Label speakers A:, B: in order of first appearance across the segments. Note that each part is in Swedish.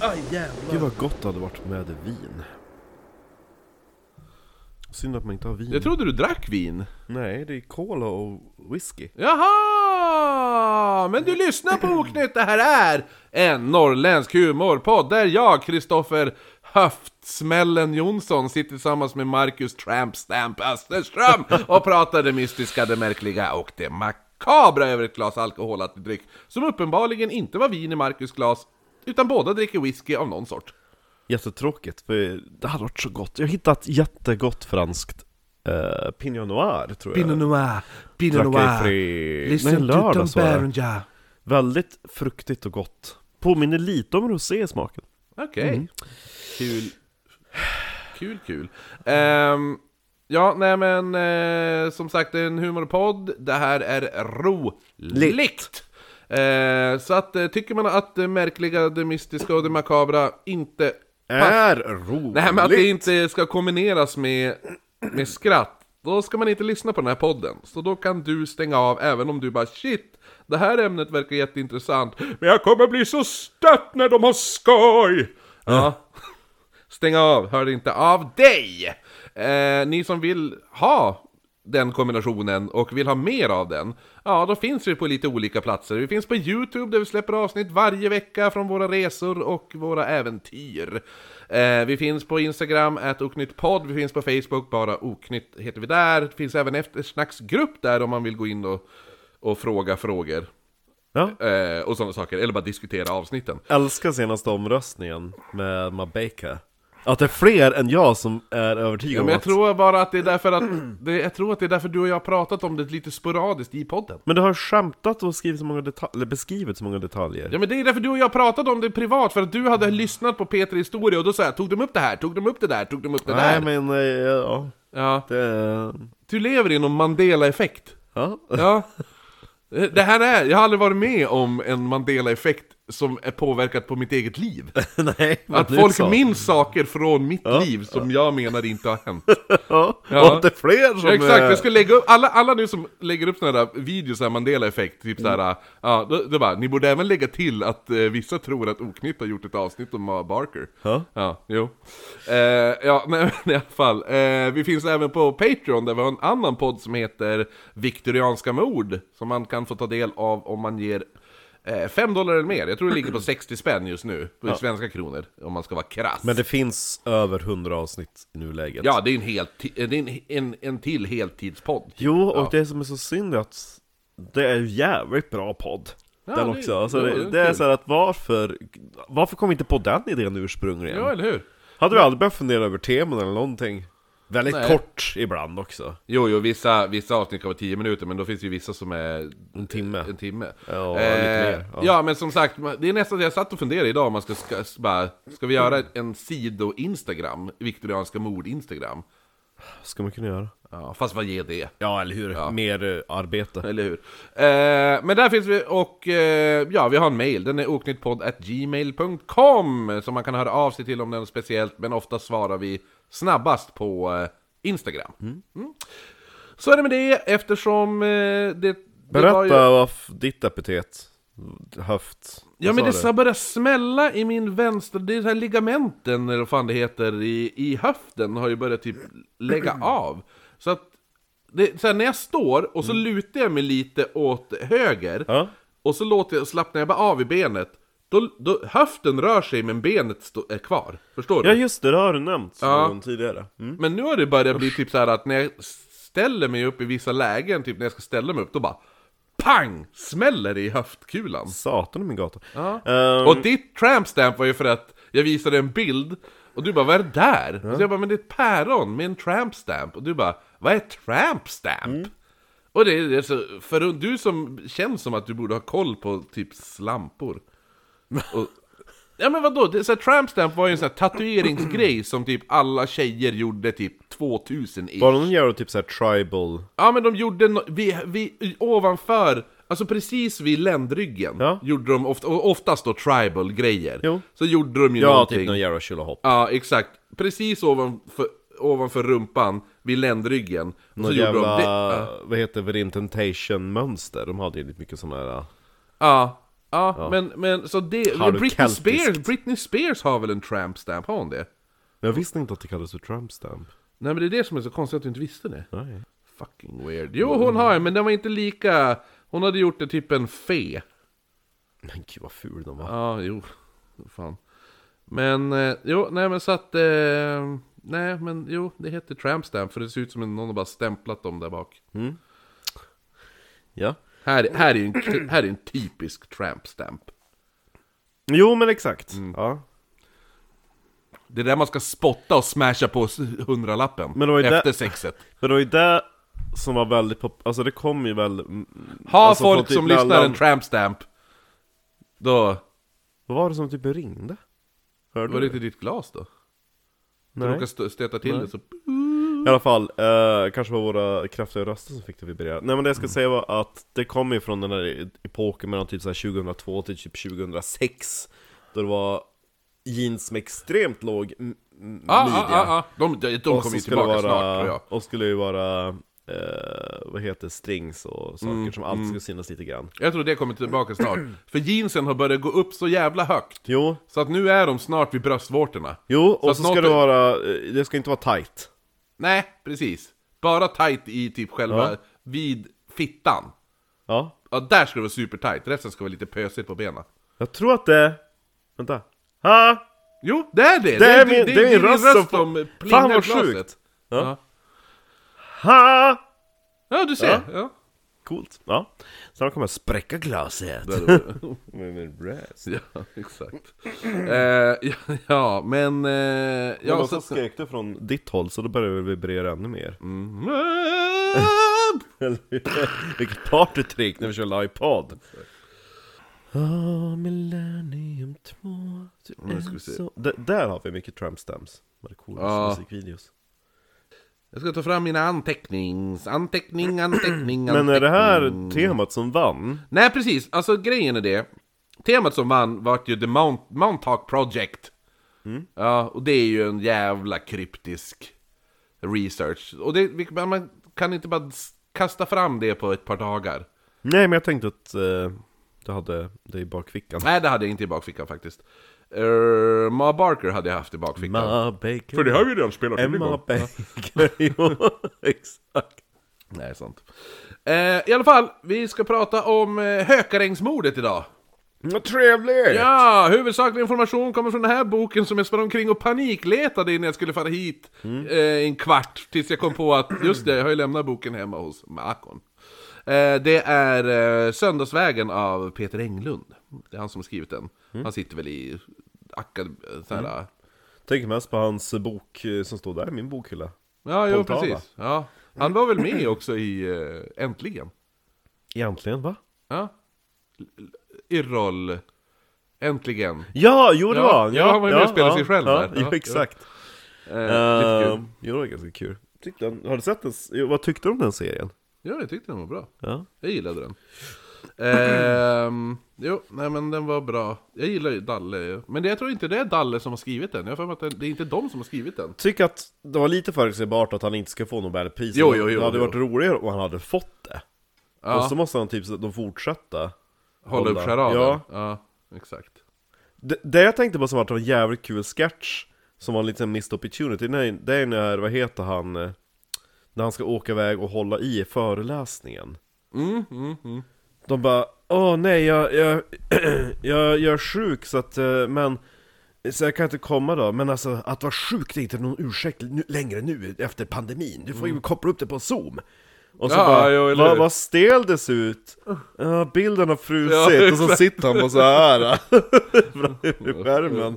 A: Aj jävlar.
B: Gud vad gott det hade varit med vin. Synd att man inte har vin.
A: Jag trodde du drack vin.
B: Nej, det är cola och whisky.
A: Jaha! Men du lyssnar på Oknytt, det här är en norrländsk humorpodd där jag, Kristoffer Höftsmällen Jonsson, sitter tillsammans med Marcus Tramp Stamp Österström och pratar det mystiska, det märkliga och det makabra över ett glas alkoholhaltig dryck som uppenbarligen inte var vin i Marcus glas, utan båda dricker whisky av någon sort.
B: Jättetråkigt, för det hade varit så gott. Jag har hittat jättegott franskt eh, Pinot Noir, tror jag.
A: Noir, Pinot
B: Drack jag i fri... Nej, lördags var det.
A: ja.
B: Väldigt fruktigt och gott. Påminner lite om rosé i smaken.
A: Okej. Kul. Kul, kul. Ehm, ja, nej men eh, som sagt, det är en humorpodd. Det här är roligt. Eh, så att eh, tycker man att det märkliga, det mystiska och det makabra inte...
B: Är roligt!
A: Nej, men att det inte ska kombineras med, med skratt. Då ska man inte lyssna på den här podden. Så då kan du stänga av även om du bara shit, det här ämnet verkar jätteintressant. Men jag kommer bli så stött när de har skoj! Ja. Stäng av, hör inte av dig! Eh, ni som vill ha den kombinationen och vill ha mer av den, ja då finns vi på lite olika platser. Vi finns på Youtube där vi släpper avsnitt varje vecka från våra resor och våra äventyr. Eh, vi finns på Instagram, oknyttpodd, vi finns på Facebook, bara oknytt heter vi där. Det finns även eftersnacksgrupp där om man vill gå in och, och fråga frågor.
B: Ja.
A: Eh, och sådana saker, eller bara diskutera avsnitten.
B: Älskar senaste omröstningen med Mabeka. Att det är fler än jag som är övertygad
A: Ja,
B: om
A: men jag
B: att...
A: tror bara att det är därför att det, jag tror att det är därför du och jag har pratat om det lite sporadiskt i podden.
B: Men du har skämtat och skrivit så många detal- eller beskrivit så många detaljer.
A: Ja men det är därför du och jag pratade om det privat, för att du hade lyssnat på Peter Historia och då sa jag Tog de upp det här? Tog de upp det där? Tog de upp det där?
B: Nej men, eh, ja.
A: Ja,
B: Det... är-
A: du lever i någon Mandela-effekt.
B: Ja.
A: Ja. Eh, Det här är, jag har aldrig varit med om en Mandela-effekt som är påverkat på mitt eget liv.
B: Nej, men
A: Att
B: du
A: folk
B: sa-
A: minns saker från mitt liv som jag menar inte har hänt.
B: Ja,
A: Ja.
B: och att det är fler som...
A: Ja, exakt,
B: eh,
A: jag skulle lägga upp, alla, alla nu som lägger upp sådana där videos, såhär Mandela-effekt, typ såhär, ja, då, då bara, ni borde även lägga till att eh, vissa tror att Oknytt har gjort ett avsnitt om Ma Barker.
B: Ja.
A: Ja, jo. Eh, ja, men i alla fall. Eh, vi finns även på Patreon där vi har en annan podd som heter Viktorianska mord, som man kan få ta del av om man ger eh, 5 dollar eller mer. Jag tror det ligger på 60 spänn just nu, i svenska kronor, om man ska vara krass.
B: Men det finns över 100 avsnitt i nuläget.
A: Ja, det är en, helt, det är en, en, en till heltidspodd.
B: Jo, och
A: Ja.
B: det som är så synd är att det är ju jävligt bra podd.
A: Ja,
B: den
A: det-
B: också. Alltså,
A: ja, det är
B: det, det är
A: kul.
B: så här att varför, varför kom vi inte på den idén ursprungligen?
A: Ja, eller hur?
B: Hade vi aldrig behövt fundera över teman eller någonting? Väldigt
A: Nej.
B: kort ibland också.
A: Jo, jo, vissa, vissa avsnitt kan vara 10 minuter, men då finns det ju vissa som är
B: En timme.
A: en timme. Eh,
B: Ja, lite mer,
A: Ja.
B: ja.
A: men som sagt, det är nästan jag satt och funderade idag om man ska, ska, bara, ska vi göra en sido-instagram? Viktorianska mord-instagram?
B: Ska man kunna göra?
A: Ja, fast vad ger det?
B: Ja, eller hur? Mer eh, arbete.
A: Eller hur? Eh, men där finns vi och eh, ja, vi har en mail. Den är oknyttpodd.gmail.com som man kan höra av sig till om det är något speciellt. Men ofta svarar vi snabbast på eh, Instagram. Mm. Så är det med det eftersom eh, det... det var
B: Berätta
A: ju-
B: vad f- ditt epitet, höft,
A: Ja
B: Vad
A: men det
B: du?
A: ska börja smälla i min vänster, det är så här ligamenten eller vad fan det heter i, i höften har ju börjat typ lägga av. Så att, det, så här, när jag står och så lutar jag mig lite åt höger
B: Mm. Ja.
A: och så låter jag, slappnar jag bara av i benet. Då, då, höften rör sig men benet stå, är kvar. Förstår du?
B: Ja just det, det har du nämnt
A: Ja.
B: någon tidigare. Mm.
A: Men nu har det börjat bli typ så här att när jag ställer mig upp i vissa lägen, typ när jag ska ställa mig upp, då bara pang! Smäller det i höftkulan.
B: Satan i min gata.
A: Ja.
B: Ehm,
A: Och ditt tramp stamp var ju för att jag visade en bild och du bara 'Vad är det där?' Så jag bara 'Men det är ett päron med en tramp stamp' och du bara 'Vad är tramp stamp?' Och det är det är så, för du som känns som att du borde ha koll på typ slampor och, Ja men vadå, det, så här, tramp stamp var ju en sån här tatueringsgrej som typ alla tjejer gjorde typ 2000 i
B: Var det någon jävla typ såhär tribal?
A: Ja men de gjorde no- vi, vi, ovanför, alltså precis vid ländryggen
B: Ja.
A: Gjorde de ofta, och oftast då tribal grejer
B: Jo.
A: Så gjorde de ju
B: Ja,
A: någonting
B: typ någon jävla tjolahopp.
A: Ja exakt, precis ovanför, ovanför rumpan vid ländryggen
B: Någon
A: gjorde
B: jävla,
A: de det, ja.
B: eh, vad heter det, intentation mönster De hade ju lite mycket sådana här...
A: ja Ja, men, men så det...
B: Har du
A: Britney
B: keltiskt?
A: Spears, Britney Spears har väl en tramp stamp? Har hon det?
B: Jag visste inte att det kallades för Trump stamp.
A: Nej men det är det som är så konstigt att du inte visste det.
B: Nej.
A: Fucking weird. Jo hon har men den var inte lika... Hon hade gjort det typ en fe.
B: Men gud vad ful den var.
A: Ja, jo. Fan. Men, eh, jo, nej men så att... Eh, nej men jo, det heter tramp stamp för det ser ut som att någon har bara stämplat dem där bak.
B: Mm. Ja.
A: Här, här, är, ju en, här är en typisk tramp stamp.
B: Jo men exakt.
A: Mm.
B: Ja.
A: Det är där man ska spotta och smasha på s- hundralappen
B: Men det var ju
A: efter
B: det-
A: sexet.
B: För det var ju det som var väldigt pop... Alltså det kom ju väl... mm,
A: Ha
B: alltså, från
A: folk
B: typ
A: som lyssnar
B: mellan-
A: en tramp stamp. Då...
B: Vad var det som typ ringde? Hörde
A: Var
B: du?
A: det typ inte ditt glas då? Du
B: Nej.
A: råkar stö- stöta till det så...
B: I alla fall, eh, kanske var våra kraftiga röster som fick det att vibrera. Nej men det jag ska
A: Mm.
B: säga var att det kom ju från den här epoken mellan typ så här 2002 till typ 2006. Då det var jeans med extremt låg m- m-
A: Ah, ah,
B: midja.
A: ah, ah. De, de, de
B: Och
A: kommer
B: så skulle
A: ju tillbaka
B: vara,
A: snart tror jag.
B: Och skulle ju vara, eh, vad heter det, strings och saker
A: Mm,
B: som alltid skulle synas lite grann.
A: Jag tror det kommer tillbaka snart. För jeansen har börjat gå upp så jävla högt.
B: Jo,
A: Så att nu är de snart vid bröstvårtorna.
B: jo och
A: att
B: så,
A: något
B: ska det
A: är-
B: vara, eh, det ska inte vara tight.
A: Nej, precis. Bara tight i typ själva
B: Ja.
A: vid fittan.
B: Ja,
A: Ja, där ska det vara supertight. Resten ska vara lite pösigt på benen.
B: jag tror att det, vänta. Ha!
A: Jo, det är det!
B: Det är min- det är min röst som-
A: som
B: Fan,
A: plingar
B: vad
A: glaset.
B: sjukt. Ja.
A: Ja.
B: Ha!
A: ja, du ser. Ja.
B: Coolt. Ja. Sen kommer jag spräcka glaset. Med min röst.
A: Ja, exakt. eh, ja, ja, men... Eh,
B: Ja,
A: ja,
B: men så skrek du från ditt håll så då började det vibrera ännu mer.
A: Mm.
B: Eller hur? Vilket partytrick när vi kör livepodd! Ah, Millennium 2, du
A: nu ska vi
B: är
A: se.
B: så... D- där har vi mycket Trump stamps. Vad det coolaste
A: Ja.
B: musikvideos.
A: Jag ska ta fram mina antecknings... Anteckning, anteckning, anteckning.
B: Men är det här temat som vann?
A: Nej, precis. Alltså grejen är det. Temat som vann vart ju The Mount, Montauk Project. Ja, och det är ju en jävla kryptisk research. Och det, vi- man kan inte bara s- kasta fram det på ett par dagar.
B: Nej, men jag tänkte att eh, du hade det i bakfickan.
A: Nej, det hade jag inte i bakfickan faktiskt. Eh, Ma Barker hade jag haft i bakfickan.
B: Ma Baker.
A: vi redan spelat
B: Emma Baker, jo, exakt.
A: Nej, sant. Eh, I alla fall, vi ska prata om eh, Hökarängsmordet idag.
B: Mm, Vad trevligt!
A: Ja, huvudsaklig information kommer från den här boken som jag sprang omkring och panikletade innan jag skulle fara hit eh, en kvart. Tills jag kom på att, just det, jag har ju lämnat boken hemma hos Makon. Eh, det är eh, Söndagsvägen av Peter Englund. Det är han som har skrivit den. Han sitter väl i akad- sån här,
B: Tänker mest på hans bok eh, som står där i min bokhylla.
A: Ja, jo,
B: Poltava.
A: precis. Ja. Han var väl med också i eh, Äntligen?
B: Egentligen va?
A: Ja. L- l- Irrol. Äntligen.
B: Ja, jo det
A: Ja,
B: var han!
A: ja, han var ju med och spelade sig själv
B: ja,
A: där.
B: Jo,
A: Ja,
B: exakt.
A: Eh, lite
B: Eh,
A: kul.
B: Jo, det var ganska kul. Tyckte han, har du sett den? s- jo, Vad tyckte du om den serien?
A: Ja, jag tyckte den var bra.
B: Ja.
A: Jag gillade den. Ehm, jo, nej men den var bra. Jag gillar ju Dalle. ju. Men det, jag tror inte det är Dalle som har skrivit den. Jag har för mig att det, det är inte de som har skrivit den.
B: Tycker att det var lite förutsägbart att han inte ska få Nobelpriset.
A: Jo, jo, jo,
B: det hade
A: jo.
B: varit roligare om han hade fått det.
A: Ja.
B: Och så måste han typ så- de fortsätta.
A: Hålla upp
B: Hålla.
A: charaden.
B: Ja.
A: ja, exakt.
B: Det, det jag tänkte på som var att det var en jävligt kul sketch Som var en liten missed opportunity Nej, Det är när, vad heter han eh, När han ska åka iväg och hålla i föreläsningen
A: Mm,
B: De bara Åh nej, jag, jag, jag, jag är sjuk så att, eh, men så jag kan inte komma då, men alltså att vara sjuk det är inte någon ursäkt nu, längre nu efter pandemin Du får ju koppla upp det på zoom Och så
A: Mm. Ja,
B: bara,
A: jo, eller
B: vad,
A: hur?"
B: vad stel det ser ut! Ja, bilden har frusit,
A: Ja,
B: och så
A: exakt.
B: sitter han på så här framför skärmen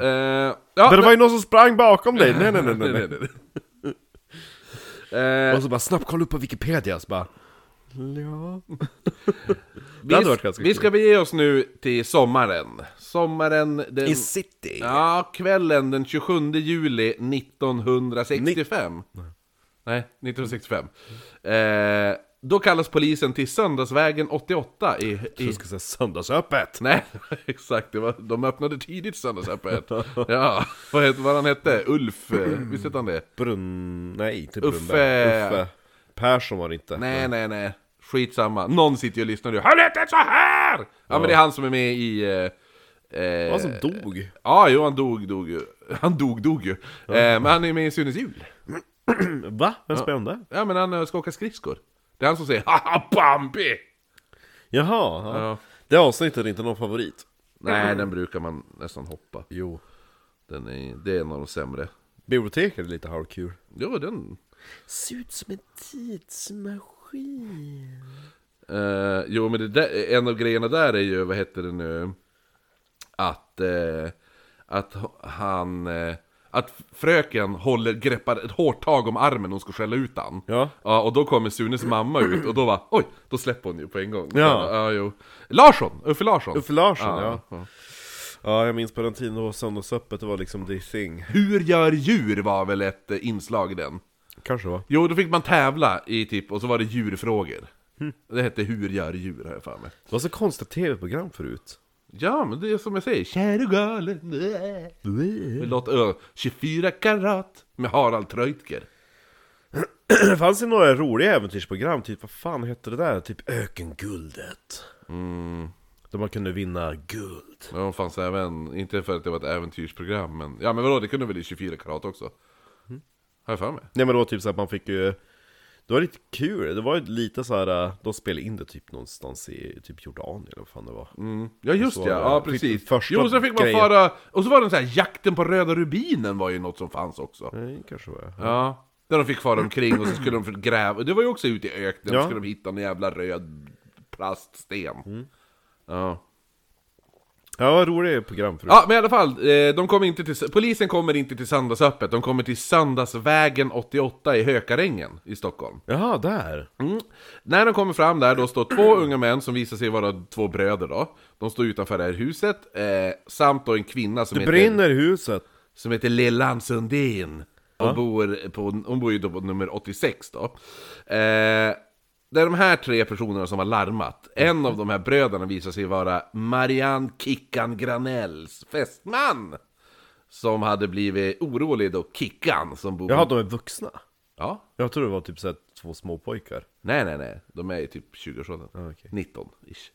A: Eh, ja,
B: men det var ju någon som sprang bakom dig, nej nej nej nej,
A: nej,
B: nej.
A: nej, nej. Eh,
B: Och så bara snabbt kolla upp på Wikipedia, så bara... Ja.
A: vi,
B: hade varit ganska
A: vi
B: kul.
A: ska bege oss nu till sommaren. Sommaren den...
B: I city!
A: Ja, kvällen den 27 juli 1965. Nej, 1965. Eh, då kallas polisen till Söndagsvägen 88 i...
B: Du
A: i
B: ska säga söndagsöppet!
A: nej, exakt. Det var, de öppnade tidigt söndagsöppet. ja, vad, het, vad han hette? Ulf, eh, visst hette han det?
B: Brunn... Nej, inte
A: Uffe.
B: Brunnberg. Uffe. Persson var det inte.
A: Nej, nej, nej. Skitsamma, någon sitter ju och lyssnar nu. Har lät det så här? Ja, men det är han som är med i... Eh, eh,
B: Han som dog.
A: Ja, jo han dog, dog ju. Han dog, dog ju. Eh, men han är med i Sunes jul.
B: Va? Vem spelar ja. där?
A: Ja, men han eh, ska åka skridskor. Det är han som säger Haha Bambi!
B: Jaha. Ja.
A: Ja.
B: Det avsnittet är inte någon favorit.
A: Nej, den brukar man nästan hoppa.
B: Jo.
A: Den är, det är en av de sämre.
B: Biblioteket är lite halvkul.
A: Jo, den...
B: Ser ut som en tidsmaskin.
A: Eh, jo, men det där, en av grejerna där är ju, vad heter det nu? Att, eh, att h- han... Eh, att fröken håller, greppar ett hårt tag om armen hon ska skälla ut han.
B: Ja.
A: Ja, och då kommer Sunes mamma ut och då var oj, då släpper hon ju på en gång.
B: Ja.
A: ja jo. Larsson, Uffe Larsson.
B: Uffe Larsson, ja.
A: Ja,
B: ja. jag minns på den tiden det var söndagsöppet, det var liksom the thing.
A: Hur gör djur var väl ett eh, inslag i den?
B: Kanske va?
A: Jo, då fick man tävla i typ, och så var det djurfrågor. Det hette Hur gör djur, har jag för mig.
B: Det var så konstiga tv-program förut.
A: Ja, men det är som jag säger, kär och galen. äh. Vi låter, ö, 24 karat med Harald Treutger.
B: Det fanns ju några roliga äventyrsprogram, typ vad fan hette det där? Typ Ökenguldet. Där man kunde vinna guld.
A: Ja, de fanns även, inte för att det var ett äventyrsprogram, men ja, men vadå, det kunde väl i 24 karat också? Har jag för mig.
B: Nej men det var typ så att man fick ju Det var lite kul, det var ju lite så här. äh, De spelade in det typ någonstans i typ Jordanien eller vad fan det var
A: Ja just
B: Så
A: ja,
B: var det-
A: ja
B: fick-
A: precis.
B: första
A: jo, så fick man
B: grejen.
A: fara, och så var den så här jakten på röda rubinen var ju något som fanns också.
B: Nej kanske var jag
A: Ja. Där de fick fara omkring och så skulle de få gräva, det var ju också ute i öknen,
B: Ja.
A: så skulle de hitta en jävla röd plaststen.
B: Mm.
A: Ja.
B: Ja vad roligt program förut
A: ja, men i alla fall, eh, de kom inte till, polisen kommer inte till Sandasöppet, de kommer till Sandasvägen 88 i Hökarängen i Stockholm.
B: Jaha, där!
A: Mm. När de kommer fram där, då står två unga män som visar sig vara två bröder då. De står utanför det här huset, eh, samt då en kvinna som
B: Det brinner i huset!
A: som heter Lillan Sundin. Hon, bor på, hon bor ju då på nummer 86 då. Eh, det är de här tre personerna som har larmat. En av de här bröderna visar sig vara Marianne Kickan Granells fästman! Som hade blivit orolig då, Kickan som bor...
B: Jaha, de är vuxna?
A: Ja.
B: Jag tror det var typ såhär två små pojkar
A: Nej, nej, nej. De är ju typ 20-årsåldern.
B: Ah, okej.
A: 19-ish.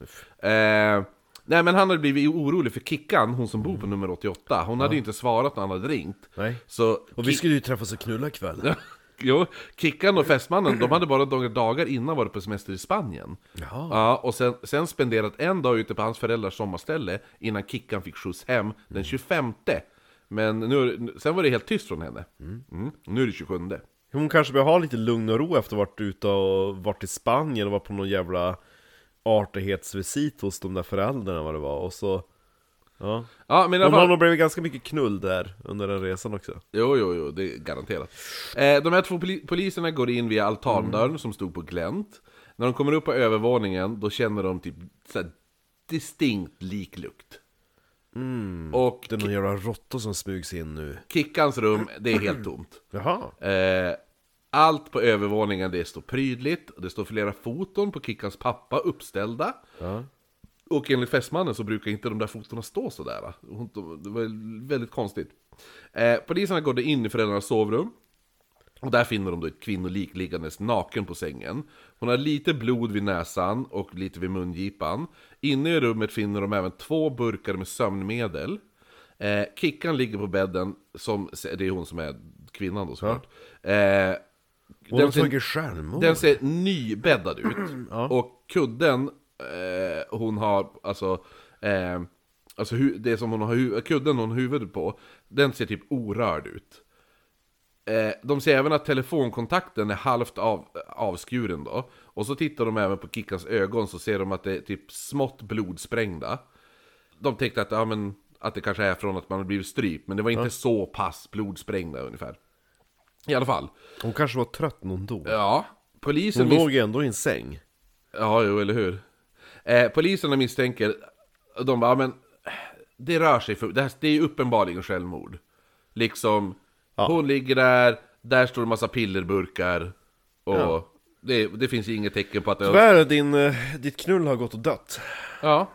A: Eh, nej, men han hade blivit orolig för Kickan, hon som bor på nummer 88. Hon hade ju inte svarat när han hade ringt.
B: Mm. Nej.
A: Så
B: Och vi skulle ju träffas och knulla ikväll
A: Jo, Kickan och fästmannen, de hade bara några dagar innan varit på semester i Spanien.
B: Jaha.
A: Ja, och sen, sen spenderat en dag ute på hans föräldrars sommarställe innan Kickan fick skjuts hem den 25. Men nu, sen var det helt tyst från henne. Mm. Nu är det 27.
B: Hon kanske behöver ha lite lugn och ro efter att ha varit ute och varit i Spanien och varit på någon jävla artighetsvisit hos de där föräldrarna vad det var och så... Ja.
A: Ja, men i alla
B: Hon
A: fall...
B: har nog blivit ganska mycket knull där under den resan också
A: Jo, jo, jo, det är garanterat. Eh, de här två poli- poliserna går in via altandörren som stod på glänt. När de kommer upp på övervåningen, då känner de typ så här, distinkt liklukt. Och
B: Det är någon jävla råtta som smygs in nu
A: Kickans rum, det är helt tomt.
B: Jaha
A: Eh, allt på övervåningen, det står prydligt. Det står flera foton på Kickans pappa uppställda. Och enligt fästmannen så brukar inte de där fotona stå sådär. va? Hon- de- Det var väldigt konstigt. Eh, poliserna går då in i föräldrarnas sovrum. Och där finner de då ett kvinnolik liggandes naken på sängen. Hon har lite blod vid näsan och lite vid mungipan. Inne i rummet finner de även två burkar med sömnmedel. Eh, Kickan ligger på bädden, som, det är hon som är kvinnan då såklart. Eh,
B: Hon har tagit självmord
A: den ser nybäddad ut. Och kudden eh, hon har, alltså, eh, alltså hu- det som hon har hu- kudden hon har huvudet på, den ser typ orörd ut. Eh, de ser även att telefonkontakten är halvt av, avskuren då. Och så tittar de även på Kickans ögon så ser de att det är typ smått blodsprängda. De tänkte att, ja, men, att det kanske är från att man har blivit strypt, men det var inte så pass blodsprängda ungefär. I alla fall.
B: Hon kanske var trött när hon dog
A: Ja, polisen
B: Hon låg ju ändå i en säng
A: Ja, jo, eller hur? Eh, poliserna misstänker, de bara, "Ja, men det rör sig för, det, här, det är ju uppenbarligen självmord. Liksom, hon ligger där, där står en massa pillerburkar och det, det finns ju inget tecken på att det
B: Tyvärr, din, eh, ditt knull har gått och dött
A: Ja,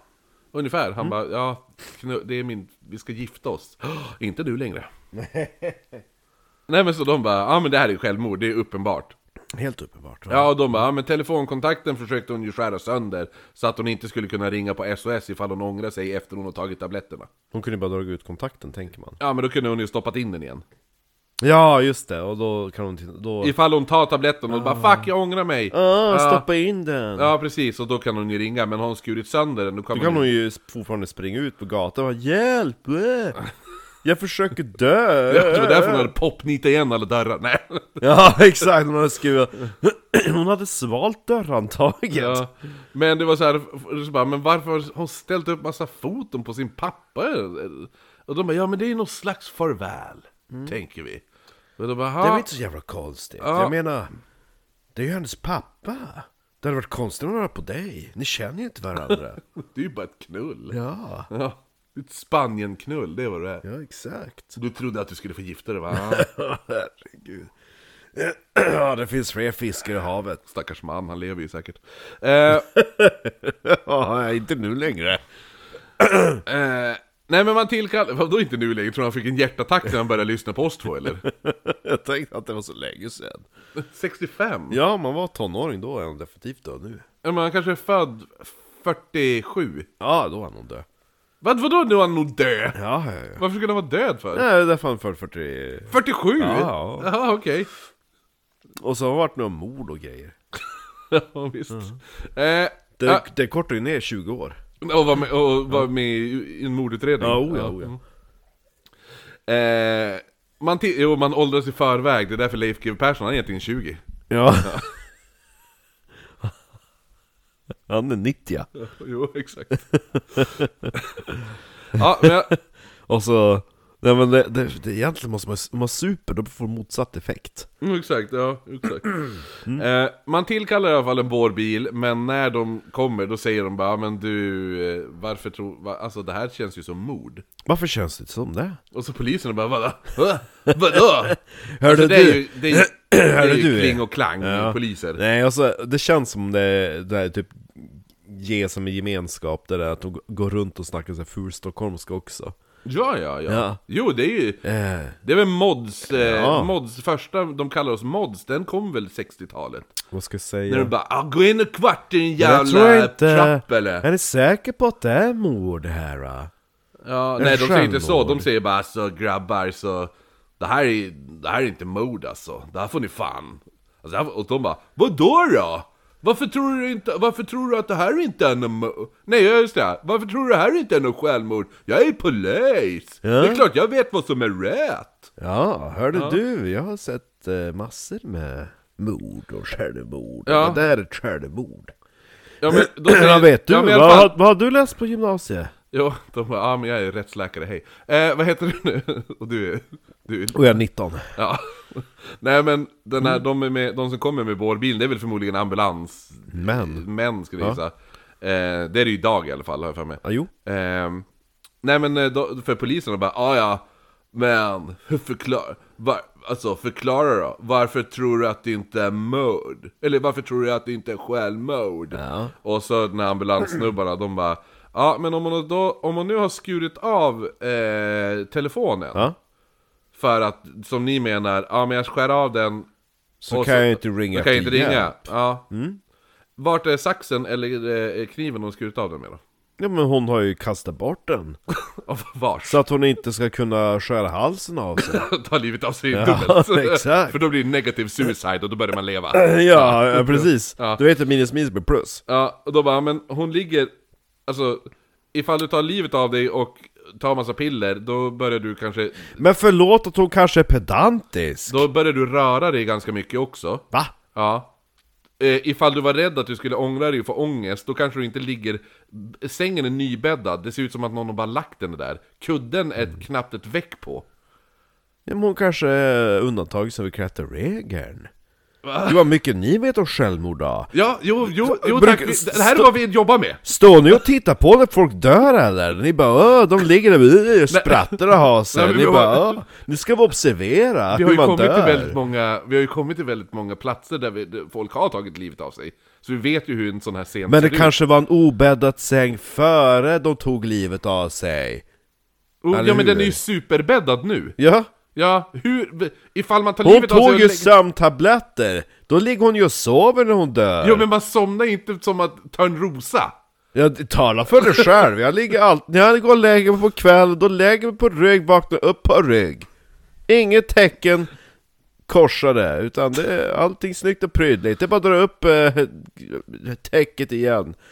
A: ungefär. Han bara, ja, knu- det är min, vi ska gifta oss. inte du längre. Nej men så de bara, ja men det här är ju självmord, det är uppenbart.
B: Helt uppenbart. va?
A: Ja, och de bara, ja, men telefonkontakten försökte hon ju skära sönder så att hon inte skulle kunna ringa på SOS ifall hon ångrar sig efter hon har tagit tabletterna.
B: Hon kunde ju bara dra ut kontakten, tänker man.
A: Ja, men då kunde hon ju stoppat in den igen.
B: Ja, just det. Och då kan hon... titta- Då...
A: Ifall hon tar tabletten och bara 'fuck, jag ångrar mig'
B: Ah,
A: Ja.
B: stoppa in den!
A: Ja, precis, och då kan hon ju ringa, men har hon skurit sönder den då kan,
B: Då kan
A: hon...
B: hon ju fortfarande springa ut på gatan och bara 'Hjälp! eh, Jag försöker dö!'
A: Ja, Det var därför hon hade popnitat igen alla dörrar, nej.
B: Ja, exakt! Hon hade skurit... Hon hade svalt dörrhandtaget!
A: Ja. Men det var så här, så bara, men varför har hon ställt upp massa foton på sin pappa? Och de bara, ja men det är ju någon slags farväl, tänker vi. Och då bara,
B: Mm. Det var
A: "Ha."
B: inte så jävla konstigt.
A: Ja.
B: Jag menar, det är ju hennes pappa. Det hade varit konstigt om hon var på dig. Ni känner ju inte varandra.
A: Det är ju bara ett knull.
B: ja,
A: Ja. Ett Spanien-knull, det var det är.
B: ja exakt.
A: Du trodde att du skulle få gifta dig va? Ja.
B: Herregud. Ja, det finns fler fiskar i havet.
A: Stackars man, han lever ju säkert. Eh,
B: Ja, inte nu längre.
A: eh, nej men man tillkallar, vadå inte nu längre? Tror du han fick en hjärtattack när han började lyssna på oss två eller?
B: Jag tänkte att det var så länge sedan.
A: 65? Ja.
B: Ja, man var tonåring då, är han definitivt död nu.
A: Men han kanske är född 47?
B: Ja, då är han nog död.
A: Vad, vadå nu är han nog död?
B: Ja, ja, ja.
A: Varför skulle han vara död för?
B: Nej, det är därför han föll 40...
A: 47?
B: Ja.
A: ja okej.
B: Och så har det varit några mord och grejer.
A: Ja, visst. Eh,
B: Det,
A: ja,
B: det kortar ju ner 20 år.
A: och var med, och var med i en mordutredning. Mm.
B: ja.
A: Eh, man, ti- jo, man åldras i förväg, det är därför Leif GW Persson, han är egentligen 20.
B: Ja. Han är 90 ja.
A: Jo, exakt. ja, men jag,
B: Och så, nej men det, det, det, egentligen måste man, om man super då får man motsatt effekt.
A: mm, exakt, ja, exakt.
B: Mm.
A: Eh, man tillkallar i alla fall en bårbil, men när de kommer då säger de bara men du, eh, varför tror, va, alltså det här känns ju som mord.
B: Varför känns det inte som det?
A: Och så polisen bara vadå? Va? Vadå?
B: Hörde
A: Alltså, det är
B: du?
A: ju, det är, ju- det är
B: Hörde
A: ju
B: du?
A: kling och klang,
B: Ja.
A: poliser.
B: Eh, Nej och så, det känns som det, det är typ ge som en gemenskap, det där att de går runt och snackar så här ful stockholmska också.
A: Ja, ja, ja,
B: Ja.
A: Jo, det är ju...
B: Eh,
A: Det är väl mods, eh,
B: Ja.
A: mods första, de kallar oss mods, den kom väl 60-talet?
B: vad ska jag
A: När
B: säga?
A: de bara ah, 'Gå in och kvart din
B: jag tror
A: jävla
B: inte-
A: trapp eller?
B: Är ni säker på att det är mord här? Då?
A: Ja, nej de säger inte så,
B: självmord.
A: de säger bara alltså grabbar så det här, är, det här är inte mord alltså, det här får ni fan alltså, det här- Och de bara 'Vadå då? Varför tror, du inte, varför tror du att det här inte är något mord? Nej ja, just det, varför tror du det här inte är något självmord? Jag är polis! Det är klart jag vet vad som är rätt!
B: Ja, hörde du? Jag har sett eh, massor med mord och självmord.
A: Ja.
B: Det där är ett självmord.
A: Ja, men, då säger-
B: Ja, vet du?
A: Ja, men i alla
B: vad,
A: fall-
B: har- vad har du läst på gymnasiet?
A: Ja, de bara, ja men jag är rättsläkare, hej. Eh, vad heter du nu? Och du är... Du är
B: Och jag är 19.
A: ja. Nej men, den här,
B: Mm.
A: de, är med, de som kommer med vårbilen, det är väl förmodligen ambulansmän
B: Men.
A: skulle jag gissa. Eh, det är det ju idag i alla fall, har jag för mig.
B: Ja, jo.
A: Ehm, nej men eh, då, för polisen de bara, ja ja, men hur förklar, var, alltså förklara då, varför tror du att det inte är mord? Eller varför tror du att det inte är självmord?
B: Ja.
A: Och så den här ambulanssnubbarna, de bara, ja men om hon, då, om hon nu har skurit av eh, telefonen,
B: Ja.
A: för att, som ni menar, ja men jag skär av den
B: Så
A: och
B: kan jag ju inte ringa
A: då kan jag
B: till
A: inte ringa.
B: hjälp. Mm.
A: Ja. Vart är saxen eller eh, kniven hon skurit av den med då?
B: Ja, men hon har ju kastat bort den.
A: Och Vars?
B: Så att hon inte ska kunna skära halsen av sig.
A: ta livet av sig
B: Ja,
A: dubbelt.
B: exakt.
A: För då blir det negativ suicide och då börjar man leva.
B: ja, ja, precis.
A: Ja.
B: Du vet att minus minus blir plus.
A: Ja, och då bara, men hon ligger... Alltså, ifall du tar livet av dig och tar massa piller, då börjar du kanske...
B: Men förlåt att hon kanske är pedantisk.
A: Då börjar du röra dig ganska mycket också.
B: Va?
A: Ja. Eh, ifall du var rädd att du skulle ångra dig och få ångest, då kanske du inte ligger... Sängen är nybäddad, det ser ut som att någon har bara lagt den där. Kudden är knappt ett veck på.
B: Ja, men hon kanske är undantagen som bekräftar regeln. Du vad mycket ni vet om självmord då?
A: Ja, jo, jo, jo
B: Brukar-
A: tack. Vi- Det här är vad vi jobbar med.
B: Står ni och tittar på när folk dör eller? Ni bara "Åh, de ligger där och sprattar och har
A: Nej,
B: sig.
A: men
B: Ni
A: vi
B: bara
A: har-
B: "Åh, ni ska vara observera
A: Vi
B: hur
A: har, ju
B: man
A: kommit till
B: dör.
A: väldigt många, vi har ju kommit till väldigt många platser där vi, där folk har tagit livet av sig. Så vi vet ju hur en sån här scen
B: Men
A: ser
B: det
A: ut.
B: kanske var en obäddad säng före de tog livet av sig.
A: Oh,
B: eller
A: ja men den
B: hur?
A: är ju superbäddad nu.
B: Ja,
A: Ja, hur... Ifall man tar
B: Hon
A: livet av sig...
B: tog
A: och
B: ju
A: lägger-
B: sömntabletter! Då ligger hon ju och sover när hon dör!
A: Jo men man somnar inte som att ta en rosa.
B: Jag talar för dig själv, jag ligger alltid, när jag går och lägger mig på kvällen, då lägger jag mig på rygg, vaknar upp på rygg. Inget tecken korsade, utan det är allting snyggt och prydligt. Det är bara att dra upp eh, täcket igen.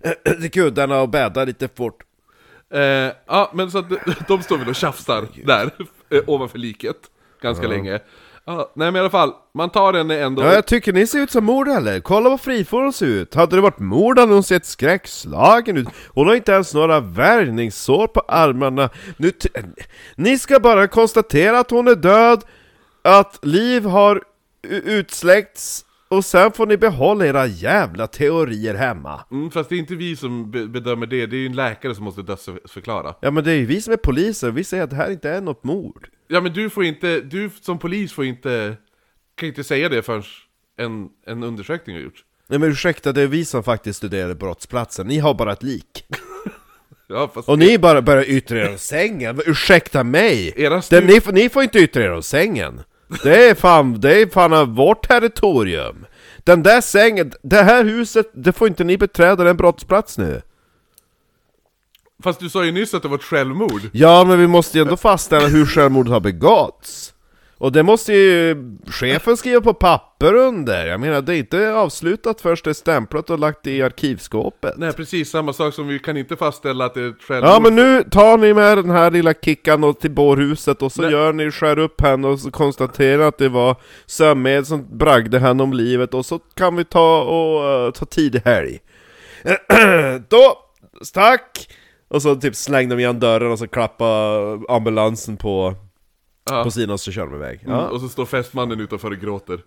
B: Eh, Kuddarna och bädda lite fort.
A: Eh, ja, men så att de- de står väl och tjafsar där, eh, ovanför liket. Ganska länge. Ja, nej men i alla fall, man tar den ändå.
B: Ja, jag tycker ni ser ut som mord eller? Kolla vad frifåren ser ut! Hade det varit mord hade hon sett skräckslagen ut. Hon har inte ens några värjningssår på armarna. Nu t- ni ska bara konstatera att hon är död, att liv har u- utsläckts, och sen får ni behålla era jävla teorier hemma.
A: Mm, fast det är inte vi som be- bedömer det, det är ju en läkare som måste dödsförklara.
B: Ja men det är ju vi som är poliser, vi säger att det här inte är något mord.
A: Ja men du får inte, du som polis får inte, kan inte säga det förrän en, en undersökning har gjorts.
B: Nej men ursäkta, det är vi som faktiskt studerar brottsplatsen, ni har bara ett lik.
A: Ja, fast
B: Och ni bara börjar yttra er om sängen, ursäkta mig!
A: Era
B: det,
A: studie-
B: ni, får- ni får inte yttra er om sängen! Det är fan, det är fan vårt territorium! Den där sängen, det här huset, det får inte ni beträda, det är en brottsplats nu!
A: fast du sa ju nyss att det var ett självmord.
B: Ja, men vi måste ju ändå fastställa hur självmordet har begåtts! Och det måste ju chefen skriva på papper under! Jag menar, det är inte avslutat först det är stämplat och lagt i arkivskåpet!
A: Nej precis, samma sak som vi kan inte fastställa att det är ett självmord.
B: Ja men nu tar ni med den här lilla kickan och till bårhuset och så
A: Nej.
B: gör ni, skär upp henne och så konstaterar att det var sömmed som bragde henne om livet och så kan vi ta och eh, ta tidig helg. Då, stack! Och så typ slängde de igen dörren och så klappade ambulansen på,
A: Ja.
B: på sidan och så körde de iväg.
A: Mm,
B: Ja.
A: Och så står fästmannen utanför och gråter.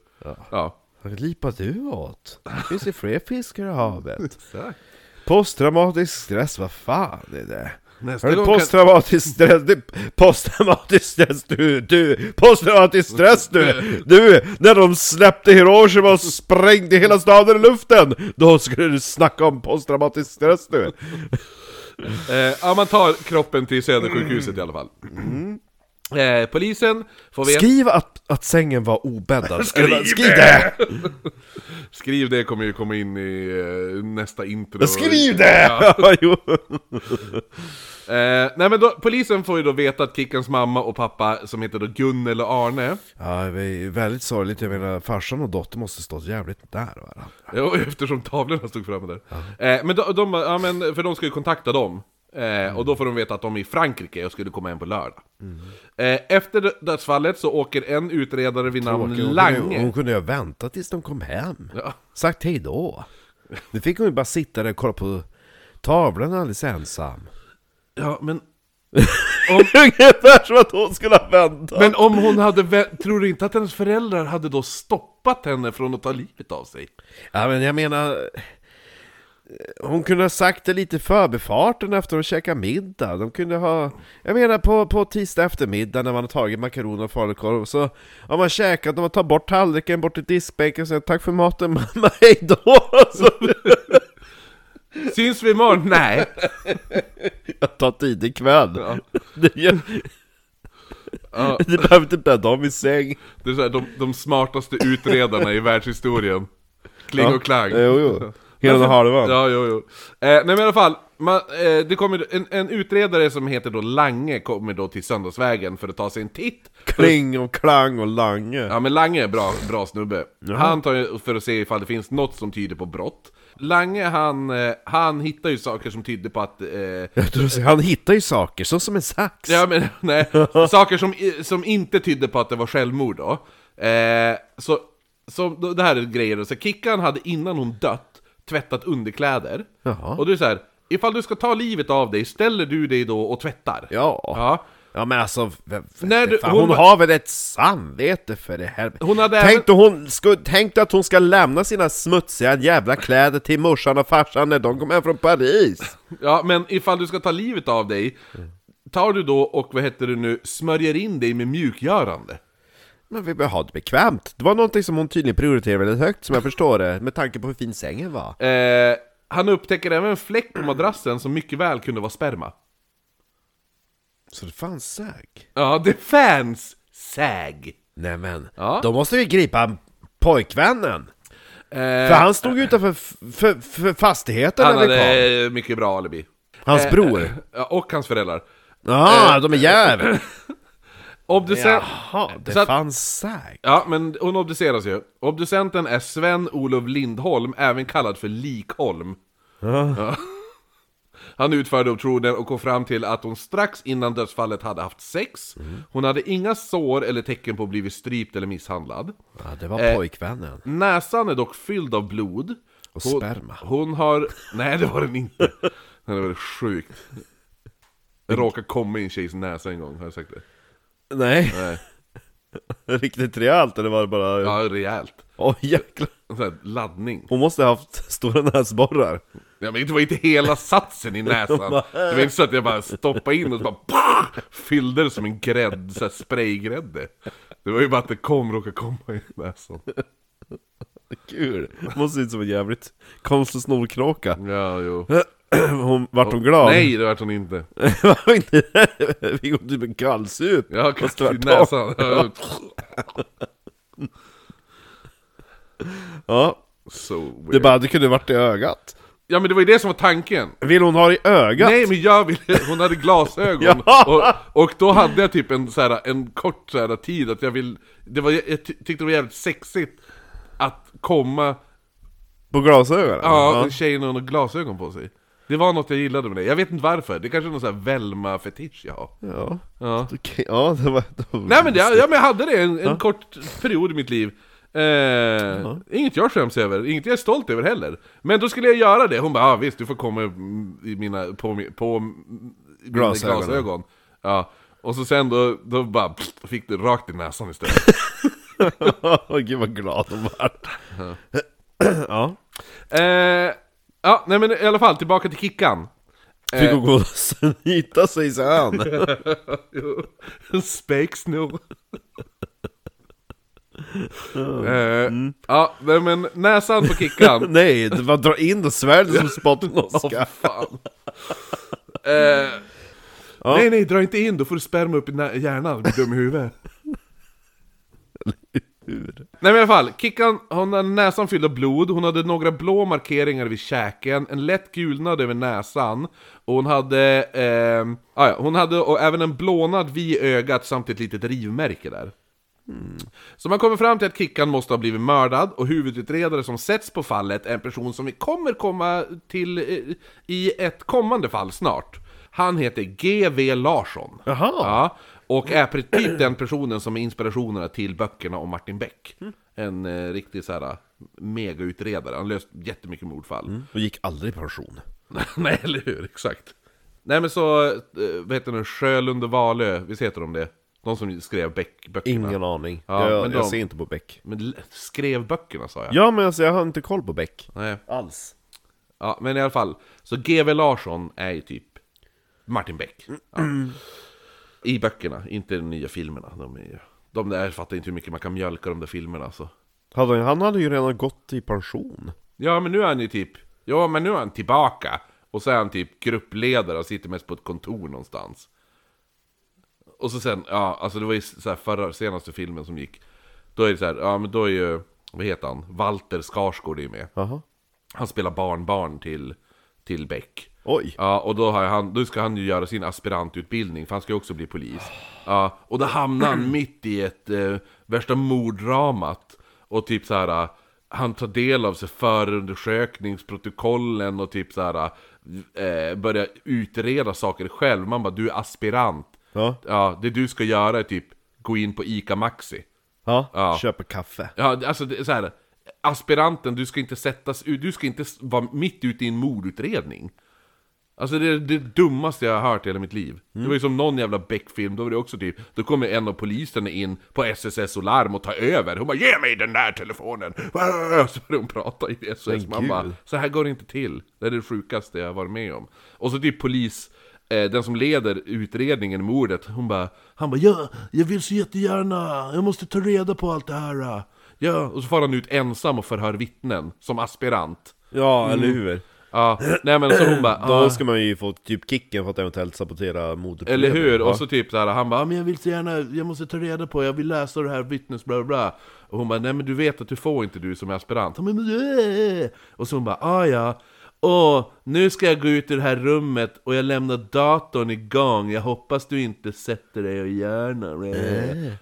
A: Ja.
B: Vad lipar du åt? Det finns ju fler fiskar i havet.
A: Så.
B: Posttraumatisk stress, vad fan är det?
A: Nästa
B: Hörru,
A: gång
B: posttraumatisk stress, du, posttraumatisk stress du, du, posttraumatisk stress du, du, när de släppte Hiroshima och sprängde hela staden i luften, då skulle du snacka om posttraumatisk stress du.
A: kan, eh, ja, man tar kroppen till Södersjukhuset i alla fall.
B: Mm.
A: Eh, polisen får veta...
B: Skriv att, att sängen var obäddad.
A: Skriv
B: skriv det!
A: Skriv det kommer ju komma in i eh, nästa intro.
B: Skriv det! Ja, jo.
A: Eh, nej men då, polisen får ju då veta att Kickans mamma och pappa, som heter då Gunnel och Arne,
B: ja, det är väldigt sorgligt, jag menar farsan och dottern måste stått jävligt där varandra.
A: Jo, eftersom tavlorna stod framme där. Eh, men de, de, ja, men, för de ska ju kontakta dem. Eh, och då får de veta att de är i Frankrike och skulle komma hem på lördag. Eh, efter dödsfallet så åker en utredare vid namn
B: Hon kunde, ju-
A: Lange.
B: hon kunde ju ha väntat tills de kom hem.
A: Ja.
B: Sagt hej då. Nu fick hon ju bara sitta där och kolla på tavlan alldeles ensam.
A: Ja, men,
B: Ungefär som att hon skulle ha väntat.
A: men om hon hade vä- Tror du inte att hennes föräldrar hade då stoppat henne från att ta livet av sig?
B: Ja men jag menar... Hon kunde ha sagt det lite i förbifarten efter de käkade middag. De kunde ha... Jag menar på, på tisdag eftermiddag när man har tagit makaroner och falukorv så har man käkat och man tar bort tallriken bort till diskbänken och säger tack för maten mamma, hejdå! Så,
A: Syns vi imorgon? Nej!
B: jag tar tidig kväll.
A: Ja.
B: Det gör-
A: Ja.
B: Ni behöver inte bädda om i säng.
A: Det är så här, de, de smartaste utredarna i världshistorien. Kling
B: Ja.
A: och klang.
B: Jo, jo. Hela
A: Varför-
B: halvan.
A: Ja, jo, jo. Eh, nej men i alla fall, man, eh, det kommer en, en utredare som heter då Lange kommer då till Söndagsvägen för att ta sig en titt.
B: Kling och klang och lange.
A: Ja men Lange är bra, bra snubbe. Han tar ju för att se ifall det finns något som tyder på brott. Lange han, eh, han hittar ju saker som tyder på att... Eh,
B: Jag tror att säga, Han hittar ju saker, så som en sax.
A: ja men nej, saker som, i- som inte tydde på att det var självmord då. Eh, så, så då- det här är grejer då. Så Kickan hade innan hon dött tvättat underkläder.
B: Jaha.
A: Och du är så här, ifall du ska ta livet av dig, ställer du dig då och tvättar?
B: Ja.
A: Ja.
B: Ja, men alltså, vem,
A: När du-
B: fan,
A: hon
B: hon,
A: var-
B: har väl ett samvete för det här.
A: Hon hade även-
B: tänk, då hon sku, tänk dig att hon ska lämna sina smutsiga jävla kläder till morsan och farsan när de kommer hem från Paris.
A: ja, men ifall du ska ta livet av dig, tar du då och vad heter det nu, smörjer in dig med mjukgörande?
B: Men vi behöver ha det bekvämt. Det var någonting som hon tydligen prioriterade väldigt högt, som jag förstår det, med tanke på hur fin sängen var.
A: Eh, han upptäcker även en fläck på madrassen som mycket väl kunde vara sperma.
B: Så det fanns säg?
A: Ja, det är fans säg.
B: Nämen,
A: Ja.
B: då måste vi gripa pojkvännen! För
A: Eh,
B: han stod ju utanför f- f- f- fastigheten
A: han
B: när vi kom.
A: hade eh, mycket bra alibi.
B: Hans bror.
A: Ja, Och hans föräldrar. eh,
B: Ah, de är jävlar!
A: Obducent...
B: Jaha, det
A: eh, Så att-
B: fanns säg.
A: Ja, men hon obduceras ju. Obducenten är Sven-Olof Lindholm, även kallad för Likholm. Ja. Han utförde obduktionen och kom fram till att hon strax innan dödsfallet hade haft sex. Hon hade inga sår eller tecken på att blivit strypt eller misshandlad.
B: Ja, det
A: Eh,
B: var pojkvännen.
A: Näsan är dock fylld av blod.
B: Och
A: Hon-
B: sperma.
A: Hon har... Nej, det var den inte. Nej, det var sjukt. Det råkade komma i en tjejs näsa en gång, har jag sagt det?
B: Nej.
A: Nej.
B: Riktigt rejält eller var det bara...
A: Ja, rejält.
B: Åh jäklar.
A: En sån här laddning.
B: Hon måste ha haft stora näsborrar.
A: Ja, men det var inte hela satsen i näsan. Det var inte så att jag bara stoppade in och så bara pah, fyllde det som en grädd, så här spraygrädde. Det var ju bara att det kom, råkade komma i näsan.
B: Kul. Måste se ut som en jävligt konstig snorkråka.
A: Ja, jo.
B: Hon, vart hon glad?
A: Nej, det vart hon inte.
B: Var inte det? Vi går typ en kallsup.
A: Jag
B: Fast
A: kastade i
B: tvärtom.
A: näsan.
B: Ja.
A: So weird.
B: Det bara, det kunde varit i ögat.
A: Ja, men det var ju det som var tanken.
B: Vill hon ha det i ögat?
A: Nej men jag ville, hon hade glasögon
B: Ja.
A: och, och då hade jag typ en, så här, en kort så här, tid att jag vill det var, Jag ty- tyckte det var jävligt sexigt Att komma,
B: På glasögonen?
A: ja, en tjej med några glasögon på sig Det var något jag gillade med det, jag vet inte varför Det kanske är någon sån här Velma-fetisch jag har
B: Ja.
A: ja.
B: Okej, ja det var... Det var
A: Nej men, det, ja, men jag hade det en, en kort period i mitt liv Eh, Inget jag skäms över, inget jag är stolt över heller Men då skulle jag göra det, hon bara ah, visst du får komma i mina, på, mi- på mina
B: Glasögonen.
A: glasögon ja. Och så sen då, då bara pst, fick det rakt i näsan istället
B: Åh, Gud vad glad hon vart. Ja.
A: eh, Ja nej men i alla fall, tillbaka till Kickan Eh.
B: Fick hon gå och snyta sig sen.
A: Spakes nu. eh, Ja, nej, men näsan på Kickan
B: Nej, det var dra in och svärd som spotten Oskar.
A: fan. eh, Nej, nej, dra inte in, då får du sperma upp i nä- hjärnan, du är dum i huvudet. Nej men i alla fall, Kickan, hon hade näsan fylld av blod, hon hade några blå markeringar vid käken, en lätt gulnad över näsan, och hon hade, ehm, ah, ja, hon hade och även en blånad vid ögat samt ett litet rivmärke där. Så man kommer fram till att Kickan måste ha blivit mördad och huvudutredare som sätts på fallet är en person som vi kommer komma till eh, i ett kommande fall snart. Han heter G.V. Larsson.
B: Jaha.
A: Ja, och är pre- typ den personen som är inspirationerna till böckerna om Martin Beck.
B: Mm.
A: En eh, riktig så här megautredare. Han löst jättemycket mordfall.
B: Och gick aldrig i pension.
A: Nej, eller hur? Exakt. Nej, men så, eh, vad heter den? Sjölund och Valö, visst heter de det? De som skrev Beck-böckerna.
B: Ingen aning.
A: Ja,
B: jag
A: men
B: jag
A: de-
B: ser inte på Beck.
A: Men l- skrev böckerna sa jag.
B: Ja, men alltså, jag har inte koll på Beck.
A: Nej.
B: Alls.
A: Ja, men i alla fall. Så GV Larsson är ju typ Martin Beck. Ja.
B: Mm.
A: I böckerna, inte i de nya filmerna. De, är ju, de där, jag fattar inte hur mycket man kan mjölka de där filmerna så.
B: Hade, han hade ju redan gått i pension.
A: Ja, men nu är han ju typ... Ja, men nu är han tillbaka. Och så är han typ gruppledare och sitter mest på ett kontor någonstans. Och så sen, ja, alltså det var ju så här förra, senaste filmen som gick. Då är det så här, ja men då är ju, vad heter han? Walter Skarsgård är ju med.
B: Jaha.
A: Han spelar barnbarn till, till Beck.
B: Oj.
A: Ja, och då, har han, då ska han ju göra sin aspirantutbildning, för han ska ju också bli polis. Ja, och då hamnar han mitt i ett eh, värsta morddramat. Och typ så här, eh, han tar del av så förundersökningsprotokollen och typ så här, eh, börjar utreda saker själv. Man bara, du är aspirant.
B: Ja.
A: Ja, det du ska göra är typ gå in på ICA Maxi.
B: Ja.
A: Ja.
B: Köper kaffe.
A: Ja, det- alltså det är så här. Aspiranten, du ska inte sättas ut, du ska inte s- vara mitt ute i en mordutredning. Alltså det är det dummaste jag har hört i hela mitt liv. Det
B: Mm.
A: var ju som någon jävla Beck-film, då var det också typ, då kommer en av poliserna in på SSS och larm och tar över. Hon bara 'Ge mig den där telefonen!' Så börjar hon prata i SSS,
B: Men
A: man bara
B: gud.
A: 'Så här går det inte till' Det är det sjukaste jag har varit med om. Och så typ polis, eh, den som leder utredningen i mordet, hon bara, han bara 'Ja, jag vill så jättegärna, jag måste ta reda på allt det här' Ja, och så far han ut ensam och förhör vittnen, som aspirant.
B: Ja, eller hur?
A: Ja, nej men så hon bara
B: Då
A: ah,
B: ska man ju få typ kicken för att eventuellt sabotera mordet
A: Eller hur? Och så typ så här, han bara ah, men jag vill så gärna, jag måste ta reda på, jag vill läsa det här vittnes bla bla, bla Och hon bara nej men du vet att du får inte du som är aspirant "Ja, men, men, äh, äh." Och så hon bara ah ja Åh, nu ska jag gå ut ur det här rummet och jag lämnar datorn igång Jag hoppas du inte sätter dig och gör något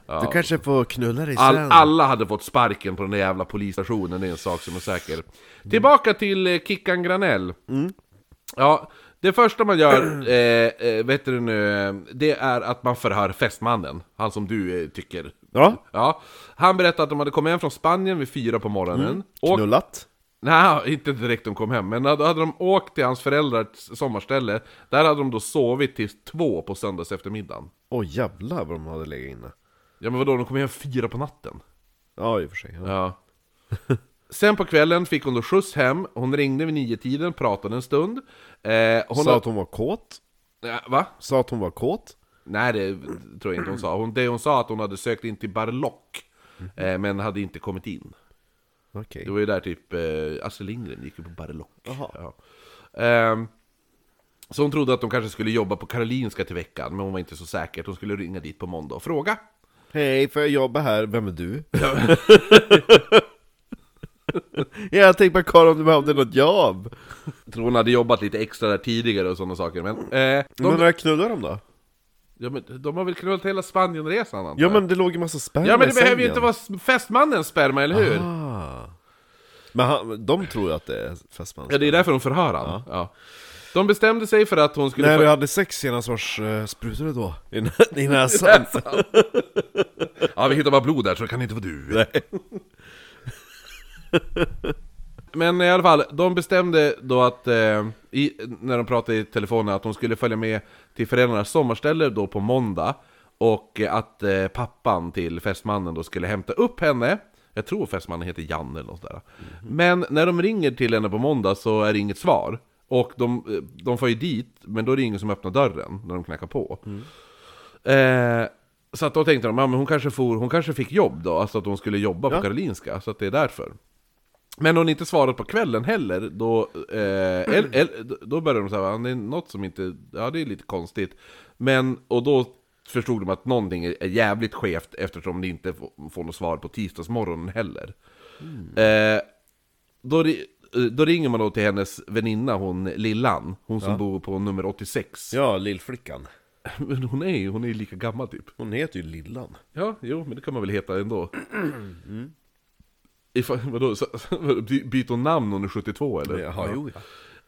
A: ja.
C: Du kanske får knulla dig
A: All,
C: sen.
A: alla hade fått sparken på den där jävla polisstationen, det är en sak som är säker. Tillbaka till eh, Kickan Granell. Ja, det första man gör, eh, eh, vet du nu, eh, det är att man förhör fästmannen. Han som du eh, tycker.
B: Ja,
A: Ja, han berättade att de hade kommit hem från Spanien vid fyra på morgonen. Och,
B: knullat
A: nej, inte direkt de kom hem, men då hade de åkt till hans föräldrars sommarställe. Där hade de då sovit tills två på söndags eftermiddagen.
B: Åh jävlar vad de hade legat inne
A: Ja men vadå, de kom hem fyra på natten?
B: Ja i och för sig ja.
A: Ja. Sen på kvällen fick hon då skjuts hem, hon ringde vid nio tiden, pratade en stund. Eh, hon
B: Sa att hon var kåt
A: Eh, Va?
B: Sa att hon var kåt
A: Nej det tror jag inte hon sa. Hon, det hon sa att hon hade sökt in till Barlock, eh, men hade inte kommit in.
B: Okej
A: Det var ju där typ eh, Astrid Lindgren gick ju på Barlock.
B: Jaha.
A: Ja. Ehm, så hon trodde att de kanske skulle jobba på Karolinska till veckan, men hon var inte så säker. Hon skulle ringa dit på måndag och fråga.
B: Hej, får jag jobba här? Vem är du? ja, jag tänkte bara kolla om du behövde något jobb
A: Jag tror hon hade jobbat lite extra där tidigare och sådana saker, men... Eh, de,
B: Men när knullar de då?
A: ja, men de har väl knullat hela Spanienresan antar
B: Ja
A: jag.
B: men det låg ju massa sperma
A: Ja men
B: i
A: det behöver ju
B: sängen.
A: inte vara s- fästmannens sperma, eller hur?
B: Ah. Men han, de tror ju att det är fästmans
A: Ja, det är därför de förhör han. Ja. De bestämde sig för att hon skulle
B: När
A: få...
B: vi hade sex senast vars uh, sprutade då? I, nä- i näsan?
A: Ja, vi hittar bara blod där så det kan inte vara du. Men i alla fall, de bestämde då att, eh, i, när de pratade i telefonen, att de skulle följa med till föräldrarnas sommarställe då på måndag. Och eh, att eh, pappan till fästmannen då skulle hämta upp henne. Jag tror fästmannen heter Jan eller något där. Men när de ringer till henne på måndag så är det inget svar. Och de, eh, de får ju dit, men då är det ingen som öppnar dörren när de knackar på. Eh, så att då tänkte de, ja, men hon, kanske for, hon kanske fick jobb då, alltså att hon skulle jobba på Karolinska, så att det är därför. Men hon inte svarat på kvällen heller, då, eh, el, el, då började de säga att det är något som inte, ja det är lite konstigt. Men, och då förstod de att någonting är är jävligt skevt eftersom de inte får- får något svar på tisdagsmorgonen heller. Eh, då, ri- eh, då ringer man då till hennes väninna, hon Lillan, hon som bor på nummer 86.
B: ja, lillflickan
A: Men hon är ju, hon är ju lika gammal typ.
B: Hon heter ju Lillan
A: Ja, jo, men det kan man väl heta ändå.
B: Mm.
A: Ifall, vadå, så, by- byter hon namn när hon är 72 eller?
B: Jaha, jo ja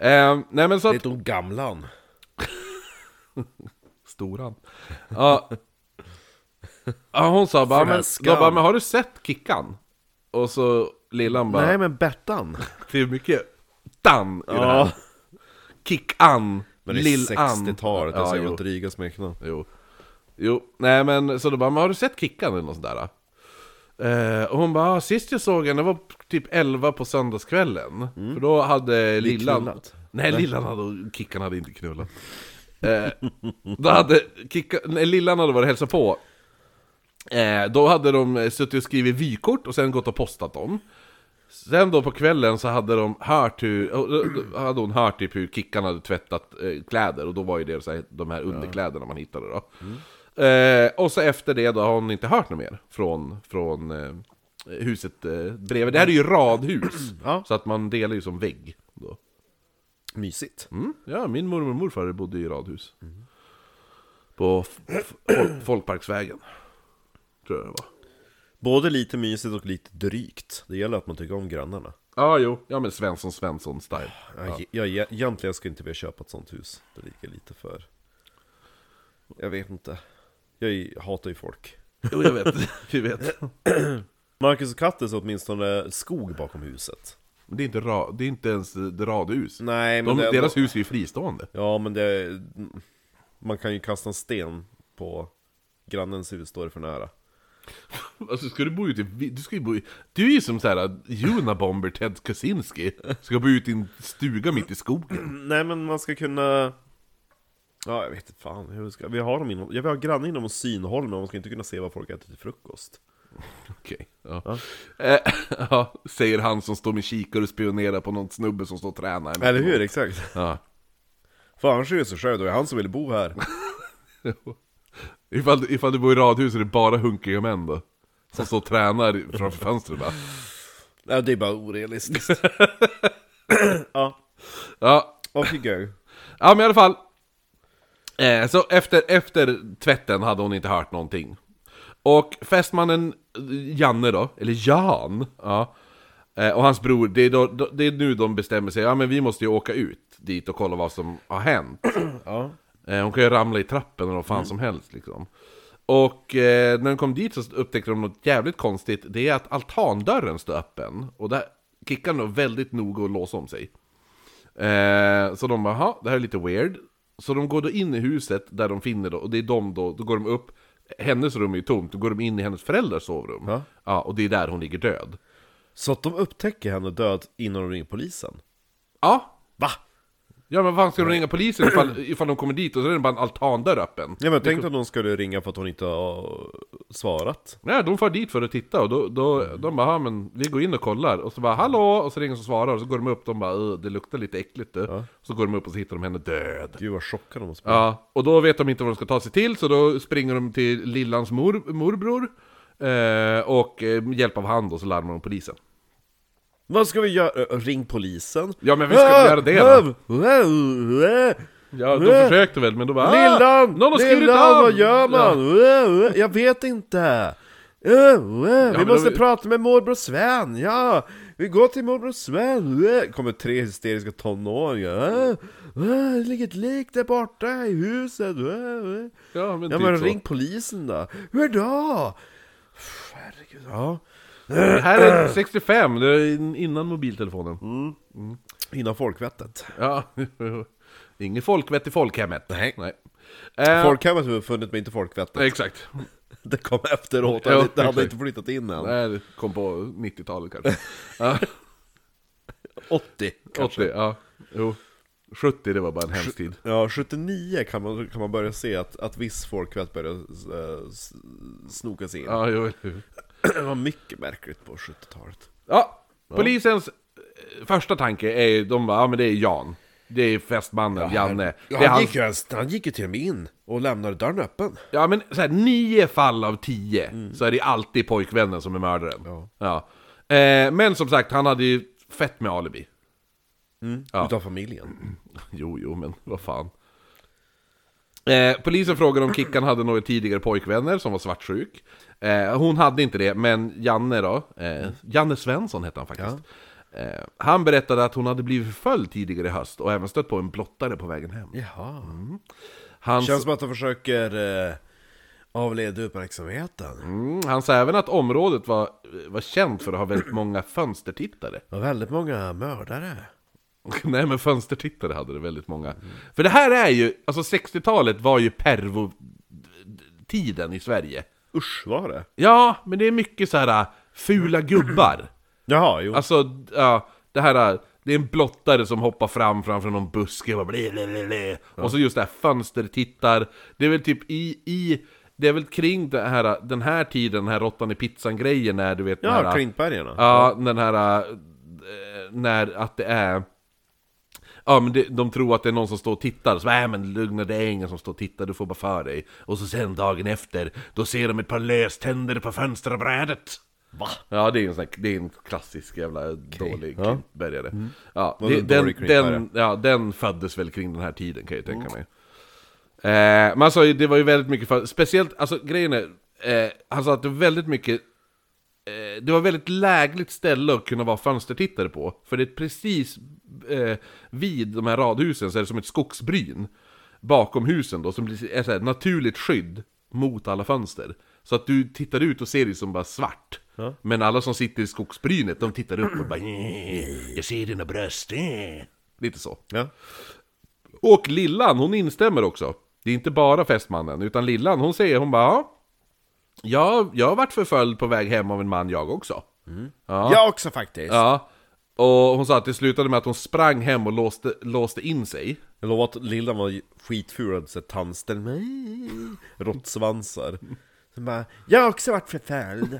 A: Eh, nej men så att...
B: Heter hon Gamlan?
A: Storan. Ja. ja, hon sa bara, men,
B: Fräskan.
A: då bara, men har du sett Kickan? Och så Lillan bara,
B: Nej men Bettan
A: det är mycket tan i det här. Kick-an,
B: Men det är
A: Lill-an.
B: 60-talet, alltså
A: ja,
B: jag var
A: jo.
B: inte dryga smeknamn
A: Jo. Jo, nej men så då bara, men har du sett Kickan eller något sånt där? Eh, och hon bara, "Ah, sist jag såg henne var typ 11 på söndagskvällen. För då hade Lillan...
B: knullat.
A: Nej, Lillan hade, Kickan hade inte knullat. Eh, då hade Kickan, nej, Lillan hade varit och hälsat på. Eh, då hade de eh, suttit och skrivit vykort och sen gått och postat dem. Sen då på kvällen så hade de hört hur, och då- då hade hon hört typ hur Kickan hade tvättat eh, kläder och då var ju det så här, de här underkläderna man hittade då. Eh, och så efter det då har hon inte hört något mer från, från eh, huset eh, bredvid. Det här är ju radhus,
B: Ja.
A: så att man delar ju som vägg. Då.
B: Mysigt
A: Mm, ja, min mormor och morfar bodde i radhus. På f- f- fol- Folkparksvägen. Tror jag det var.
B: Både lite mysigt och lite drygt Det gäller att man tycker om grannarna
A: Ja, jo. Ja, men Svensson Svensson-style.
B: Jag, jag, jag, egentligen skulle inte vilja köpa ett sånt hus Det ligger lite för Jag vet inte Jag är- hatar ju folk
A: Jo, jag vet. Vi vet.
B: Marcus och Kattis har åtminstone skog bakom huset
A: Men Det är inte, ra, det är inte ens ett radhus.
B: Nej men
A: De,
B: det är
A: deras
B: ändå-
A: hus är ju fristående.
B: Ja men det Man kan ju kasta en sten på grannens hus, står det för nära
A: Alltså ska du bo ute i... vi- Du ska ju bo i... Du är ju som såhär Unabomber Ted Kaczynski. Ska bo ute i en stuga mitt i skogen.
B: Nej men man ska kunna Ja jag vet inte fan hur ska... Vi har dem inom... Ja, vi har grannar inom synhåll men man ska inte kunna se vad folk äter till frukost
A: Okej. Ja. Eh, ja, säger han som står med kikare och spionerar på någon snubbe som står och tränar.
B: Eller hur, exakt.
A: Ja.
B: Fan, han skyller sig själv, det var han som ville bo här.
A: Ifall, du- ifall du bor i radhus är det bara hunkiga män då. Som står och tränar framför fönstret bara.
B: Nej, det är bara orealistiskt. ja,
A: Ja,
B: off you go.
A: ja men i alla fall. Eh, så efter, efter tvätten hade hon inte hört någonting. Och fästmannen eh, Janne då, eller Jan, ja. Eh, och hans bror, det är, då, då, det är nu de bestämmer sig, ja men vi måste ju åka ut dit och kolla vad som har hänt.
B: Ja. Mm.
A: Eh, Hon kan ju ramla i trappen eller vad fan som helst liksom. Och eh, när de kom dit så upptäckte de något jävligt konstigt. Det är att altandörren står öppen. Och där kickade de väldigt noga och låste om sig. Eh, så de bara, "Jaha, det här är lite weird. Så de går då in i huset där de finner då, och det är de då, då går de upp. Hennes rum är ju tomt, då går de in i hennes föräldrars sovrum.
B: Ja.
A: ja och det är där hon ligger död.
B: Så att de upptäcker henne död innan de ringer polisen.
A: Ja,
B: Va?
A: ja men vad fan ska de ringa polisen ifall, ifall de kommer dit och så är det bara en altandörr öppen?
B: Ja men tänk att de skulle ringa för att hon inte har svarat.
A: Nej, de far dit för att titta och då, då, de bara, "Ja, men vi går in och kollar och så bara hallå och så ringer de och svarar och så går de upp och de bara "Åh, det luktar lite äckligt du. Så går de upp och så hittar de henne död.
B: Gud vad chockad de måste bli.
A: Ja, och då vet de inte vad de ska ta sig till så då springer de till Lillans mor, morbror eh, och eh, med hjälp av han då så larmar de polisen.
B: Vad ska vi göra? Ö, Ring polisen?
A: Ja, men vi ska väl göra det då.
B: då?
A: Ja, de försökte väl men då bara "Ah,
B: Lillan!
A: någon har skurit
B: Lillan,
A: av!"
B: vad gör
A: Ja.
B: man? Ö, ö, Jag vet inte. Ö, ö, Vi
A: men
B: måste
A: då-
B: prata med morbror Sven, ja! Vi går till morbror Sven! Ö, Kommer tre hysteriska tonåringar. Ö, ö, Det ligger ett lik där borta i huset. Ö, ö.
A: Ja, men,
B: Ja
A: typ
B: men
A: så.
B: ring polisen då! Hur då? Pff, Herregud, ja.
A: Det här är 65, det är in- innan mobiltelefonen.
B: Innan folkvettet.
A: Ja, inget folkvett i folkhemmet. Nej. Nej. Eh,
B: Folkhemmet har vi funnit men inte folkvettet.
A: Exakt.
B: Det kom efteråt,
A: Ja,
B: det hade
A: exakt.
B: inte flyttat in än.
A: Nej, det Eh, kom på 90-talet kanske. Ja,
B: 80 kanske.
A: 80, ja. Jo. 70, det var bara en hemsk tid.
B: Ja, 79 kan man, kan man börja se att, att viss folkvett börjar eh, s- snoka sig in.
A: Ja, jo. eller hur.
B: Det var mycket märkligt på 70-talet.
A: ja, polisens eh, första tanke är ju, de bara, ja men det är Jan. Det är festmannen, Janne.
B: Ja,
A: det
B: han,
A: är hans-
B: gick ju, ens- han gick ju till och med in och lämnade dörren öppen.
A: Ja men så här, nio fall av tio så är det alltid pojkvännen som är mördaren.
B: Ja.
A: Eh, men som sagt, han hade ju fett med alibi. Ja.
B: Utav familjen.
A: Jo, jo, men vad fan. Eh, polisen frågade om Kickan hade några tidigare pojkvänner som var svartsjuk. Eh, hon hade inte det, men Janne då, eh, Janne Svensson hette han faktiskt. Eh, han berättade att hon hade blivit förföljd tidigare i höst och även stött på en blottare på vägen hem.
B: Jaha.
A: Han,
B: Känns som att de försöker eh, avleda uppmärksamheten.
A: mm, han sa även att området var, var känt för att ha väldigt många fönstertittare.
B: Det var väldigt många mördare.
A: Nej men fönstertittare hade det väldigt många. För det här är ju, alltså 60-talet var ju pervo-tiden i Sverige.
B: Usch, var det?
A: Ja, men det är mycket så här äh, fula gubbar.
B: Jaha, jo.
A: Alltså, ja, det här, äh, det är en blottare som hoppar fram framför någon buske och bara blä, blä, blä, blä. Och så just det här fönstertittar. Det är väl typ i, i, det är väl kring det här, äh, den här tiden, den här råttan i pizzan-grejen när du vet den här,
B: ja,
A: äh,
B: Klintbergarna.
A: Ja, den här... äh, När att det är... Ja, men det, de tror att det är någon som står och tittar, så nej men lugna det är ingen som står och tittar, du får bara för dig. Och så sen dagen efter, då ser de ett par löständer på fönsterbrädet.
B: Va?
A: Ja, det är en, sån här, det är en klassisk jävla dålig
B: ja.
A: klippbärgare. Ja,
B: var
A: det,
B: en
A: den,
B: dålig klippbärgare.
A: den, ja, den föddes väl kring den här tiden kan jag tänka mig. Eh, men alltså, det var ju väldigt mycket för, speciellt, alltså grejen är, eh, han sa att det var väldigt mycket eh, det var väldigt lägligt ställe att kunna vara fönstertittare på, för det är precis eh, vid de här radhusen så är det som ett skogsbryn bakom husen då, som blir- är så här, naturligt skydd mot alla fönster. Så att du tittar ut och ser det som bara svart. Men alla som sitter i skogsbrynet, de tittar upp och bara "Eh, Jag ser dina bröst. eh." Lite så.
B: Ja.
A: Och Lillan, hon instämmer också. Det är inte bara fästmannen, utan Lillan, hon säger, hon bara "Ja, jag, jag har varit förföljd på väg hem av en man jag också. Ja.
B: Jag också faktiskt.
A: Ja. Och hon sa att det slutade med att hon sprang hem och låste, låste in sig.
B: Jag lovar att Lillan var skitful och hade sett tandställ med råttsvansar. Så Hon bara, jag har också varit förföljd.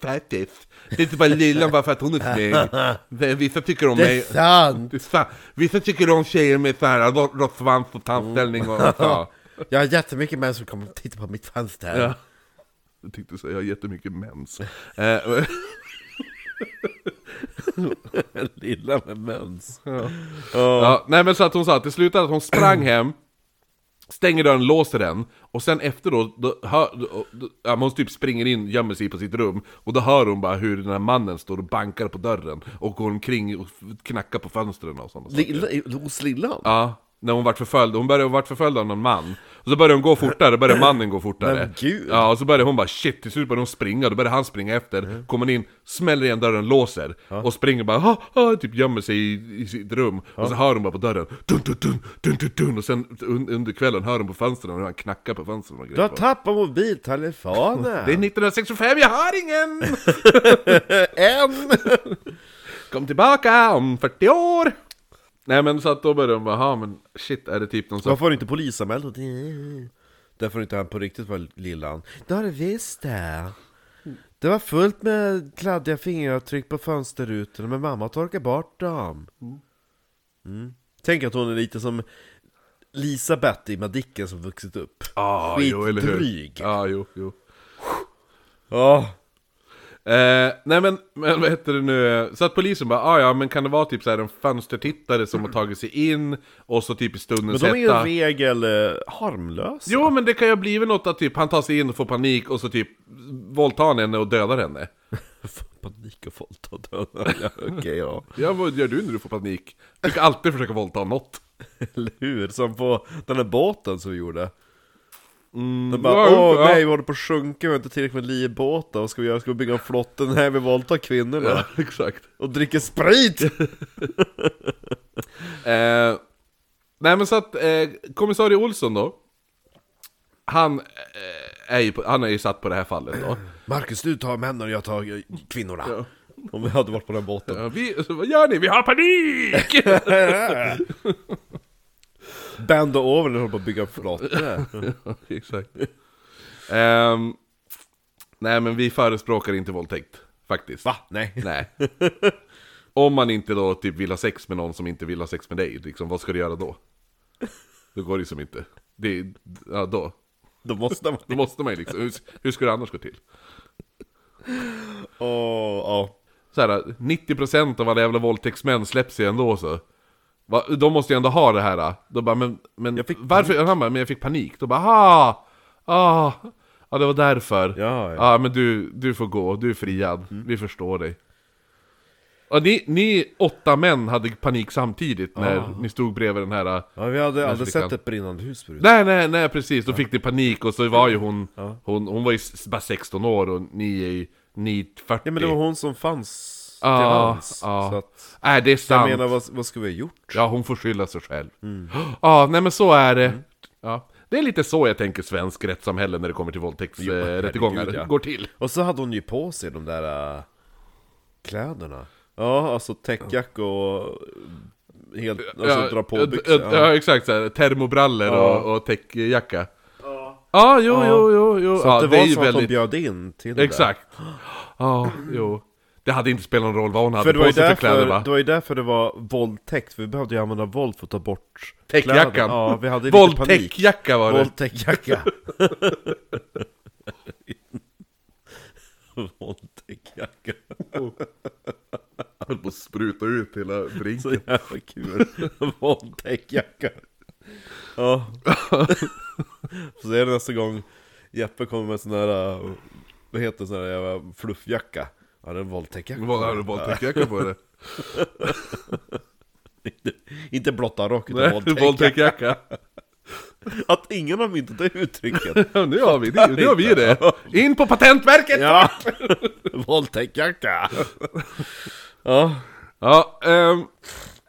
A: Faktiskt. Det är inte bara lillan bara för att hon är snygg. Vissa tycker om mig.
B: sant!
A: Det är sant. Vissa tycker om tjejer med så här rå- rått svans och tandställning och så.
B: Jag har jättemycket män som kommer och tittar på mitt fönster.
A: Ja. Jag tyckte så, jag har jättemycket mens. Eh,
B: Lilla med mens.
A: Ja, nej men så att hon sa att det slutade att hon sprang hem, stänger dörren, låser den, och sen efter då, då, hör, då, då ja, men hon typ springer in, gömmer sig på sitt rum, och då hör hon bara hur den här mannen står och bankar på dörren, och går omkring och f- knackar på fönstren och sådana saker.
B: Lilla, i- hos lillan?
A: Ja, när hon vart förföljd, hon började hon vart förföljd av någon man. Och så började hon gå fortare, började mannen gå fortare.
B: Men gud.
A: Ja, och så började hon bara shit, till slut började hon springa, då började han springa efter,
B: Mm.
A: kommer in, smäller igen dörren, låser, och springer bara, ha, ha, typ gömmer sig i, i sitt rum. Och så hör hon bara på dörren, dun, dun, dun, dun, dun, dun. och sen un, under kvällen hör hon på fönstren hur han knackar på fönstren och
B: Du har
A: grejer. på.
B: tappat mobiltelefonen!
A: Det är 1965, jag har ingen!
B: en!
A: Kom tillbaka om 40 år! Nej men så att då började hon bara, ha men shit, är det typ någon sån
B: Varför har du inte polisanmält och det? Därför inte han på riktigt var lillan. Det har du visst det! Det var fullt med kladdiga fingeravtryck på fönsterrutorna, men mamma torkade bort dem. Mm. Tänk att hon är lite som Lisabeth i Madicken som vuxit upp.
A: Ah, jo, eller hur?
B: Skitdryg.
A: Ja, jo, jo.
B: Ja,
A: Eh, nej men, men vad heter det nu? Så att polisen bara, ah, ja men kan det vara typ så här en fönstertittare som har tagit sig in och så typ i
B: men
A: stundens
B: de är ju i
A: hetta.
B: regel eh, harmlösa.
A: Jo men det kan ju ha blivit något att typ han tar sig in och får panik och så typ våldtar han henne och dödar henne.
B: Fan, panik och våldta döda. Ja, Okej, ja.
A: Ja vad gör du när du får panik? Du ska alltid försöka våldta något.
B: Eller hur? Som på den där båten som vi gjorde. De
A: Mm. ja,
B: bara åh
A: ja."
B: nej vi håller på att sjunka, vi har inte tillräckligt med livbåtar, vad ska vi göra? Ska vi bygga en flotte? Nej vi våldtar kvinnorna
A: Ja, exakt.
B: och dricker sprit!
A: Eh, nej men så att eh, kommissarie Olsson då. Han, eh, är ju, på- han är ju satt på det här fallet då.
B: Marcus du tar männen och jag tar eh, kvinnorna Om vi hade varit på den båten
A: Ja, vi, så, vad gör ni? Vi har panik!
B: Band och Owen håller på att bygga en flotte
A: Exakt. Ehm, nej, men vi förespråkar inte våldtäkt, faktiskt.
B: Va? Nej
A: Nej. Om man inte då typ vill ha sex med någon som inte vill ha sex med dig, liksom, vad ska du göra då? Då går det ju som inte. Det, ja, då.
B: Då måste man
A: Då måste man ju liksom, hur, hur ska det annars gå till?
B: Åh, ja
A: Så här, 90% av alla jävla våldtäktsmän släpps ju ändå så. Va, de måste ju ändå ha det här. då. Då bara, men, men
B: Jag fick
A: varför? Han bara, men jag fick panik. Då bara, ah, ah, ja det var därför.
B: Ja, ja. Mm.
A: ja men du, du får gå, du är friad. Vi förstår dig. Och ni, ni åtta män hade panik samtidigt när ni stod bredvid den här...
B: Ja vi hade aldrig
A: vi
B: sett
A: kan.
B: ett brinnande hus förut
A: Nej, nej, nej precis. Då fick ni panik och så var ju hon... Hon, hon var ju s- bara 16 år och ni är ju... Ni är 40.
B: Ja men det var hon som fanns till
A: Ja,
B: hands
A: ja.
B: Så att,
A: Nej, det är
B: jag
A: sant.
B: menar Mm. vad, vad skulle vi ha gjort?
A: Ja, hon får skylla sig själv. Ja, ah, nej men så är
B: Mm.
A: det. Ja. Det är lite så jag tänker svensk rättssamhälle när det kommer till våldtäktsrättegångar. Eh,
B: herregud,
A: rättegångar.
B: ja.
A: Går till.
B: Och så hade hon ju på sig de där äh, kläderna. Ja, alltså täckjack och helt, alltså dra på byxor.
A: ja.
B: Ja.
A: ja, exakt. Så här, termobrallor och, och täckjacka. Ja, jo, jo, jo, jo.
B: Så
A: ja,
B: att det,
A: är
B: var
A: ju
B: som att de bjöd in till det där.
A: Exakt. Ja, jo. Det hade inte spelat någon roll vad hon hade
B: För det var,
A: på
B: ju
A: sig för kläder
B: därför,
A: va?
B: det var ju därför det var våldtäkt, för vi behövde ju använda våld för att ta bort
A: Täckjackan.
B: kläderna. Ja, vi hade lite panik.
A: Våldtäktjacka var det.
B: Våldtäktjacka. Våldtäktjacka.
A: Höll på att spruta ut hela drinken.
B: Så jävla kul. Våldtäktjacka. Ja. Så är det nästa gång Jeppe kommer med sån här, uh, vad heter det, sån här jävla fluffjacka. Ja det är en våldtäktjacka.
A: Vad hade du våldtäktjacka på dig?
B: Inte blotta rock utan
A: Nej,
B: våldtäktjacka.
A: våldtäktjacka.
B: Att ingen har myntat det uttrycket.
A: Ja, nu har vi det, nu har vi det! In på Patentverket! Ja,
B: Ja. Våldtäktjacka. Ja.
A: ehm,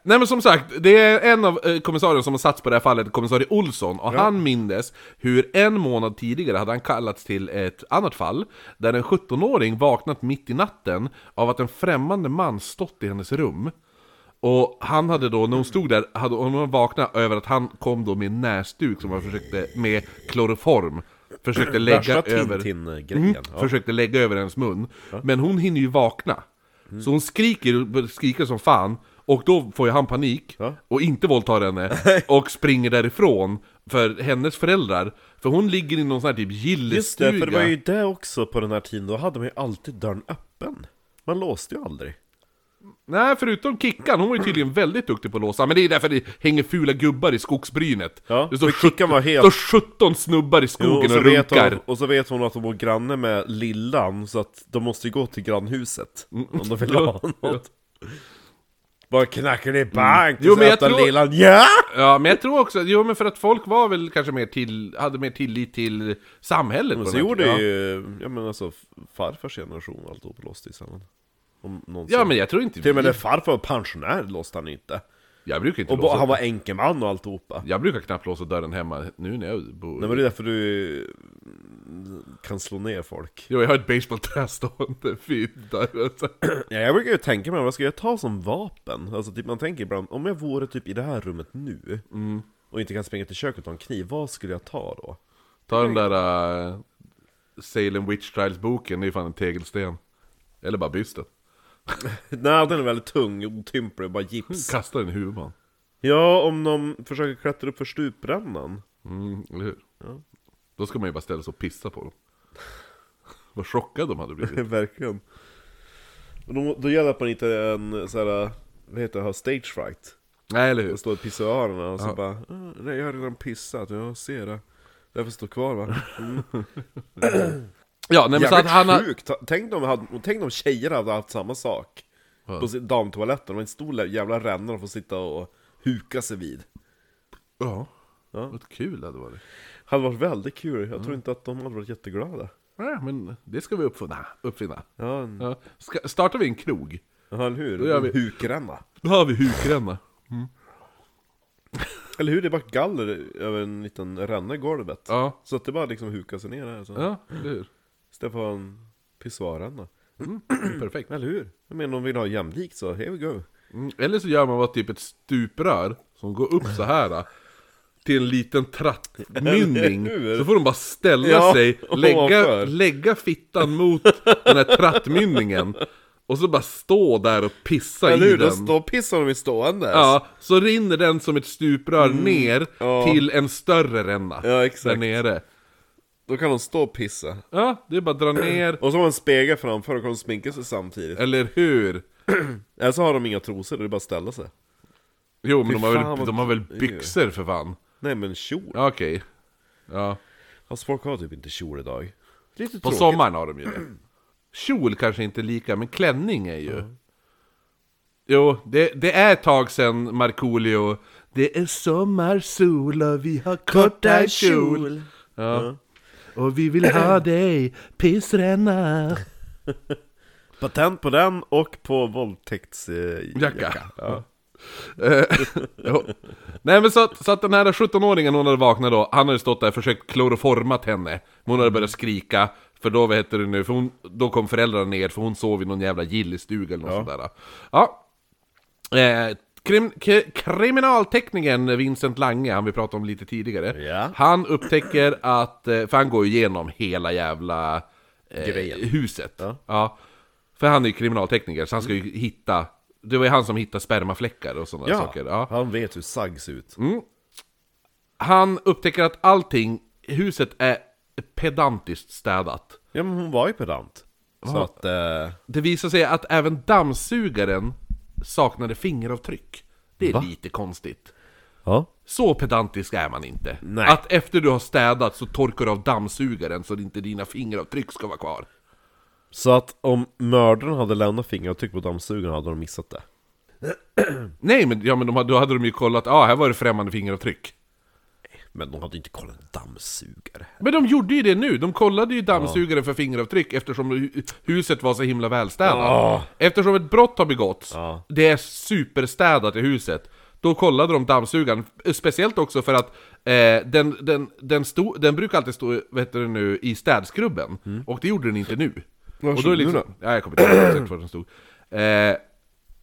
A: nej men som sagt, det är en av eh, kommissarierna som har satts på det här fallet, kommissarie Olsson, och han mindes hur en månad tidigare hade han kallats till ett annat fall, där en 17-åring vaknat mitt i natten av att en främmande man stått i hennes rum. Och han hade då, när hon stod där, hade hon vaknat över att han kom då med en näsduk som han försökte med kloroform försökte lägga
B: Värsta
A: över... Mm.
B: Tintin-grejen. ja.
A: Försökte lägga över ens mun. Men hon hinner ju vakna.
B: Mm.
A: Så hon skriker, skriker som fan. Och då får ju han panik.
B: Ja.
A: Och inte våldtar henne. Och springer därifrån. För hennes föräldrar. För hon ligger i någon sån här typ
B: Just
A: gillestuga.
B: det, för det var ju det också på den här tiden, då hade man ju alltid dörren öppen. Man låste ju aldrig.
A: Nej, förutom Kickan. Hon var ju tydligen väldigt duktig på att låsa. Men det är därför det hänger fula gubbar i skogsbrynet.
B: Ja,
A: det står
B: men Kickan var
A: 17
B: helt-
A: står 17 snubbar i skogen
B: Jo, och,
A: och,
B: så vet
A: runkar.
B: hon, och så vet hon att de bor granne med lillan, så att de måste ju gå till grannhuset om de vill ha
A: Mm. Ja, Mm.
B: något. Bara knackar det i bank,
A: Jo,
B: och så
A: men jag
B: öppnar
A: tror-
B: lillan ja!
A: Ja, men jag tror också, jo men för att folk var väl kanske mer till, hade mer tillit till samhället
B: Men
A: på
B: så
A: den här
B: gjorde
A: tiden.
B: ju, ja men alltså farfars generation alltihop låste ju samman. Om någonsin.
A: Ja, men jag tror inte...
B: Till och med när farfar var pensionär låste han inte.
A: Jag brukar inte
B: Och bo-
A: låsa...
B: han var änkeman och alltihopa.
A: Jag brukar knappt låsa dörren hemma nu när jag bor...
B: Nej men det är därför du kan slå ner folk.
A: Jo, jag har ett basebollträ stående vid dörren. så-
B: Ja, jag brukar ju tänka mig, vad ska jag ta som vapen? Alltså typ, man tänker ibland, om jag vore typ i det här rummet nu och inte kan springa till köket och ta en kniv, vad skulle jag ta då?
A: Ta den där uh, Salem Witch Trials-boken, det är ju fan en tegelsten. Eller bara bysten.
B: Nej, den är väldigt tung, otymplig, bara gips.
A: Kasta den i huvudet på honom.
B: Ja, om de försöker klättra upp för stuprännan.
A: Mm, eller hur? Då ska man ju bara ställa sig och pissa på dem. Vad chockade de hade blivit.
B: Verkligen. Och Då, då gäller det att man inte är en så här, vad heter det, har stage fright.
A: Nej, eller hur?
B: Och står och pissar i öronen och så bara, "Ah, nej jag har redan pissat, jag ser det. Därför står kvar va?
A: Ja, nej, men så att
B: Jävligt
A: han har...
B: sjukt! Tänk om, hade, tänk om tjejer hade haft samma sak På sin- damtoaletten, och en stor lä- jävla ränna de får sitta och huka sig vid
A: Ja.
B: Ja.
A: Vad kul det hade varit.
B: Hade varit väldigt kul, jag tror inte att de hade varit jätteglada
A: Nej, men det ska vi uppfinna. uppfinna.
B: Ja, en,
A: Ja. Ska, startar vi en krog,
B: ja eller hur?
A: Då gör
B: En
A: vi-
B: Hukränna
A: då har vi hukränna.
B: Eller hur? Det är bara galler över en liten ränna i golvet
A: Ja,
B: Så att det bara liksom hukar sig ner här så.
A: ja, eller hur?
B: Istället för en pissoarränna
A: Perfekt.
B: Eller hur? Jag menar om de vill ha jämlikt så, here we go
A: Mm. Eller så gör man vad typ ett stuprör som går upp så här då, till en liten trattmynning.
B: Eller hur?
A: Så får de bara ställa
B: Ja,
A: sig, lägga,
B: ovanför.
A: lägga fittan mot den här trattmynningen. Och så bara stå där och pissa
B: Eller
A: i
B: hur? Då,
A: den.
B: då pissar de i stående
A: Ja, så rinner den som ett stuprör ner
B: Mm, ja.
A: till en större ränna.
B: Ja, exakt.
A: Där nere.
B: Då kan de stå och pissa
A: Ja, det är bara att dra ner,
B: Och så har man en spegel framför och kan de sminka sig samtidigt.
A: eller hur?
B: Eller så har de inga trosor, det är bara att ställa sig.
A: Jo, men
B: Fy
A: de har,
B: fan,
A: väl,
B: vad-
A: de har väl byxor för fan?
B: Nej men kjol.
A: Ja, okej. Ja.
B: Alltså folk har typ inte kjol idag. Lite
A: På sommaren har de ju det. Kjol kanske inte lika, men klänning är ju... Jo, det, det är ett tag sedan Markoolio Det är sommarsol och vi har korta kjol ja. Och vi vill ha dig, pissränna
B: Patent på den och på våldtäktsjacka.
A: Jacka. Eh, jo. Nej men så att, så att den här 17-åringen hon hade vaknat då, han hade stått där och försökt kloroformat henne. Men Hon hade börjat skrika, för då, vad heter det nu, för hon, då kom föräldrarna ner för hon sov i någon jävla gillestuga eller något sådär. Ja. Eh, krim, k- kriminalteknikern Vincent Lange, han vi pratade om lite tidigare.
B: Ja.
A: Han upptäcker att, eh, för han går ju igenom hela jävla eh,
B: Grejen.
A: huset.
B: Ja.
A: För han är ju kriminaltekniker, så han ska ju hitta... Det var ju han som hittade spermafläckar och sådana
B: Ja.
A: saker. Ja. Mm.
B: han vet hur sagg ser ut.
A: Han upptäcker att allting, huset är pedantiskt städat.
B: Ja men hon var ju pedant. Så att, eh,
A: Det visar sig att även dammsugaren saknade fingeravtryck. Det är
B: Va?
A: lite konstigt.
B: ja.
A: Så pedantisk är man inte.
B: Nej.
A: Att efter du har städat så torkar du av dammsugaren så att inte dina fingeravtryck ska vara kvar.
B: Så att om mördaren hade lämnat fingeravtryck på dammsugaren hade de missat det.
A: Nej men, ja, men de, hade- då hade de ju kollat, ja ah, här var det främmande fingeravtryck.
B: Men de hade inte kollat en dammsugare.
A: Men de gjorde ju det nu, de kollade ju dammsugaren för fingeravtryck eftersom hu- huset var så himla välstädat.
B: Ja.
A: Eftersom ett brott har begåtts,
B: Ja.
A: det är superstädat i huset, då kollade de dammsugaren. eh, Speciellt också för att eh, den, den, den, stod, den brukar alltid stå vad heter det nu, i städskrubben, och det gjorde den inte nu.
B: Var
A: och
B: stod den
A: liksom, ja, jag kommer inte ihåg exakt var den stod. Eh,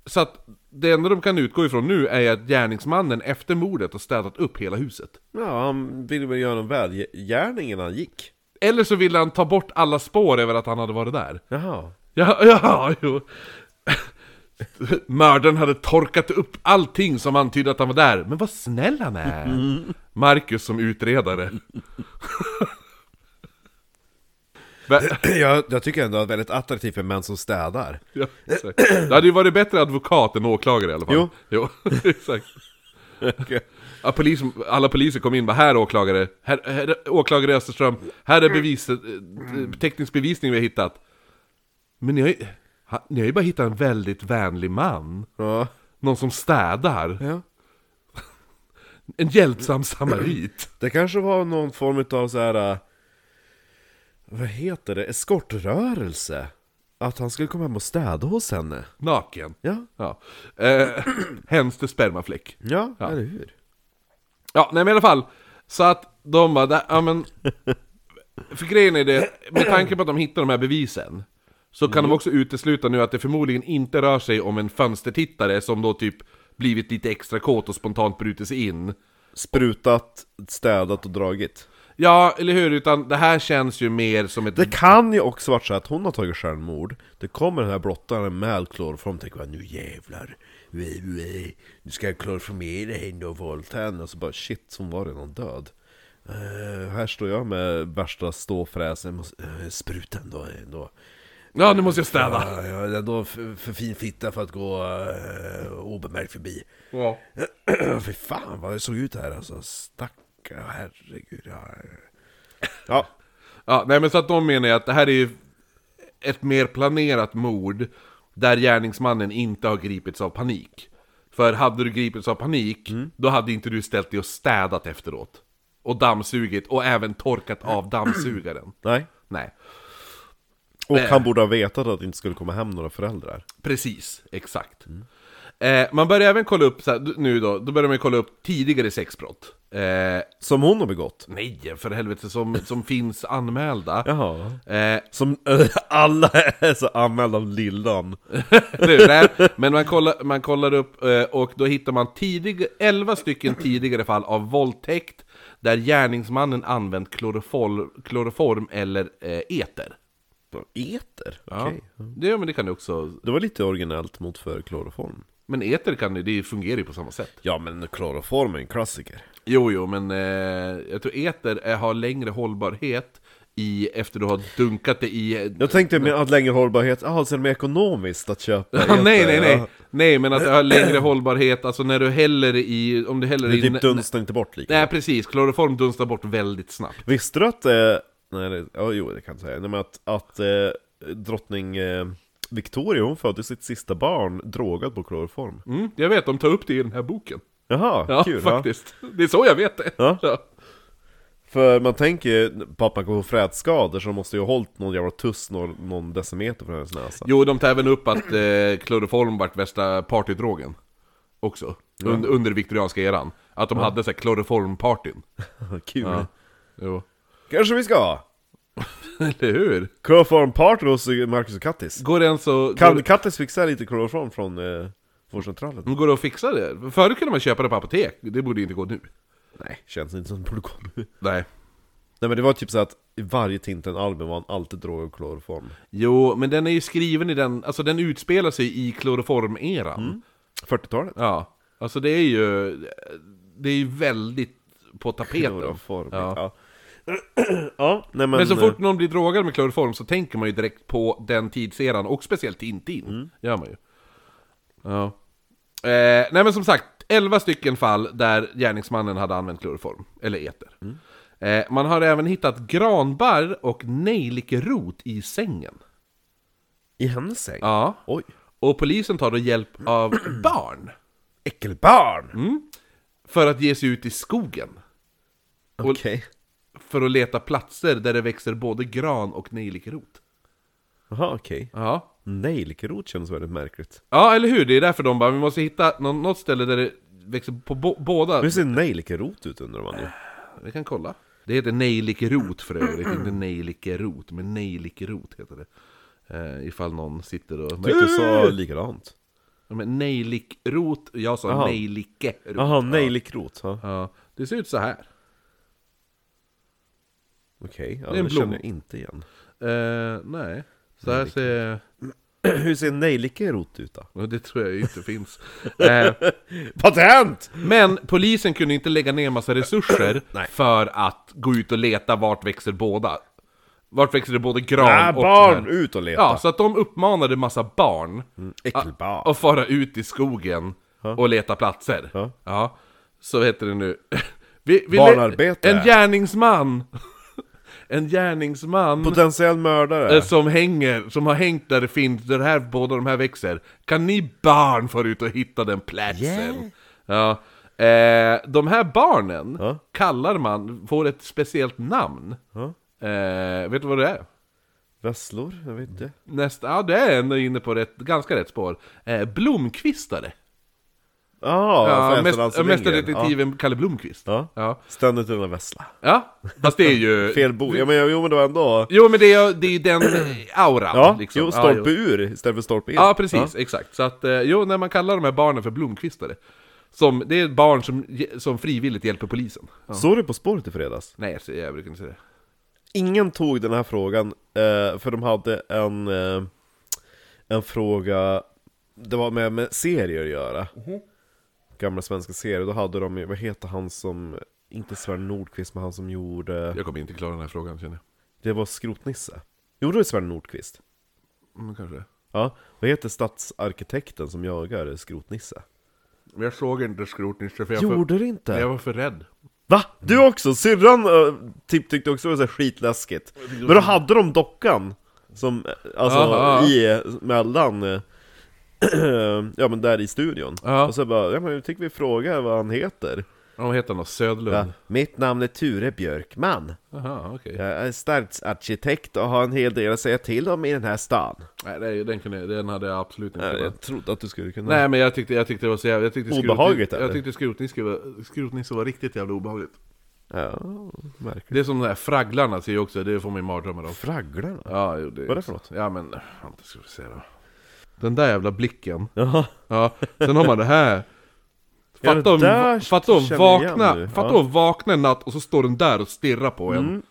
A: så att det enda de kan utgå ifrån nu är att gärningsmannen efter mordet har städat upp hela huset.
B: Ja, han ville väl göra en välgärning innan han gick.
A: Eller så ville han ta bort alla spår över att han hade varit där.
B: Jaha.
A: Ja, ja, jo. Mördaren hade torkat upp allting som antydde att han var där. Men vad snäll han är! Marcus som utredare. Vä-
B: Jag, jag tycker ändå att det är väldigt attraktivt med män som städar.
A: ja, exakt. det hade ju varit bättre advokat än åklagare i alla fall.
B: Jo.
A: exakt. Ja, polis, alla poliser kom in och bara här är åklagare, här, här, är åklagare Österström, här är beviset, eh, teknisk bevisning vi har hittat. Men ni har ju, ha, ni har ju bara hittat en väldigt vänlig man.
B: Ja.
A: Någon som städar.
B: ja.
A: En hjälpsam samarit.
B: Det kanske var någon form av så här. äh, Vad heter det? Eskortrörelse? Att han skulle komma hem och städa hos henne?
A: Naken.
B: Ja.
A: Ja. Eh, hens till spermafläck.
B: Ja, eller hur?
A: Ja, nej men i alla fall. Så att de bara, "Där- ja men... För grejen är det, med tanke på att de hittar de här bevisen. Så
B: Mm.
A: kan de också utesluta nu att det förmodligen inte rör sig om en fönstertittare som då typ blivit lite extra kåt och spontant brutit sig in.
B: Sprutat, städat och dragit.
A: Ja, eller hur? Utan det här känns ju mer som ett...
B: Det kan ju också varit så att hon har tagit självmord Det kommer den här brottaren med kloroform tänker bara nu jävlar Vi- vi- Nu ska jag kloroformera henne och våldta henne Och så bara shit, hon var redan död Eh, Här står jag med värsta ståfräsen uh, Sprutan då ändå
A: Ja, nu måste jag städa!
B: Ja, jag är ändå för, för fin fitta för att gå eh, obemärkt förbi
A: Ja.
B: Fy fan vad det såg ut här alltså Stackare, herregud Ja, ja.
A: Ja, nej men så att de menar ju att det här är ju ett mer planerat mord där gärningsmannen inte har gripits av panik. För hade du gripits av panik, då hade inte du ställt dig och städat efteråt. Och dammsugit, och även torkat av dammsugaren.
B: nej
A: Nej,
B: Och
A: Eh.
B: han borde ha vetat att det inte skulle komma hem några föräldrar.
A: precis, exakt. Eh, man börjar även kolla upp, så här, d- nu då, då börjar man ju kolla upp tidigare sexbrott. Eh,
B: Som hon har begått.
A: nej, för helvete, som, som finns anmälda.
B: Jaha.
A: Eh,
B: Som eh, alla är så anmälda av lillan.
A: Nu, nej, men man kollar, man kollar upp eh, och då hittar man tidig, 11 stycken tidigare fall av våldtäkt där gärningsmannen använt kloroform, kloroform eller eh, eter.
B: Eter?
A: Ja.
B: Okej.
A: Det, ja, men det kan du också...
B: Det var lite originellt mot för kloroform.
A: Men eter kan ju, det fungerar ju på samma sätt.
B: Ja men kloroform är en klassiker.
A: Jo, jo, men eh, jag tror eter är, har längre hållbarhet i, efter du har dunkat det i... eh,
B: Jag tänkte med att längre hållbarhet, jaha så är det mer ekonomiskt att köpa
A: Ja, nej,
B: eter,
A: nej, nej.
B: ja.
A: Nej, men att det har längre hållbarhet, alltså när du häller i... Om du häller
B: Det
A: i...
B: typ dunstar inte bort lika.
A: Nej, precis. Kloroform dunstar bort väldigt snabbt.
B: Visste du att, eh, nej det, ja, jo det kan jag säga, nej, men att, att eh, drottning eh, Victoria hon födde sitt sista barn drogad på kloroform.
A: Mm, jag vet, de tar upp det i den här boken.
B: Jaha,
A: Ja,
B: kul. ja.
A: faktiskt. Det är så jag vet det.
B: Ja.
A: Ja.
B: För man tänker ju på att man kan få frätskador så de måste ju ha hållit någon jävla tuss någon, någon decimeter från hennes näsa.
A: Jo, de tar även upp att eh, kloroform vart värsta partydrogen. Också. Un under viktorianska eran. Att de hade så här kloroformpartyn.
B: Kul.
A: Ja. Jo.
B: Kanske vi ska ha?
A: Eller hur?
B: Chloroform party hos eh, Marcus och Kattis.
A: Går det ens att...
B: Kan
A: Går,
B: Kattis fixa lite chloroform från eh, vårdcentralen?
A: går det att fixa det? Förut kunde man köpa det på apotek. Det borde inte gå nu.
B: Nej, känns inte som det borde gå nu.
A: Nej.
B: Nej men det var typ så att i varje Tintin-album var han alltid drogad och kloroform.
A: Jo, men den är ju skriven i den... Alltså den utspelar sig i kloroformeran.
B: 40-talet?
A: Ja. Alltså det är ju... Det är ju väldigt på tapeten.
B: Kloroform,
A: Ja.
B: ja. Ja, nej men...
A: Men eh, så fort någon blir drogad med kloroform så tänker man ju direkt på den tidseran, och speciellt Tintin. Gör man ju. Ja. Eh, nej men som sagt, 11 stycken fall där gärningsmannen hade använt kloroform, eller eter. Eh, man har även hittat granbarr och nejlikerot i sängen.
B: eh, I hennes säng?
A: Ja.
B: Oj.
A: Och polisen tar då hjälp av barn
B: Äckelbarn!
A: Mm. för att ge sig ut i skogen.
B: Okej.
A: För att leta platser där det växer både gran och nejlikerot.
B: Jaha, okej.
A: Ja.
B: Nejlikerot känns väldigt märkligt.
A: Ja, eller hur? Det är därför de bara, vi måste hitta nå- något ställe där det växer på bo- båda.
B: Hur ser nejlikerot ut undrar
A: Äh,
B: man ju?
A: Vi kan kolla. Det heter nejlikerot för övrigt, inte nejlikerot, men nejlikerot heter det. Eh, ifall någon sitter och...
B: Tyckte du sa likadant?
A: Ja, Men nejlikrot, jag sa
B: Jaha.
A: nejlikerot.
B: Jaha, nejlikrot. Ja.
A: Ja, det ser ut så här.
B: Okej, ja,
A: Det är
B: det,
A: en blom.
B: känner jag inte igen.
A: Eh, nej. Så här ser...
B: Hur ser nejlikerot ut då?
A: Och det tror jag ju inte finns. Eh,
B: Patent!
A: men polisen kunde inte lägga ner massa resurser
B: Nej.
A: för att gå ut och leta vart växer båda. Vart växer det både gran
B: Ah,
A: och
B: barn,
A: träd.
B: ut och leta!
A: Äh, Ja, så att de uppmanade massa barn
B: Mm. Äckelbarn!
A: att fara ut i skogen och leta platser.
B: Ja.
A: Ja. Så vad heter det nu? Vi, vi
B: Barnarbete.
A: En gärningsman! En gärningsman
B: Potentiell mördare!
A: eh, som hänger, som har hängt där det finns, där det här, båda de här växer. Kan ni barn fara ut och hitta den platsen? Ja. Eh, de här barnen
B: Ja.
A: kallar man, får ett speciellt namn.
B: Ja.
A: Eh, vet du vad det är?
B: Vesslor? Jag vet inte.
A: Nästa, ja du är ändå inne på rätt, ganska rätt spår. Eh, blomkvistare.
B: Ah,
A: Ja,
B: för
A: mest,
B: Efterlandsringen.
A: mästerdetektiven Kalle Blomkvist.
B: Ja.
A: Ja.
B: Ständigt utan vessla.
A: ja, fast det är ju...
B: Fel bo. Ja, men, jo men det var ändå...
A: Jo men det är ju det är ju den auran.
B: Ja,
A: liksom.
B: jo,
A: ja,
B: stolpe ur istället för stolpe in.
A: Ja, precis, exakt. Så att, eh, jo, när man kallar de här barnen för blomkvistare. Som, det är barn som, ge- som frivilligt hjälper polisen. Ja.
B: Såg du På spåret i fredags?
A: Nej, så jag brukar inte säga det.
B: Ingen tog den här frågan, eh, för de hade en, eh, en fråga, det var med, med serier att göra. Gamla svenska serier, då hade de ju- vad heter han som, inte Sverre Nordqvist, men han som gjorde,
A: Jag kommer inte klara den här frågan känner
B: det var Skrotnisse. Gjorde det Sverre Nordqvist?
A: jag. Mm, kanske det.
B: Ja, vad heter stadsarkitekten som jagar Skrotnisse?
A: Men jag såg inte Skrotnisse för jag, för,
B: Gjorde det inte?
A: jag var för rädd.
B: Va? Du också? Syrran eh, typ, tyckte också det var så här skitläskigt Men då hade de dockan Som, eh, alltså
A: Aha.
B: i, mellan eh, Ja men där i studion
A: Ja.
B: Och så bara, ja men jag tycker vi frågar vad han heter
A: Vad heter han då?
B: ja,
A: Södlund?
B: Mitt namn är Ture Björkman
A: Jaha, okej.
B: Jag är stadsarkitekt och har en hel del att säga till om i den här stan
A: Nej, det- den, kunde, den hade jag absolut inte kunnat.
B: Jag trodde att du skulle kunna
A: Nej men jag tyckte, jag tyckte det var så jävla... Jag tyckte skrotning-
B: Obehagligt, eller?
A: Jag tyckte skrotnisse var, skrotnisse var riktigt jävla obehagligt.
B: Ja, märkligt
A: Det är som de där fragglarna ser jag också, det får man ju mardrömmar om.
B: Fragglarna?
A: Ja, jo, det,
B: Vad är det för något?
A: Ja men, fan, det ska vi se då. Den där jävla blicken.
B: Jaha,
A: Ja, sen har man det här.
B: Ja, det
A: Fatta om,
B: där
A: fatta om
B: känner jag igen
A: vakna,
B: nu.
A: fatta
B: Ja. Mm.
A: om vakna en natt och så står den där och stirrar på en.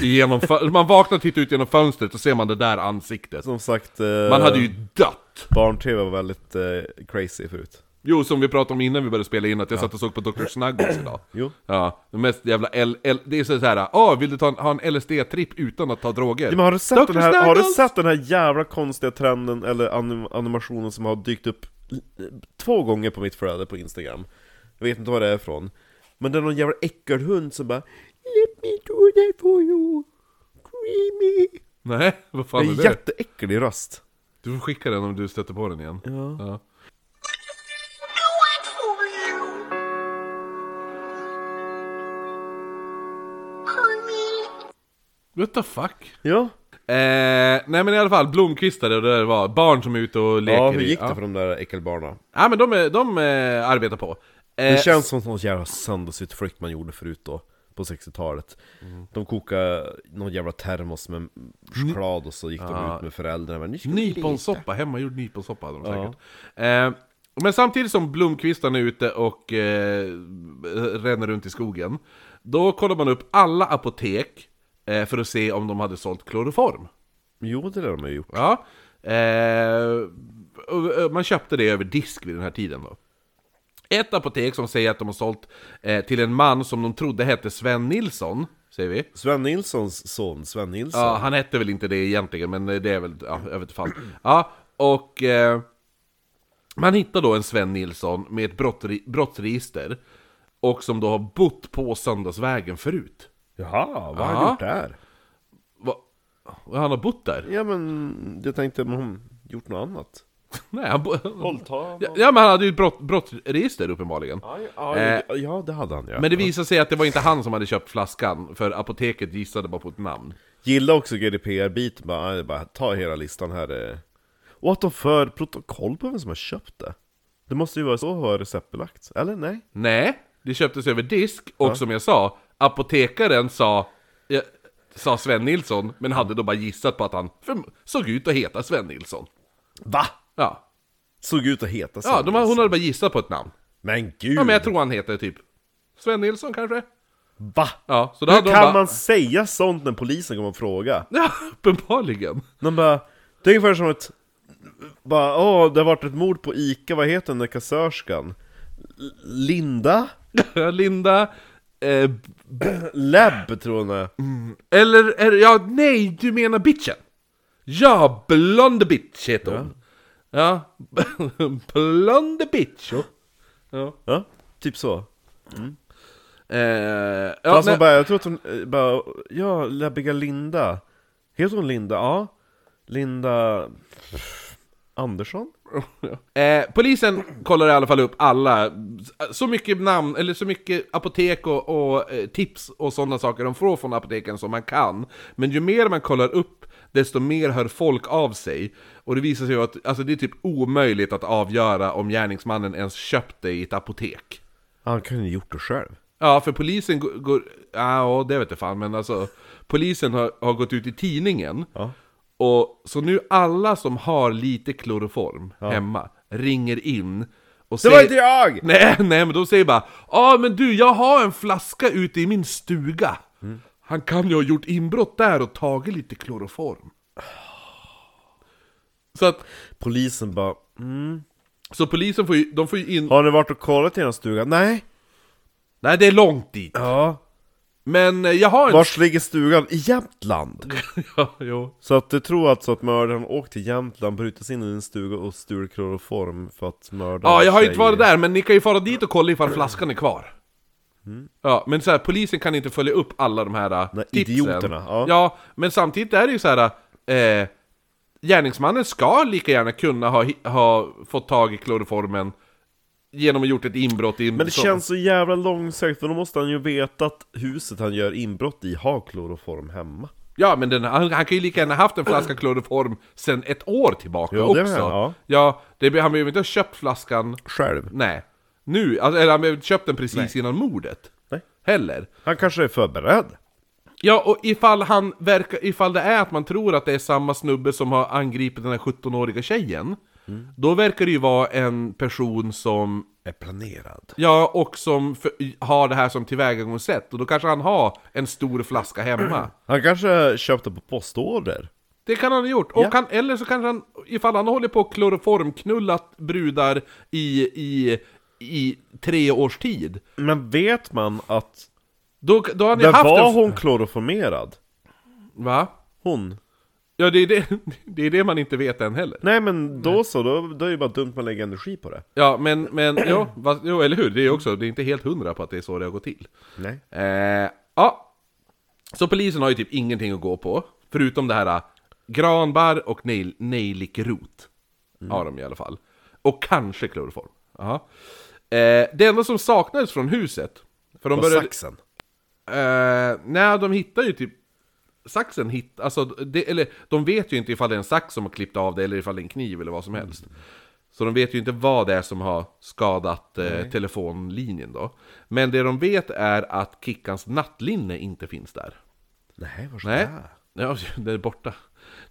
A: Genom, fö- man vaknar och tittar ut genom fönstret och ser man det där ansiktet.
B: som sagt eh,
A: Man hade ju dött!
B: Barn-tv var väldigt eh, crazy förut
A: Jo, som vi pratade om innan vi började spela in, att jag satt och såg på Dr. Snuggles idag.
B: Jo.
A: Ja, det mest jävla L, L, det är så här, ah, vill du ta en, ha en LSD-tripp utan att ta droger?
B: Ja, men har, du sett
A: Dr.
B: den här, har du
A: Snuggles!
B: sett den här jävla konstiga trenden eller anim animationen som har dykt upp l- två gånger på mitt flöde på Instagram? Jag vet inte var det är ifrån. Men det är någon jävla äckelhund som bara Let me do that for you, creamy.
A: Nej, vad
B: Det
A: fan är
B: är
A: det?
B: jätteäcklig röst.
A: Du får skicka den om du stöter på den igen. Ja.
C: do it for you. Honey.
A: What the fuck?
B: Ja.
A: Eh, nej men i alla fall, blomkvistare och det där var barn som är ute och leker
B: Ja, hur
A: i-
B: gick det
A: ja.
B: för de där äckelbarnen?
A: Ja men de, är- de eh, arbetar på. Eh,
B: Det känns som någon jävla söndagsutflykt man gjorde förut då. På 60-talet.
A: Mm.
B: De kokade någon jävla termos med choklad och så gick
A: Ah.
B: de ut med föräldrarna. Men, "Nu ska vi
A: Nyponsoppa, hemmagjord nyponsoppa hade de säkert. Eh, men samtidigt som blomkvistarna är ute och eh, ränner runt i skogen, då kollar man upp alla apotek eh, för att se om de hade sålt kloroform.
B: Jo, det är det de har gjort.
A: Ja. Eh, och, och man köpte det över disk vid den här tiden då. Ett apotek som säger att de har sålt eh, till en man som de trodde hette Sven Nilsson, säger vi.
B: Sven Nilssons son, Sven Nilsson.
A: Ja, han hette väl inte det egentligen, men det är väl, ja, jag vet inte fan. Ja, och eh, man hittar då en Sven Nilsson med ett brottri- brottsregister och som då har bott på Söndagsvägen förut.
B: Jaha, vad
A: har
B: har
A: han
B: han
A: gjort
B: gjort där?
A: Va? Han har bott där?
B: Ja men, jag tänkte, men hon gjort något annat?
A: Nej, han bo-
B: Våldta?
A: Ja, ja, men han hade ju ett brott, brottsregister uppenbarligen.
B: Ja,
A: Eh,
B: ja, det hade han ja.
A: Men det visade sig att det var inte han som hade köpt flaskan, för apoteket gissade bara på ett namn.
B: Gilla också GDPR-biten, bara, nej, bara ta hela listan här. eh. Och att de för protokoll på vem som har köpt det. Det måste ju vara så var receptbelagt, eller nej?
A: Nej, det köptes över disk, och som jag sa, apotekaren sa, ja, sa Sven Nilsson, men hade då bara gissat på att han förm- såg ut att heta Sven Nilsson.
B: Va?
A: Ja,
B: Såg ut att heta
A: ja
B: Sven
A: de, har- hon
B: Nilsson.
A: hade bara gissat på ett namn.
B: Men gud!
A: Ja, men jag tror han heter typ Sven Nilsson kanske?
B: Va?
A: Ja, så då
B: Hur
A: hade de
B: kan
A: bara...
B: man säga sånt när polisen kommer och frågar?
A: Ja, uppenbarligen.
B: De bara, det är ungefär som ett, bara, åh, det har varit ett mord på ICA, vad heter den där kassörskan? L- Linda?
A: Linda... Eh,
B: Lab tror hon är.
A: eller, är det- ja, nej, du menar bitchen. Ja, blonde bitch heter hon. Ja, blonde bitch. Ja.
B: Ja, typ så.
A: Eh, ja,
B: Fast hon
A: nej.
B: bara, jag tror att hon, eh, bara, ja, läbbiga Linda. Heter hon Linda? Ja. Linda Andersson?
A: Eh, polisen kollar i alla fall upp alla, så mycket namn, eller så mycket apotek och, och eh, tips och sådana saker de får från apoteken som man kan. Men ju mer man kollar upp, desto mer hör folk av sig. Och det visar sig ju att alltså, det är typ omöjligt att avgöra om gärningsmannen ens köpt det i ett apotek.
B: Han kan ju gjort det själv.
A: Ja, för polisen går... går ja, det vet jag fan, men alltså... Polisen har, har gått ut i tidningen.
B: Ja.
A: Och, så nu alla som har lite kloroform hemma ringer in och
B: Det var inte jag!
A: Nej, nej, men de säger bara Ja, men du, jag har en flaska ute i min stuga.
B: Mm.
A: Han kan ju ha gjort inbrott där och tagit lite kloroform. Så att...
B: Polisen bara,
A: Så polisen får ju, de får ju in...
B: har ni varit och kollat i den stugan? Nej.
A: Nej, det är långt dit.
B: Ja.
A: Men eh, jag har en...
B: Vars ligger stugan? I Jämtland!
A: ja, jo.
B: Så att du tror alltså att mördaren åkte till Jämtland, brutit sig in i en stuga och stulit kloroform för att mörda
A: Ja, jag har ju
B: tjejer.
A: inte varit där, men ni kan ju fara dit och kolla ifall flaskan är kvar. Ja, men så här, polisen kan inte följa upp alla de här äh,
B: Nej,
A: tipsen.
B: idioterna, ja.
A: men samtidigt är det ju så här. äh, Eh, gärningsmannen ska lika gärna kunna ha, hi- ha fått tag i kloroformen genom att gjort ett inbrott i en
B: Men det
A: så-
B: känns så jävla långsökt, för då måste han ju veta att huset han gör inbrott i har kloroform hemma.
A: Ja, men den, han, han kan ju lika gärna haft en flaska kloroform sen ett år tillbaka
B: Jo, det
A: också.
B: menar jag, ja.
A: ja det, han behöver inte ha köpt flaskan,
B: Själv?
A: nej. Nu, alltså, eller han behöver inte köpt den precis innan mordet.
B: Nej.
A: Heller.
B: Han kanske är förberedd.
A: Ja, och ifall, han verkar, ifall det är att man tror att det är samma snubbe som har angripit den här 17-åriga tjejen
B: Mm.
A: Då verkar det ju vara en person som,
B: Är planerad.
A: ja, och som för, har det här som tillvägagångssätt Och då kanske han har en stor flaska hemma
B: Han kanske köpte på postorder.
A: Det kan han ha gjort, och han, eller så kanske han, ifall han håller på och kloroformknullat brudar i, i, i tre års tid
B: Men vet man att...
A: Då, då har han ju
B: Men
A: haft
B: var
A: en...
B: hon kloroformerad?
A: Va?
B: Hon?
A: Ja, det är det, det är det man inte vet än heller
B: Nej men då så, då, då är det bara dumt att man lägger energi på det.
A: Ja, men, men jo, va, jo, eller hur? Det är också, det är inte helt hundra på att det är så det har gått till.
B: Nej.
A: Eh, ja. Så polisen har ju typ ingenting att gå på, förutom det här eh, granbar och nejl- nejlikrot. Har de i alla fall. Och kanske kloroform. Jaha. Eh, det enda som saknades från huset, för de
B: Var
A: började...
B: saxen?
A: Eh, nej, de hittar ju typ... Saxen hittar... Alltså, det, eller de vet ju inte ifall det är en sax som har klippt av det eller ifall det är en kniv eller vad som helst. Så de vet ju inte vad det är som har skadat eh, telefonlinjen då. Men det de vet är att Kickans nattlinne inte finns där.
B: Nej, var ska
A: Nej,
B: det?
A: ja, det är borta.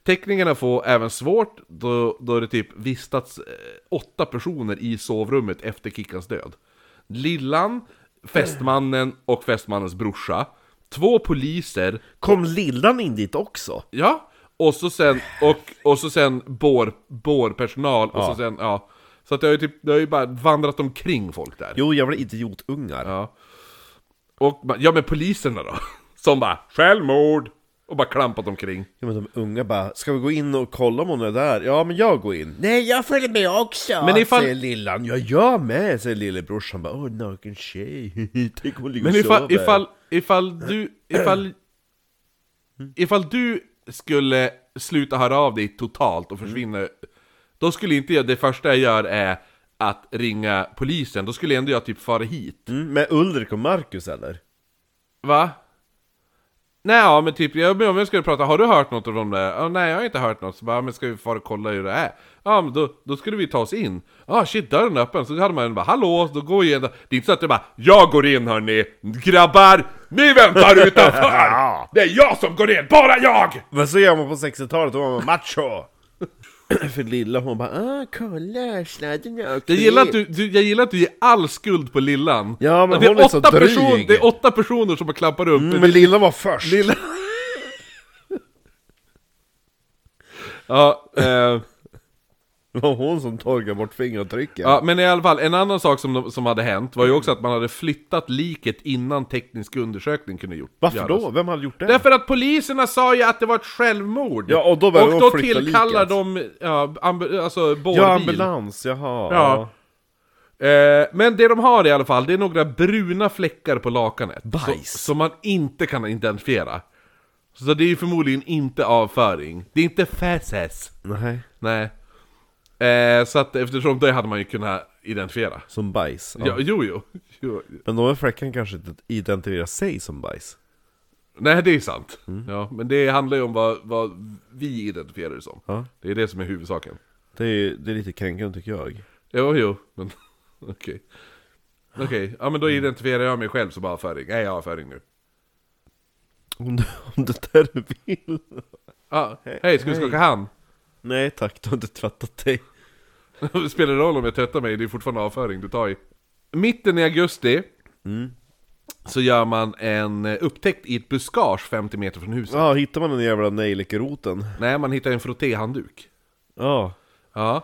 A: Teknikerna får även svårt då, då det typ vistats eh, åtta personer i sovrummet efter Kickans död. Lillan, fästmannen och fästmannens brorsa. Två poliser,
B: Kom lillan in dit också?
A: ja. Och så sen, och, och så sen bår, bårpersonal och så sen, ja. Så att det har ju typ, det har ju bara vandrat omkring folk där.
B: Jo, jävla idiotungar.
A: Ja. Och, ba- ja men poliserna då? Som bara, självmord! Och bara klampat omkring.
B: Ja, men de unga bara, ska vi gå in och kolla om hon är där? Ja, men jag går in. Nej, jag följer med också!
A: Men ifall-
B: Säger lillan. Ja, jag med! Säger lillebrorsan bara, åh, naken tjej. Tänk om hon ligger
A: Men
B: och
A: ifall,
B: sover.
A: ifall, ifall du, ifall, ifall du skulle sluta höra av dig totalt
B: Mm.
A: och försvinna, då skulle inte jag, det första jag gör är att ringa polisen, då skulle ändå jag typ fara hit.
B: Mm, med Ulrik och Marcus eller?
A: Va? Nej, ja, men typ, jag om jag skulle prata, har du hört något om det? Ja, nej, jag har inte hört något. Så bara, men ska vi fara och kolla hur det är? Ja, men då, då skulle vi ta oss in. Ja, ah, shit, dörren är öppen. Så hade man bara, hallå, då går ju ändå... Det är inte så att det bara, jag går in hörni, grabbar, ni väntar utanför! Det är jag som går in, bara jag!
B: Men så gör man på 60-talet, då var man macho! För lilla hon bara ah, kolla sladden är
A: Jag gillar, att du, du, jag gillar att du ger all skuld på Lillan.
B: Ja, men
A: det,
B: hon
A: är
B: är så
A: åtta
B: dryg.
A: person, det är åtta personer som har klappat upp.
B: Mm, Men lilla var först!
A: Lilla... ja, eh,
B: Det var hon som torkade bort fingeravtrycken.
A: ja, men i alla fall, en annan sak som, de- som hade hänt var ju också att man hade flyttat liket innan teknisk undersökning kunde gjort.
B: Varför
A: göras.
B: då? Vem hade gjort det?
A: Därför att poliserna sa ju att det var ett självmord!
B: Ja, och då började
A: och
B: de
A: då
B: flytta
A: tillkallar
B: liket.
A: de, ja, amb- alltså bårbil.
B: ja, ambulans, jaha.
A: Ja. Eh, men det de har i alla fall, det är några bruna fläckar på lakanet.
B: Bajs.
A: Så, som man inte kan identifiera. Så det är ju förmodligen inte avföring. Det är inte feces.
B: Nej,
A: Nej. Eh, så att eftersom det hade man ju kunnat identifiera.
B: som bajs. Ja.
A: Ja, jo, jo, jo.
B: Men de här fläckarna kanske inte identifierar sig som bajs.
A: Nej, det är sant.
B: Mm.
A: Ja, men det handlar ju om vad, vad vi identifierar det som.
B: Ja.
A: Det är det som är huvudsaken.
B: Det är, det är lite kränkande tycker jag.
A: Jo, jo, men okej. Okej, ja men då
B: Mm.
A: identifierar jag mig själv som avföring. Nej, jag är avföring nu.
B: Om, du, om det där du vill.
A: Ja, Ah, hej, ska vi skaka hand?
B: Nej tack, du har inte tvättat dig.
A: Spelar det roll om jag tvättar mig? Det är fortfarande avföring du tar i. Mitten i augusti
B: Mm.
A: så gör man en eh, upptäckt i ett buskage 50 meter från huset.
B: Ja, hittar man den jävla nejlikeroten?
A: Nej, man hittar en frottéhandduk.
B: Ja,
A: Ja.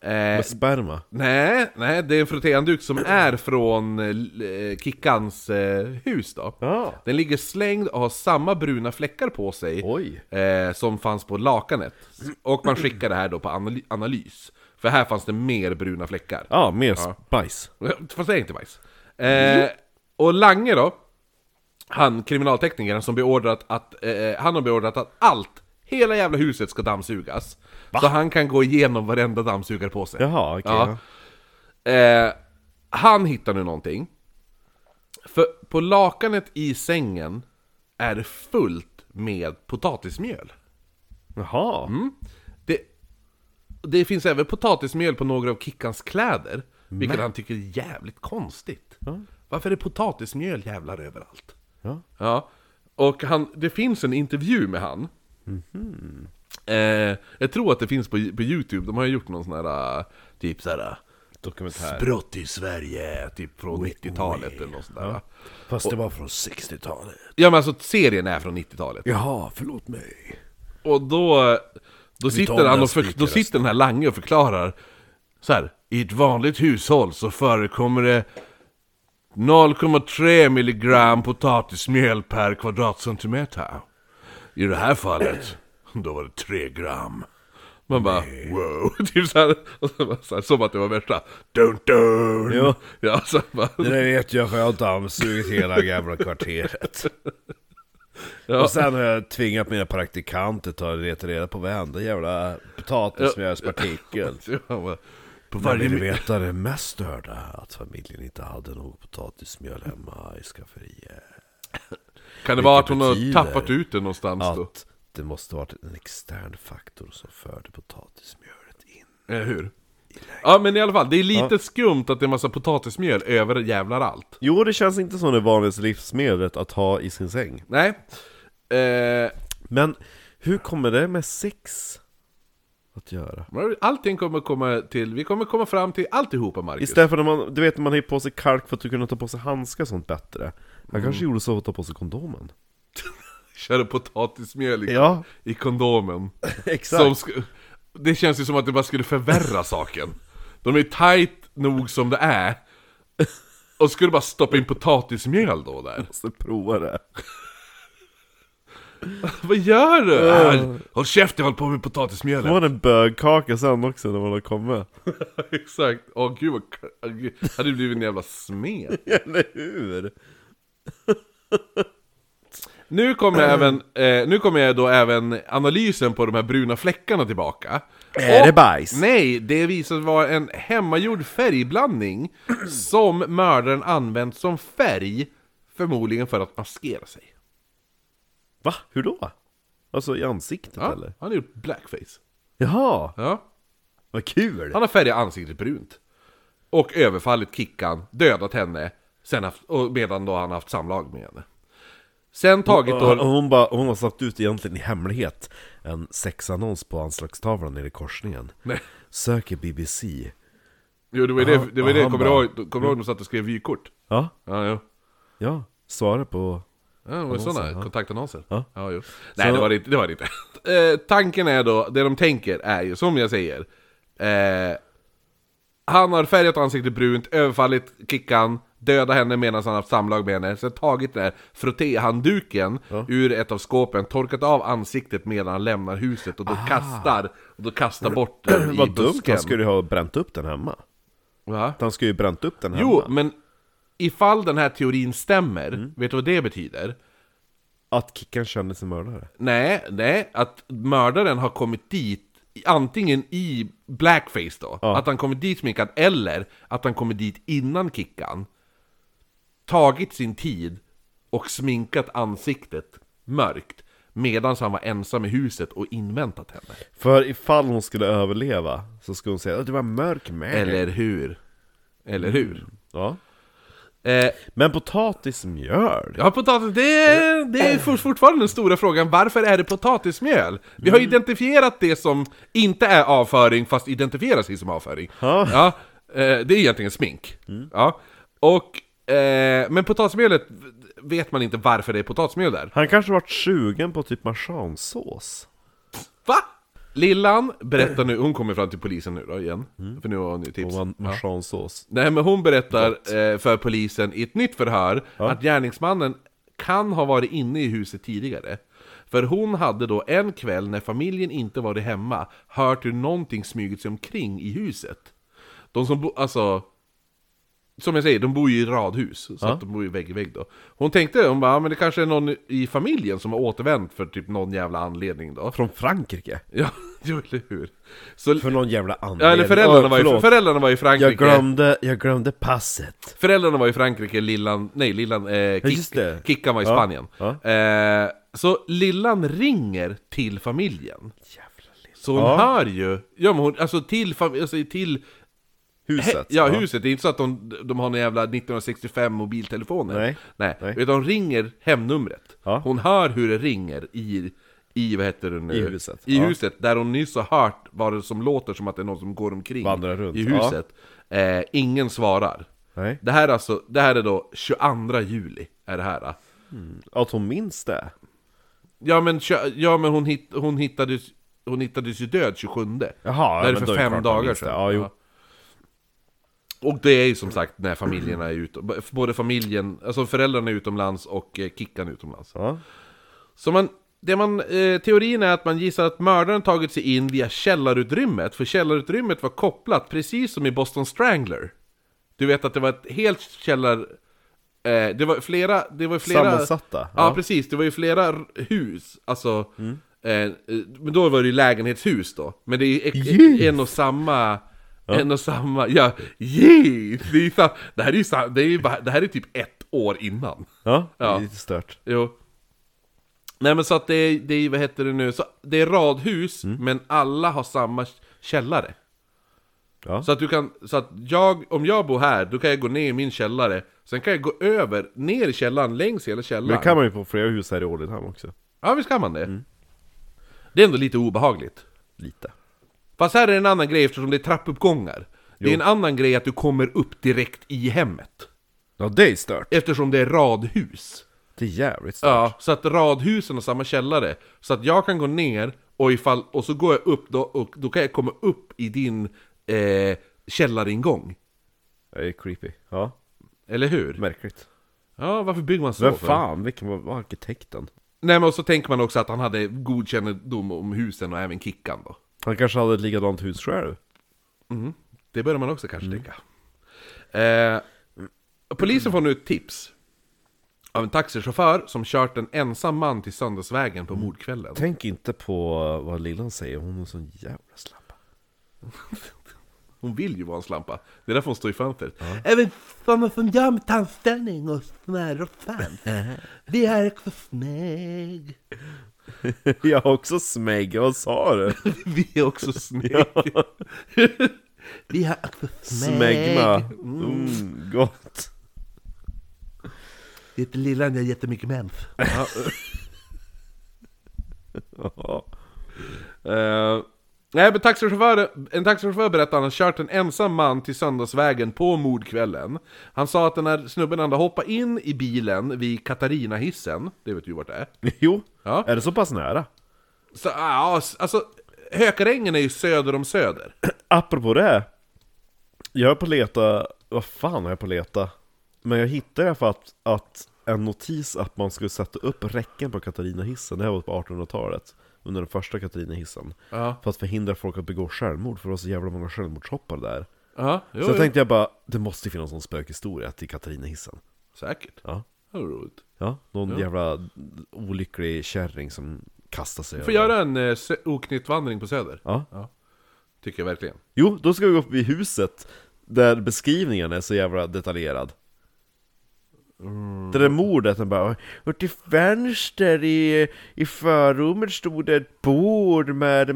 A: Eh,
B: med sperma.
A: nej, nej, det är en frottéhandduk som är från eh, l- eh, Kickans eh, hus då.
B: Ja.
A: Den ligger slängd och har samma bruna fläckar på sig
B: Oj.
A: eh, som fanns på lakanet. Och man skickar det här då på anal- analys. För här fanns det mer bruna fläckar.
B: Ja, mer bajs.
A: Fast det är inte bajs. Eh, och Lange då, han kriminalteknikern som beordrat att, eh, han har beordrat att allt, hela jävla huset ska dammsugas. Så han kan gå igenom varenda dammsugare på sig.
B: Jaha, okej.
A: Ja. Eh, han hittar nu någonting. För på lakanet i sängen är det fullt med potatismjöl.
B: Jaha.
A: Det, det finns även potatismjöl på några av Kickans kläder, vilket han tycker är jävligt konstigt. Varför är det potatismjöl jävlar överallt?
B: Ja.
A: Ja, och han, det finns en intervju med han. Eh, jag tror att det finns på, på Youtube, de har ju gjort någon sån här, äh, typ såhär... Äh,
B: Dokumentär.
A: Brott i Sverige, typ från 90-talet eller något sånt där. va?
B: Fast det var från 60-talet.
A: Ja men alltså serien är från 90-talet.
B: Jaha, förlåt mig.
A: Och då, då sitter
B: den
A: han och för,
B: spiken
A: då sitter den här Lange och förklarar så här. I ett vanligt hushåll så förekommer det 0,3 milligram potatismjöl per kvadratcentimeter. I det här fallet, då var det 3 gram. Man bara wow, typ så här, och så bara, så här, som att det var värsta dun dun.
B: Ja.
A: Ja, så bara,
B: Det där vet jag för jag har dammsugit hela jävla kvarteret.
A: ja.
B: Och sen har jag tvingat mina praktikanter ta och leta reda på varenda jävla potatismjöspartikel.
A: Ja, han bara, På
B: Men
A: varje
B: vill du
A: mjöl.
B: veta det mest störda? Att familjen inte hade något potatismjöl hemma i skafferiet.
A: Kan det vara att
B: vilket
A: hon har
B: betyder
A: tappat ut det någonstans då?
B: Att det måste varit en extern faktor som förde potatismjölet in.
A: Eller hur? Ja men i alla fall, det är lite skumt att det är massa potatismjöl över jävlar allt.
B: Jo, det känns inte som det vanligaste livsmedlet att ha i sin säng.
A: Nej. Eh,
B: Men hur kommer det med sex att göra?
A: men allting kommer komma till, vi kommer komma fram till alltihopa Marcus.
B: Istället för när man, du vet när man har på sig kalk för att kunna ta på sig handskar och sånt bättre. Han
A: Mm.
B: kanske gjorde så att ta på sig kondomen.
A: Kör potatismjöl i,
B: Ja.
A: i kondomen.
B: Exakt.
A: Som sk- det känns ju som att det bara skulle förvärra saken. De är tight nog som det är. Och skulle bara stoppa in potatismjöl då där.
B: måste prova det.
A: Vad gör du? Äh, håll käften, håll på med potatismjölet.
B: Det var en bögkaka sen också när man har kommit.
A: Exakt, åh gud vad k- åh, gud. hade du blivit en jävla smet.
B: Eller hur?
A: Nu kommer,
B: Mm.
A: även, eh, nu kommer jag då även analysen på de här bruna fläckarna tillbaka.
B: Är det bajs?
A: Nej, det visar sig vara en hemmagjord färgblandning som mördaren använt som färg, förmodligen för att maskera sig.
B: Va? Hur då? Alltså i ansiktet
A: Ja,
B: eller?
A: han har gjort blackface.
B: Jaha,
A: Ja.
B: vad kul!
A: Han har färgat ansiktet brunt. Och överfallit Kickan, dödat henne, sen haft, och medan då han haft samlag med henne. Sen tagit då...
B: Och hon, bara, hon har satt ut egentligen i hemlighet en sexannons på anslagstavlan nere i korsningen.
A: Nej.
B: Söker BBC.
A: Jo, det var ju det, det, var ju det.
B: Aha,
A: kommer du
B: bara-
A: ihåg, kommer du ihåg de satt och skrev vykort?
B: Ja,
A: Ja, jo.
B: ja. Svara på...
A: Ja, det var ju sådana
B: ja.
A: kontaktannonser.
B: Ja.
A: jo. Nej, det var det inte. Det var det inte. Eh, tanken är då, det de tänker är ju, som jag säger, eh, han har färgat ansiktet brunt, överfallit Kickan, dödat henne medan han haft samlag med henne, sen tagit den här frottéhandduken ur ett av skåpen, torkat av ansiktet medan han lämnar huset och då kastar, och då kastar bort den i
B: Ah. Vad dumt,
A: busken.
B: han skulle ju ha bränt upp den hemma.
A: Va?
B: Han skulle ju bränt upp den hemma.
A: Jo, men ifall den här teorin stämmer,
B: Mm.
A: vet du vad det betyder?
B: Att Kickan kände sig mördare.
A: Nej, nej, att mördaren har kommit dit i- Antingen i blackface då,
B: Ja.
A: att han kommit dit sminkad, eller att han kommit dit innan Kickan Tagit sin tid och sminkat ansiktet mörkt Medan han var ensam i huset och inväntat henne
B: För ifall hon skulle överleva så skulle hon säga att det var en mörk man.
A: Eller hur? Eller hur?
B: Ja.
A: Eh,
B: Men potatismjöl?
A: Ja, potatis, det
B: Eh.
A: är, det är fort- fortfarande den stora frågan. Varför är det potatismjöl? Vi
B: Mm.
A: har identifierat det som inte är avföring, fast identifierar sig som avföring.
B: Ja. Mm.
A: Ja, eh, det är egentligen smink. Ja. Och, eh, men potatismjölet vet man inte varför det är potatismjöl där.
B: Han kanske varit sugen på typ marsansås?
A: Va? Lillan berättar nu, hon kommer fram till polisen nu då igen, för nu har hon ju tips.
B: Mm. Och marsansås?
A: Nej men hon berättar eh, för polisen i ett nytt förhör att gärningsmannen kan ha varit inne i huset tidigare. För hon hade då en kväll när familjen inte varit hemma hört hur någonting smugit sig omkring i huset. De som bo, alltså... Som jag säger, de bor ju i radhus, så att de bor ju vägg i vägg då. Hon tänkte, hon bara, "Ja, men det kanske är någon i familjen som har återvänt för typ någon jävla anledning då.
B: Från Frankrike?
A: Ja, jo, eller hur? Så,
B: För någon jävla anledning?
A: ja, eller föräldrarna
B: Oj,
A: var, ju,
B: förlåt.
A: föräldrarna var i Frankrike.
B: jag glömde, jag glömde passet
A: Föräldrarna var i Frankrike, Lillan, nej Lillan, eh,
B: just
A: Kick,
B: det.
A: Kickan var i
B: Ja,
A: Spanien.
B: ja.
A: Eh, så Lillan ringer till familjen. Så hon
B: Ja.
A: hör ju, ja men hon, alltså till, fam- alltså till
B: Huset?
A: he- ja, huset, det är inte så att de, de har en jävla 1965 mobiltelefoner.
B: Nej.
A: Nej.
B: Nej.
A: Utan hon ringer hemnumret.
B: Ja.
A: Hon hör hur det ringer i, i vad heter det nu?
B: I huset.
A: I
B: Ja.
A: huset, där hon nyss har hört vad det som låter som att det är någon som går omkring
B: Vandrar runt.
A: i
B: Ja.
A: huset. Eh, ingen svarar.
B: Nej,
A: Det här, är alltså, det här är då 22 juli, är det här. då.
B: att hon minns det?
A: Ja men, tjö- ja, men hon, hitt, hon, hittades, hon hittades ju död 27.
B: Jaha,
A: det här
B: men då är
A: är för
B: det klart
A: fem
B: man
A: dagar
B: minns det.
A: sedan.
B: Ja, jo.
A: Och det är ju som sagt när familjerna är ute, b- både familjen, alltså föräldrarna är utomlands och eh, Kickan är utomlands.
B: Ja.
A: Så man, det man, eh, teorin är att man gissar att mördaren tagit sig in via källarutrymmet, för källarutrymmet var kopplat precis som i Boston Strangler. Du vet att det var ett helt källar... Eh, det var flera... Det var flera
B: Sammansatta,
A: Ja.
B: ja. Mm.
A: precis. Det var ju flera r- hus. Alltså... Eh, eh, men då var det ju lägenhetshus då. Men det är ju ek- en och samma... En och samma... Ja, yeah, det, är ju, sa- det här är ju sa- det är ju bara- det här är typ ett år innan.
B: Ja, det
A: Ja.
B: är lite stört
A: Jo. Nej men så att det är, det är vad heter det nu, så det är radhus
B: Mm.
A: men alla har samma källare.
B: Ja.
A: Så att du kan, så att jag, om jag bor här, då kan jag gå ner i min källare, sen kan jag gå över, ner i källaren, längs hela källaren.
B: Men det kan man Mm. ju på flera hus här i Ålidhem också
A: Ja visst kan man det. Det är ändå lite obehagligt.
B: Lite
A: Fast här är en annan grej eftersom det är trappuppgångar. Det är en annan grej att du kommer upp direkt i hemmet.
B: Ja, det är stört
A: Eftersom det är radhus.
B: Det är jävligt stört
A: Ja, så att radhusen har samma källare. Så att jag kan gå ner och, ifall, och så går jag upp då, och då kan jag komma upp i din eh, källaringång.
B: Det är creepy Ja,
A: Eller hur?
B: märkligt
A: Ja, varför bygger man så?
B: Vem
A: för?
B: fan, vilken var, var arkitekten?
A: Nej men och så tänker man också att han hade god kännedom om husen och även Kickan då.
B: Han kanske hade ett likadant hus själv?
A: Det börjar man också
B: Mm.
A: kanske tänka. Eh, polisen får nu ett tips. Av en taxichaufför som kört en ensam man till söndagsvägen
B: Mm.
A: på mordkvällen.
B: Tänk inte på eh, vad Lillan säger, hon är en sån jävla slappa
A: Hon vill ju vara en slampa. Det är därför hon står i fönstret. Även sådana som jag med tandställning och smör och fan. Vi är också snägg.
B: Jag har också smägg, vad sa du?
A: Vi är också snägg. Vi är också
B: Smegma, mm, gott
A: Det heter Lillan, jag har jättemycket mens.
B: Ja.
A: Eh, nej, men taxichaufför, en taxichaufför berättar att han kört en ensam man till söndagsvägen på mordkvällen. Han sa att den här snubben hade hoppat in i bilen vid Katarina-hissen. Det vet du ju vart det är.
B: Jo,
A: Ja.
B: är det så pass nära?
A: Så, ja, alltså, Hökarängen är ju söder om söder.
B: Apropå det, jag är på leta, vad fan är jag på leta? Men jag hittade i alla fall att, att en notis att man skulle sätta upp räcken på Katarinahissen, det här var på 1800-talet, under den första Katarinahissen.
A: Ja.
B: För att förhindra folk att begå självmord, för det var så jävla många självmordshoppare där.
A: Ja, jo,
B: så jag tänkte jag bara, det måste ju finnas någon spökhistoria till Katarinahissen.
A: Säkert.
B: Ja.
A: Det var roligt.
B: Ja, någon jävla olycklig kärring som kastar sig
A: Får
B: över.
A: göra en eh, sö- oknytt vandring på söder.
B: Ja.
A: Tycker jag verkligen.
B: Jo, då ska vi gå upp i huset där beskrivningen är så jävla detaljerad.
A: Mm.
B: Det där mordet, den bara Och till vänster i, i förrummet stod det ett bord med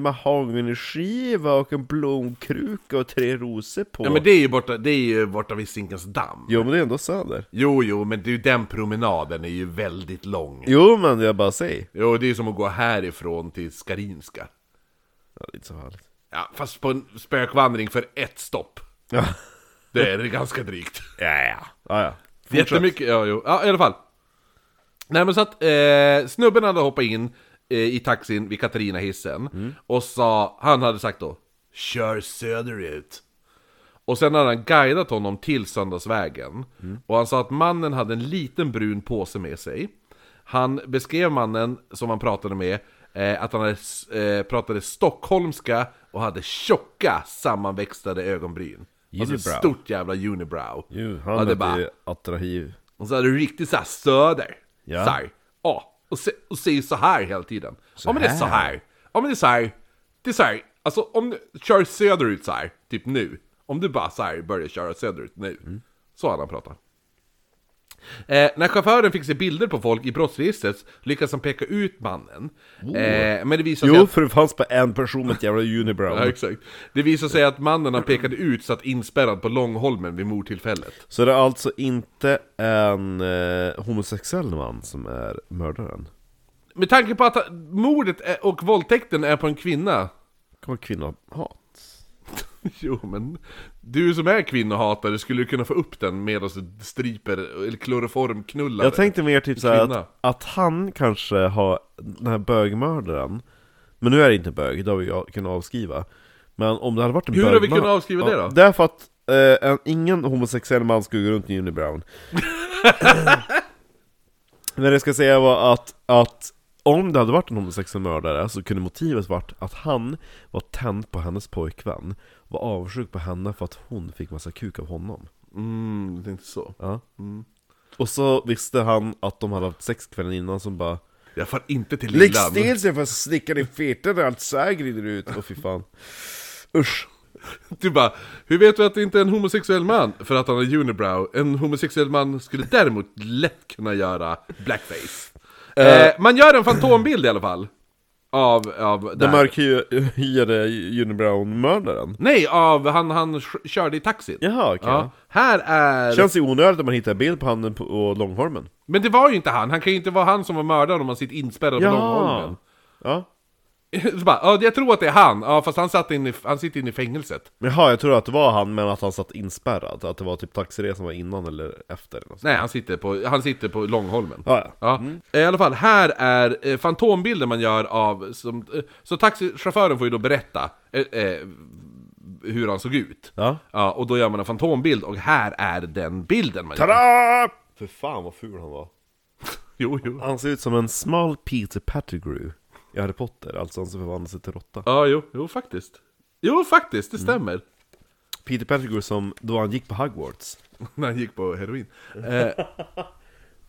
B: mahognyskiva och en blomkruka och tre rosor på.
A: Ja men det är ju borta, det är ju borta vid Zinkens damm.
B: Jo, men det är ändå söder.
A: Jo, jo, men det är ju den promenaden är ju väldigt lång.
B: Jo, men jag bara säger.
A: Jo, det är ju som att gå härifrån till Skarinska.
B: Ja, det är inte så farligt.
A: Ja, fast på en spökvandring för ett stopp.
B: Ja,
A: Det är ganska drygt.
B: ja, ja. ja, ja. Fortsätt.
A: Jättemycket, ja, jo. ja i alla fall. Nej men så att eh, snubben hade hoppat in eh, i taxin vid Katarina-hissen
B: Mm.
A: och sa, han hade sagt då Kör söderut! Och sen hade han guidat honom till Söndagsvägen
B: Mm.
A: Och han sa att mannen hade en liten brun påse med sig Han beskrev mannen som han pratade med eh, Att han hade, s- eh, pratade stockholmska och hade tjocka sammanväxtade ögonbryn Alltså
B: Unibrow.
A: ett stort jävla unibrow
B: Jo, han
A: Ja, det
B: är
A: är bara-
B: bara... attrahiv.
A: och så är det riktigt såhär söder.
B: Ja.
A: Såhär. Ja. Och, se, och säger så här hela tiden. ja men det är så här. Ja men det är så här. Det är så här. Alltså om du kör söderut så här, typ nu. Om du bara så här börjar köra söderut nu. Så hade han pratat. Eh, när chauffören fick se bilder på folk i brottsregistret lyckades han peka ut mannen. Eh, men det visade sig
B: Jo,
A: att...
B: för det fanns bara en person med ett jävla
A: Ja,
B: unibrow.
A: exakt. Det visade sig att mannen han pekade ut satt inspärrad på Långholmen vid mordtillfället.
B: Så det är alltså inte en eh, homosexuell man som är mördaren?
A: Med tanke på att ha- mordet är- och våldtäkten är på en kvinna
B: Kommer kvinnohat?
A: Jo men, du som är kvinnohatare skulle ju kunna få upp den medan du striper, eller kloroformknullar
B: Jag tänkte mer typ såhär
A: Kvinna.
B: att, att han kanske har den här bögmördaren Men nu är det inte bög, det har vi ju kunnat avskriva Men om det hade varit en
A: Hur har
B: bögmördare
A: vi kunnat avskriva det då?
B: Därför att eh, en, ingen homosexuell man skulle gå runt i unibrown Men det jag ska säga var att, att om det hade varit en homosexuell mördare så kunde motivet varit att han var tänd på hennes pojkvän Var avundsjuk på henne för att hon fick massa kuk av honom
A: Mm, det är inte så.
B: Ja. Och så visste han att de hade haft sex kvällen innan som bara
A: Jag far inte till lillan.
B: sig för att slicka dig fetare allt så här glider ut Åh fy fan Usch
A: Du bara, hur vet du att det inte är en homosexuell man? För att han har unibrow. En homosexuell man skulle däremot lätt kunna göra blackface. eh, man gör en fantombild i alla fall. Av, av
B: Den
A: där.
B: mörkhyade Unibrown-mördaren
A: Nej, av han, han sk- körde i taxin.
B: Jaha okej
A: Ja. Här är...
B: Känns ju onödigt om man hittar en bild på handen på och Långholmen
A: Men det var ju inte han, han kan ju inte vara han som var mördaren om han sitter inspärrad på Långholmen.
B: Ja
A: Så bara, ja, jag tror att det är han, ja, fast han, satt in i, han sitter inne i fängelset.
B: Jaha, jag tror att det var han men att han satt inspärrad Att det var typ taxiresan var innan eller efter eller något sånt.
A: Nej, han sitter på, han sitter på Långholmen.
B: Ja, Mm. ja.
A: Ja. Eh, I alla fall, här är eh, fantombilder man gör av... Som, eh, så taxichauffören får ju då berätta eh, eh, hur han såg ut.
B: Ja.
A: ja. Och då gör man en fantombild, och här är den bilden man gör.
B: Tada! För fan vad ful han var
A: Jo, jo.
B: Han ser ut som en smal Peter Pettigrew i Harry Potter, alltså han som förvandlas till råtta.
A: Ja, jo, jo, faktiskt. Jo, faktiskt,
B: Mm.
A: det stämmer.
B: Peter Pettigrew som, då han gick på Hogwarts.
A: När han gick på heroin. Eh, mm.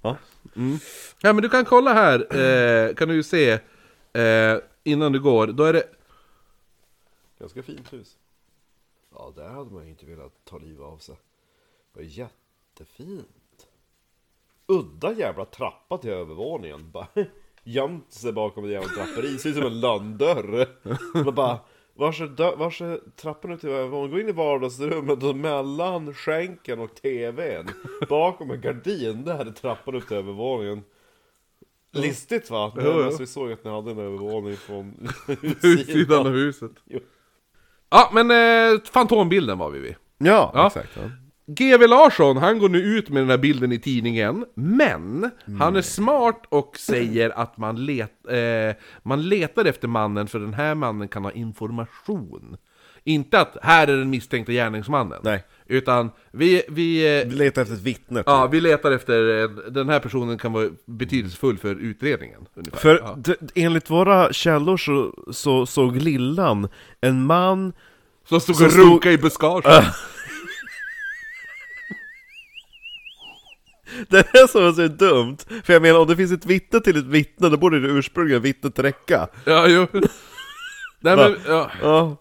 B: Ja.
A: Ja men du kan kolla här, eh, kan du ju se eh, Innan du går, då är det
B: Ganska fint hus. Ja, där hade man ju inte velat ta livet av sig. Det var jättefint. Udda jävla trappa till övervåningen. Bara gömt sig bakom en jävla draperi, ser ut som en landdörr. Man bara, vars är, dö- vars är trappan ut till övervåningen? Gå in i vardagsrummet och mellan skänken och tvn, bakom en gardin, där är trappan ut till övervåningen. Listigt va?
A: Jo, jo.
B: Men alltså, vi såg att ni hade en övervåning från
A: Utsidan av huset. Ja, men eh, Fantombilden var vi vid.
B: Ja,
A: Ja.
B: exakt. Ja.
A: GV Larsson, han går nu ut med den här bilden i tidningen, men
B: Mm.
A: han är smart och säger att man, let, eh, man letar efter mannen för den här mannen kan ha information. Inte att här är den misstänkta gärningsmannen.
B: Nej.
A: Utan vi, vi, eh,
B: Vi letar efter ett vittne. typ.
A: ja, vi letar efter, eh, den här personen kan vara betydelsefull för utredningen. Ungefär.
B: För
A: ja.
B: d- enligt våra källor så, så såg Lillan en man
A: Som stod
B: så
A: och
B: stod-
A: runkade i buskaget.
B: Det är som är så dumt, för jag menar om det finns ett vittne till ett vittne, då borde det ursprungliga vittnet räcka.
A: Ja, jo. Nej men, ja.
B: Ja.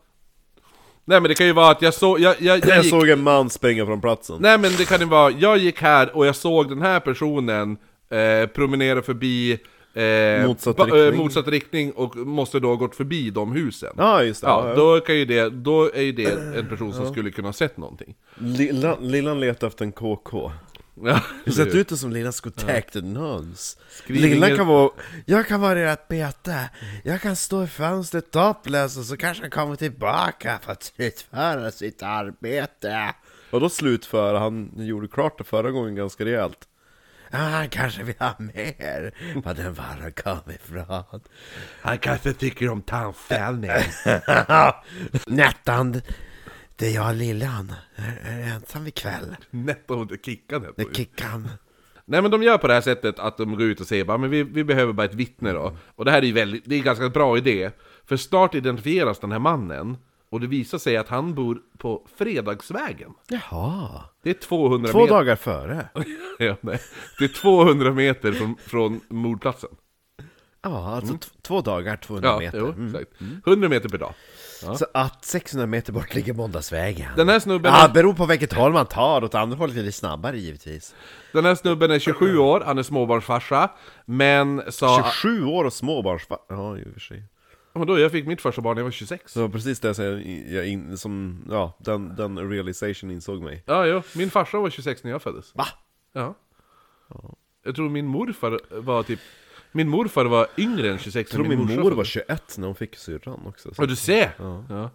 A: Nej men det kan ju vara att jag såg, jag, jag, jag,
B: Jag
A: gick
B: såg en man springa från platsen.
A: Nej men det kan ju vara, jag gick här och jag såg den här personen eh, promenera förbi eh,
B: Motsatt
A: ba-
B: riktning.
A: eh, motsatt riktning och måste då ha gått förbi de husen.
B: Ja, just det.
A: Ja,
B: Ja,
A: då, kan ju det, då är ju det en person som skulle kunna ha sett någonting.
B: Lillan, Lillan letar efter en KK.
A: Ja,
B: Det ser ut som Lillans contacted nuns.
A: Skriv
B: Lillan
A: inget-
B: kan vara... Jag kan vara ert bete. Jag kan stå i fönstret topless och så kanske han kommer tillbaka för att slutföra sitt arbete. Och då slutför han gjorde klart det förra gången ganska rejält. Ah, han kanske vill ha mer. Vad den var han kom ifrån.
A: Han kanske tycker om tandfällning.
B: Nättan, det är jag Lillan. Är, är ensam ikväll.
A: Netto hon kickade. på ju.
B: Kickan.
A: Nej men de gör på det här sättet att de går ut och säger bara, men vi, vi behöver bara ett vittne då. Och det här är ju väldigt, det är en ganska bra idé. För snart identifieras den här mannen och det visar sig att han bor på Fredagsvägen.
B: Jaha.
A: Det är 200
B: Två
A: meter.
B: dagar före.
A: ja, nej. Det är 200 meter från, från mordplatsen.
B: Ja, alltså t- två dagar, 200
A: Mm. Ja,
B: meter. Mm.
A: jo, exakt. 100 meter per dag.
B: Så att 600 meter bort ligger måndagsvägen.
A: Den här snubben,
B: Ah, beror på vilket håll man tar, åt andra hållet är det snabbare givetvis.
A: den här snubben är 27 år, han är småbarnsfarsa. Men sa...
B: 27 år och småbarnsfar... Ja, i och för sig.
A: Men då, jag fick mitt första barn när jag var 26.
B: Så det var precis det som jag, jag in, som, ja, den, den realization insåg mig.
A: Ja, jo. Min farsa var 26 när jag föddes.
B: Va?
A: Ja. Jag tror min morfar var typ... Min morfar var yngre än 26
B: Jag tror
A: när
B: min
A: morsa
B: mor var
A: föddes.
B: 21 när hon fick syrran också.
A: Ja, du ser! Ja.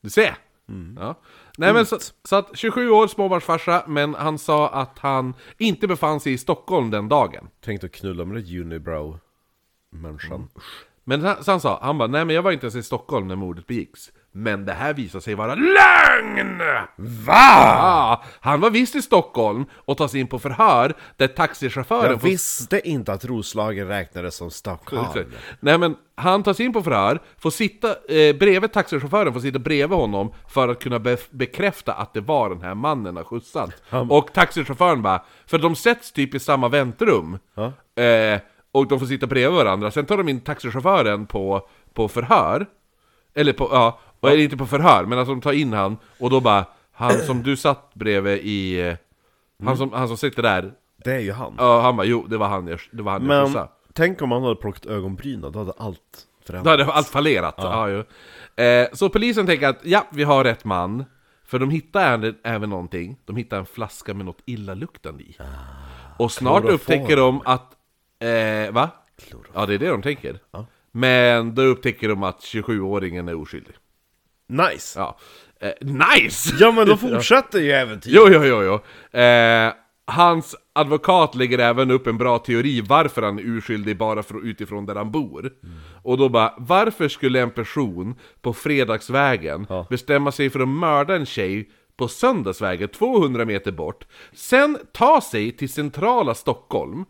A: Du ser!
B: Mm.
A: Ja. Nej men så, så att 27 år, småbarnsfarsa, men han sa att han inte befann sig i Stockholm den dagen.
B: Tänkte att knulla med den unibrow-människan.
A: Mm. Men han- så han sa, han bara, nej men jag var inte ens i Stockholm när mordet begicks. Men det här visar sig vara LÖGN!
B: Va?
A: Ah, han var visst i Stockholm och tas in på förhör där taxichauffören
B: Jag visste inte att Roslagen räknades som
A: Exakt.
B: Stockholm.
A: Nej men, han tas in på förhör, får sitta eh, bredvid taxichauffören, får sitta bredvid honom för att kunna be- bekräfta att det var den här mannen han skjutsat. Och taxichauffören bara, för de sätts typ i samma väntrum, eh, och de får sitta bredvid varandra, sen tar de in taxichauffören på, på förhör, eller på, ja, och eller inte på förhör, men att de tar in han, och då bara, han som du satt bredvid i, eh, han, som, han som sitter där,
B: Det är ju han.
A: ja, han bara, jo det var han jag, det var han jag
B: Men
A: skjutsade.
B: tänk om han hade plockat ögonbrynen, då hade allt förändrats.
A: Då hade allt fallerat. Ja. ju. Eh, så polisen tänker att ja, vi har rätt man. För de hittar även- även någonting. De hittar en flaska med något illaluktande i. och snart
B: kloroform.
A: upptäcker de att... Eh, va? Ja, det är det de tänker. Men då upptäcker de att 27-åringen är oskyldig.
B: Nice!
A: Ja. Eh, nice!
B: Ja men då fortsätter ju äventyret!
A: Jo, jo, jo, jo. Eh, hans advokat lägger även upp en bra teori varför han är urskyldig bara för, utifrån där han bor. Och då bara, varför skulle en person på Fredagsvägen
B: Ja.
A: bestämma sig för att mörda en tjej på Söndagsvägen, 200 meter bort, sen ta sig till centrala Stockholm,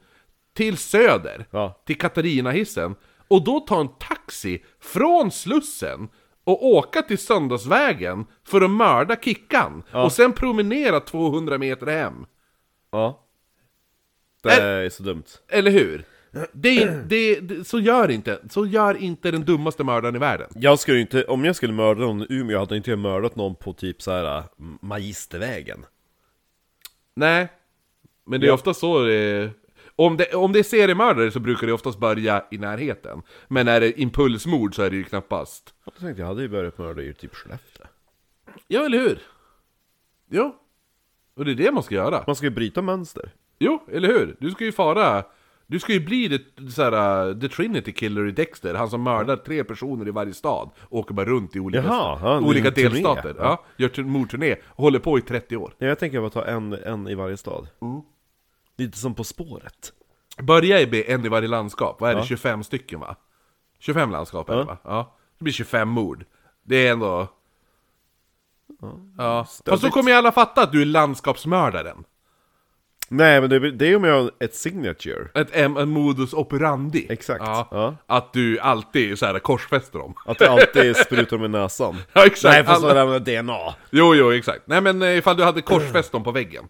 A: till Söder,
B: Ja.
A: till Katarinahissen, och då ta en taxi från Slussen och åka till Söndagsvägen för att mörda Kickan, och sen promenera 200 meter hem.
B: Ja. Det är så dumt.
A: Eller hur? Det, är- det, det, så gör inte, så gör inte den dummaste mördaren i världen.
B: Jag skulle ju inte, om jag skulle mörda någon i Umeå hade inte jag mördat någon på typ så här äh, Magistervägen.
A: Nej, men det är ofta så det om det, om det är seriemördare så brukar det oftast börja i närheten. Men är det impulsmord så är det ju knappast.
B: Jag tänkte jag hade ju börjat mörda i typ Skellefteå.
A: Ja, eller hur? Jo. Och det är det man ska göra.
B: Man ska ju bryta mönster.
A: Jo, eller hur? Du ska ju fara... Du ska ju bli det, så här, uh, the Trinity Killer i Dexter, han som mördar tre personer i varje stad och åker bara runt i olika,
B: Jaha, ja, det är
A: olika
B: en turné.
A: delstater. Ja, gör tur- mordturné och håller på i 30 år.
B: Nej, jag tänker bara ta en, en i varje stad.
A: Mm.
B: Lite som På spåret.
A: Börja i B, en i varje landskap, vad är det, 25 stycken va? 25 landskap är det
B: Ja.
A: va? Ja. Det blir 25 mord. Det är ändå... Ja. Fast då
B: Stödigt.
A: kommer ju alla fatta att du är landskapsmördaren.
B: Nej, men det, det är om jag har ett signature.
A: Ett, en, en modus operandi.
B: Exakt,
A: Ja.
B: ja.
A: Att du alltid så här korsfäster dem.
B: Att det alltid sprutar med näsan.
A: Ja, exakt.
B: Nej, fast
A: Alla-
B: det där med DNA.
A: Jo, jo, exakt. Nej men eh, ifall du hade korsfäst dem på väggen.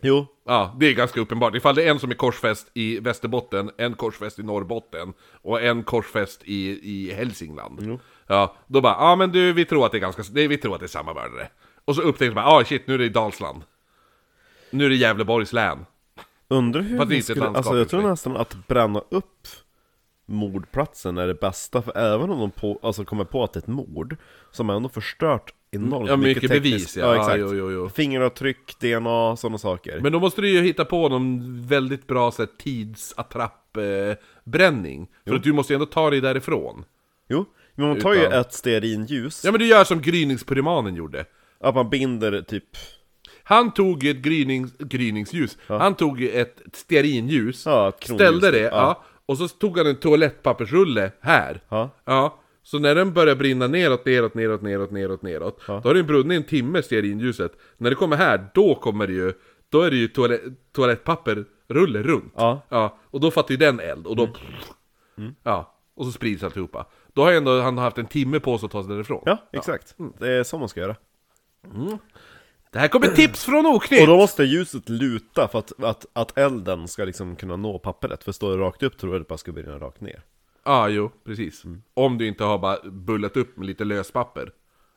B: Jo,
A: Ja, det är ganska uppenbart. Ifall det är en som är korsfäst i Västerbotten, en korsfäst i Norrbotten och en korsfäst i, i Hälsingland. Ja, då bara, ja men du, vi tror att det är ganska, det, vi tror att det är samma mördare. Och så upptäcker man, ja ah, shit, nu är det i Dalsland. Nu är det Gävleborgs län.
B: undrar hur
A: Fast det
B: vi
A: är inte ett
B: skulle...
A: landskap typ.
B: Alltså
A: i
B: jag
A: och för
B: tror
A: sig.
B: nästan att bränna upp mordplatsen är det bästa, för även om de på, alltså kommer på att det är ett mord, som ändå förstört enormt
A: Ja, mycket
B: tekniskt-
A: bevis, ja. Ja,
B: exakt.
A: jo, jo, jo.
B: Fingeravtryck, DNA, sådana saker.
A: Men då måste du ju hitta på någon väldigt bra så här, tidsattrappbränning. Eh, bränning. för att du måste ju ändå ta dig därifrån.
B: Jo, men man tar ju
A: Utan-
B: ett stearinljus,
A: Ja men du gör som gryningspyromanen gjorde.
B: att man binder typ,
A: Han tog ett grynings, gryningsljus, han tog ett stearinljus,
B: Ja, ett kronljus,
A: ställde det,
B: typ.
A: ja.
B: Ja.
A: och så tog han en toalettpappersrulle här.
B: Ja.
A: Så när den börjar brinna neråt, neråt, neråt, neråt, neråt, neråt, då har den brunnit en timme, stearinljuset. När det kommer här, då kommer det ju, då är det ju toalett, toalettpapperrulle runt.
B: Ja. Mm.
A: Och då fattar ju den eld, och då... Ja. Och så sprids alltihopa. Då har ju ändå han haft en timme på sig att ta sig därifrån.
B: ja exakt.
A: Mm.
B: Det är så man ska göra.
A: Det här kommer tips från Oknytt!
B: Och då måste ljuset luta för att, att, att elden ska liksom kunna nå pappret, för står det rakt upp tror jag det bara ska brinna rakt ner.
A: Ja, jo, precis. Om du inte har bara bullat upp med lite löspapper.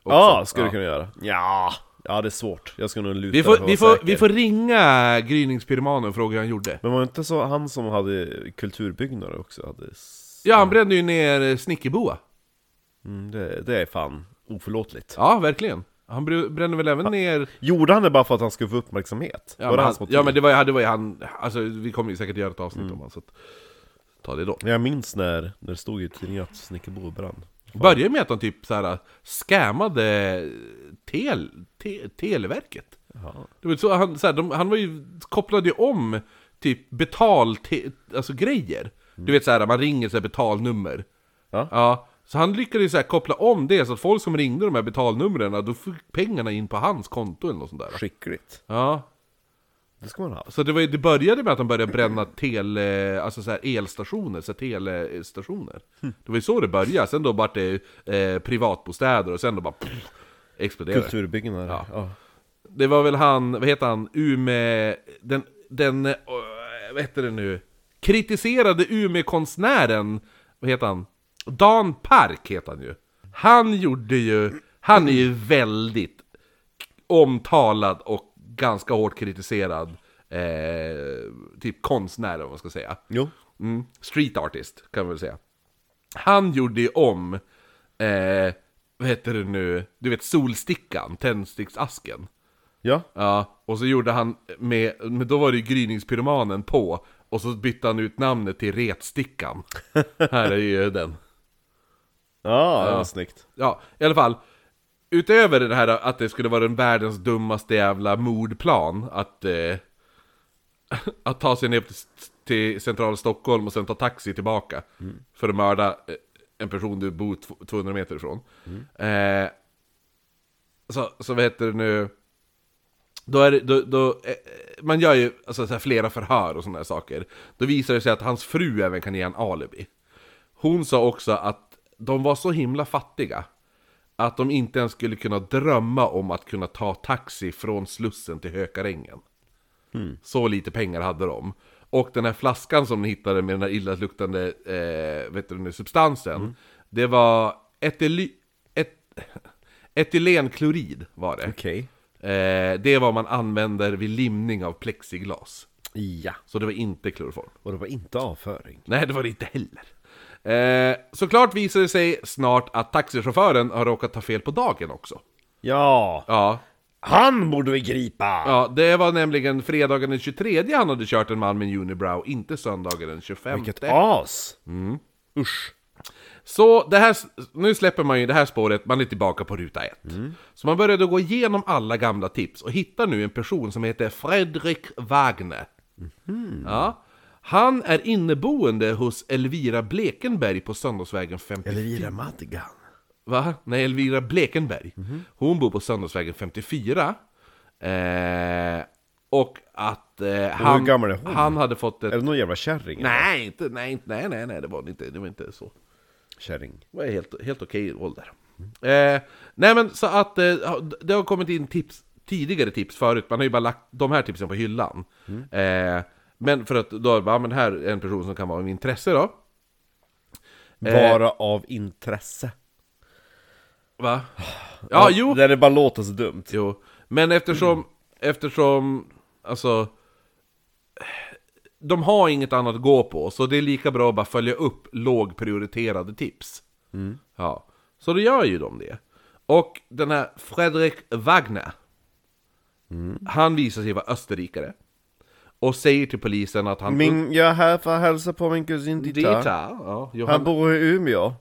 A: också.
B: Ja, skulle du kunna göra. Ja, ja det är svårt. Jag ska nog luta
A: Vi
B: för att
A: får,
B: vara
A: vi, får,
B: säker.
A: vi får ringa gryningspyromanen och fråga hur han gjorde.
B: Men var det inte så han som hade kulturbyggnader också? Hade... s-
A: Ja, han brände ju ner eh, Snickerboa.
B: Mm, det, det är fan oförlåtligt.
A: Ja, verkligen. Han br- brände väl även ner...
B: Gjorde han det bara för att han skulle få uppmärksamhet?
A: Ja,
B: var det
A: men, han,
B: hans motiv?
A: ja, men det var, ju- det var ju han... Alltså, vi kommer ju säkert göra ett avsnitt om honom, så att... Ta det då.
B: Jag minns när, när det stod i tidningen att Snickerbo brann.
A: Började med att han typ så här scammade tel, te, Televerket. Det var så, han, så här, de, han var ju, kopplade ju om typ betal, te, alltså grejer. Du vet så här, man ringer så här betalnummer.
B: Ja.
A: så han lyckades så här, koppla om det så att folk som ringde de här betalnumren, då fick pengarna in på hans konto eller något sånt där.
B: Skickligt.
A: Ja.
B: Det ska man ha haft.
A: Så det, var, ju- det började med att han började bränna tele, alltså så här elstationer, så här telestationer. Det var ju så det började, sen då vart det eh, privatbostäder och sen då bara pff, exploderade det.
B: Kulturbyggnader. Ja.
A: Det var väl han, vad heter han, Ume... Den, den, eh, vad heter det nu? Kritiserade Umeå-konstnären, vad heter han? Dan Park heter han ju. Han gjorde ju, han är ju väldigt omtalad och ganska hårt kritiserad, eh, typ konstnär om man ska säga.
B: Jo.
A: Mm. Street artist kan man väl säga. Han gjorde ju om, eh, vad heter det nu, du vet solstickan, tändsticksasken.
B: Ja.
A: Ja, och så gjorde han med, men då var det ju gryningspyromanen på, och så bytte han ut namnet till retstickan. Här är ju den.
B: Ja, det var snyggt.
A: Ja, i alla fall. Utöver det här att det skulle vara den världens dummaste jävla mordplan att... Eh, att ta sig ner till, till centrala Stockholm och sen ta taxi tillbaka. För att mörda eh, en person du bor tv- 200 meter ifrån. Eh, så, så vad heter det nu? Då är det, då, då, eh, man gör ju alltså, så här, flera förhör och sådana här saker. Då visar det sig att hans fru även kan ge en alibi. Hon sa också att de var så himla fattiga att de inte ens skulle kunna drömma om att kunna ta taxi från Slussen till Hökarängen. Så lite pengar hade de. Och den här flaskan som de hittade med den här illaluktande eh, vet du, nu, substansen, det var etyly, et, etylenklorid var det.
B: Okej.
A: Eh, det är vad man använder vid limning av plexiglas.
B: Ja.
A: Så det var inte kloroform.
B: Och det var inte avföring.
A: Nej, det var det inte heller. Eh, såklart visade det sig snart att taxichauffören har råkat ta fel på dagen också.
B: Ja.
A: Ja,
B: Han borde vi gripa!
A: Ja, det var nämligen fredagen den 23 han hade kört en man med en unibrow, inte söndagen den 25.
B: Vilket as! Usch.
A: Så det här, nu släpper man ju det här spåret, man är tillbaka på ruta ett.
B: Mm.
A: Så man började gå igenom alla gamla tips och hittar nu en person som heter Fredrik Wagner.
B: Mhm.
A: Ja. Han är inneboende hos Elvira Blekenberg på Söndagsvägen 50.
B: Elvira Madigan.
A: Va? Nej, Elvira Blekenberg.
B: Mhm.
A: Hon bor på Söndagsvägen 54. Eh, och att eh, han,
B: gammal är hon?
A: han hade fått ett...
B: Är det någon jävla kärring?
A: Nej, inte, nej, inte, nej, nej, nej, det var det inte, det var inte så.
B: Kärring.
A: Det var helt, helt okej ålder. Eh, nej men så att eh, det har kommit in tips, tidigare tips förut, man har ju bara lagt de här tipsen på hyllan. Eh, men för att då, ja men här är en person som kan vara av intresse då. Eh.
B: Bara av intresse.
A: Va? Ja, jo.
B: Det bara låter så dumt.
A: Jo, men eftersom, eftersom, alltså De har inget annat att gå på, så det är lika bra att bara följa upp lågprioriterade tips
B: Mm.
A: Ja, så då gör ju de det Och den här Fredrik Wagner
B: Mm.
A: Han visar sig vara österrikare Och säger till polisen att han...
B: Min, jag är här för att hälsa på min kusin
A: Dita,
B: Dita.
A: ja,
B: Han
A: Johan,
B: bor i Umeå.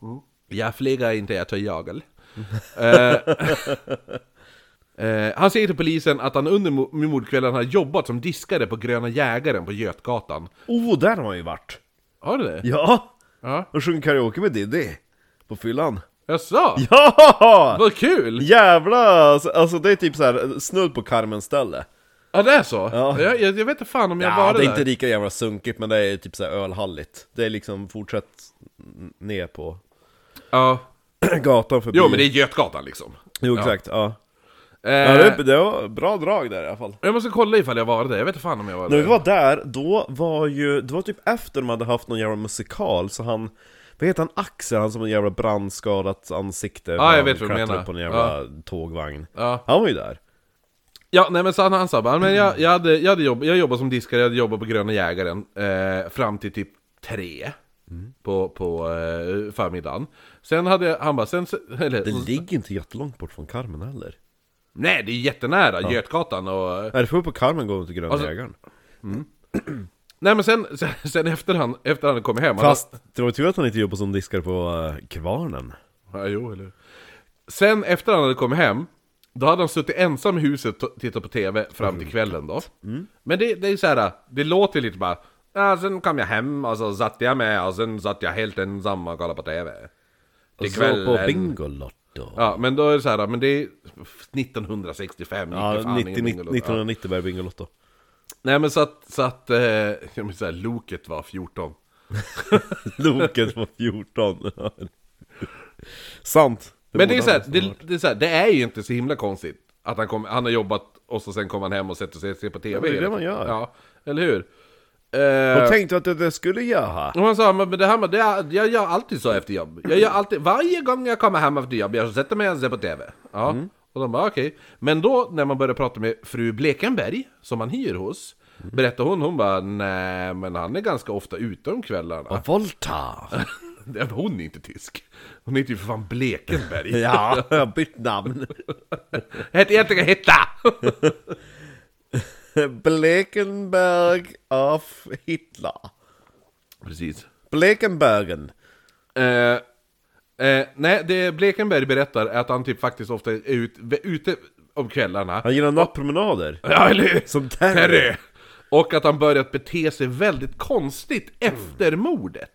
A: jag flyger inte, jag tar jagel. Eh, eh, han säger till polisen att han under mo- mordkvällen har jobbat som diskare på Gröna Jägaren på Götgatan.
B: Oh, där har han ju varit!
A: Har du det?
B: Ja!
A: Ja.
B: Och sjungit karaoke med Diddy. På fyllan.
A: Jaså?
B: Ja!
A: Vad kul!
B: Jävla, alltså- alltså det är typ så här snudd på Carmen ställe.
A: Ja, det är så?
B: Ja.
A: Jag, jag, jag vet inte fan om jag
B: Ja,
A: var
B: det är
A: där.
B: inte lika jävla sunkigt men det är typ så här ölhalligt. Det är liksom fortsatt n- ner på
A: Ja.
B: gatan förbi.
A: Jo, men det är Götgatan liksom.
B: Jo, exakt, ja.
A: Eh,
B: ja. det, det var bra drag där i alla fall.
A: Jag måste kolla ifall jag var där, jag vet inte fan om jag var
B: När vi
A: där.
B: var där, då var ju, det var typ efter de hade haft någon jävla musikal, så han, vad heter han, Axel, han som har en jävla brandskadat ansikte när
A: jag
B: han
A: vet vad du
B: klättrade
A: menar.
B: upp på en jävla tågvagn
A: Ja.
B: Han var ju där
A: Ja, nej men så han, han sa bara, men
B: Mm.
A: jag, jag, hade, jag, hade jobb, jag jobbade som diskare, jag hade jobbat på Gröna Jägaren eh, fram till typ tre
B: Mm.
A: på, på eh, förmiddagen. Sen hade jag, han bara, sen... Eller,
B: Det ligger inte jättelångt bort från Carmen heller
A: nej, det är jättenära, Götgatan och...
B: Är det för på Carmen går vi till Gröna
A: Alltså-
B: Jägaren?
A: Nej men sen, sen, sen efter han, efter han kom hem... han-
B: Fast det var tur att han inte jobbade som diskare på eh, Kvarnen
A: Ja, jo, eller hur? Sen efter han hade kommit hem, då hade han suttit ensam i huset och tittat på TV fram till kvällen då.
B: Mm.
A: Men det, det är så här, det låter lite bara, ja, sen kom jag hem och så satt jag med och sen satt jag helt ensam och kollade på TV. Till
B: Så på
A: kvällen.
B: Bingolotto
A: Ja, men då är det så här, men det är 1965, gick det
B: Ja,
A: fan
B: 90,
A: ingen Bingolotto.
B: 1990 började Bingolotto
A: Nej men så att, så att, eh, jag menar så här, loket var 14.
B: Loket var 14 Sant
A: Men det är,
B: borde
A: så här,
B: han
A: det, det, är så här, det är ju inte så himla konstigt att han, kom, han har jobbat och så sen kommer han hem och sätter sig och ser på TV.
B: Ja, men det är det man gör.
A: Ja, eller hur?
B: Vad
A: Eh,
B: tänkte du att det- det skulle göra?
A: och han sa, men men det här med, det, är- jag gör alltid så efter jobb. Jag gör alltid, varje gång jag kommer hem efter jobb, jag sätter mig och ser på TV. Ja.
B: Mm.
A: Och de bara okej. Men då när man börjar prata med fru Blekenberg, som han hyr hos,
B: Mm.
A: berättar hon, hon bara nej men han är ganska ofta ute om kvällarna.
B: Och Volta!
A: Det- Hon är inte tysk. Hon heter ju för fan Blekenberg.
B: Ja, jag har bytt namn.
A: Hette jag inte Hitta!
B: Blekenberg af Hitler.
A: Precis.
B: Blekenbergen.
A: Eh, eh, nej, det Blekenberg berättar är att han typ faktiskt ofta är ut, ute om kvällarna.
B: Han gillar nattpromenader.
A: Ja, eller hur?
B: Som Terry.
A: Terry! Och att han börjat bete sig väldigt konstigt efter mordet.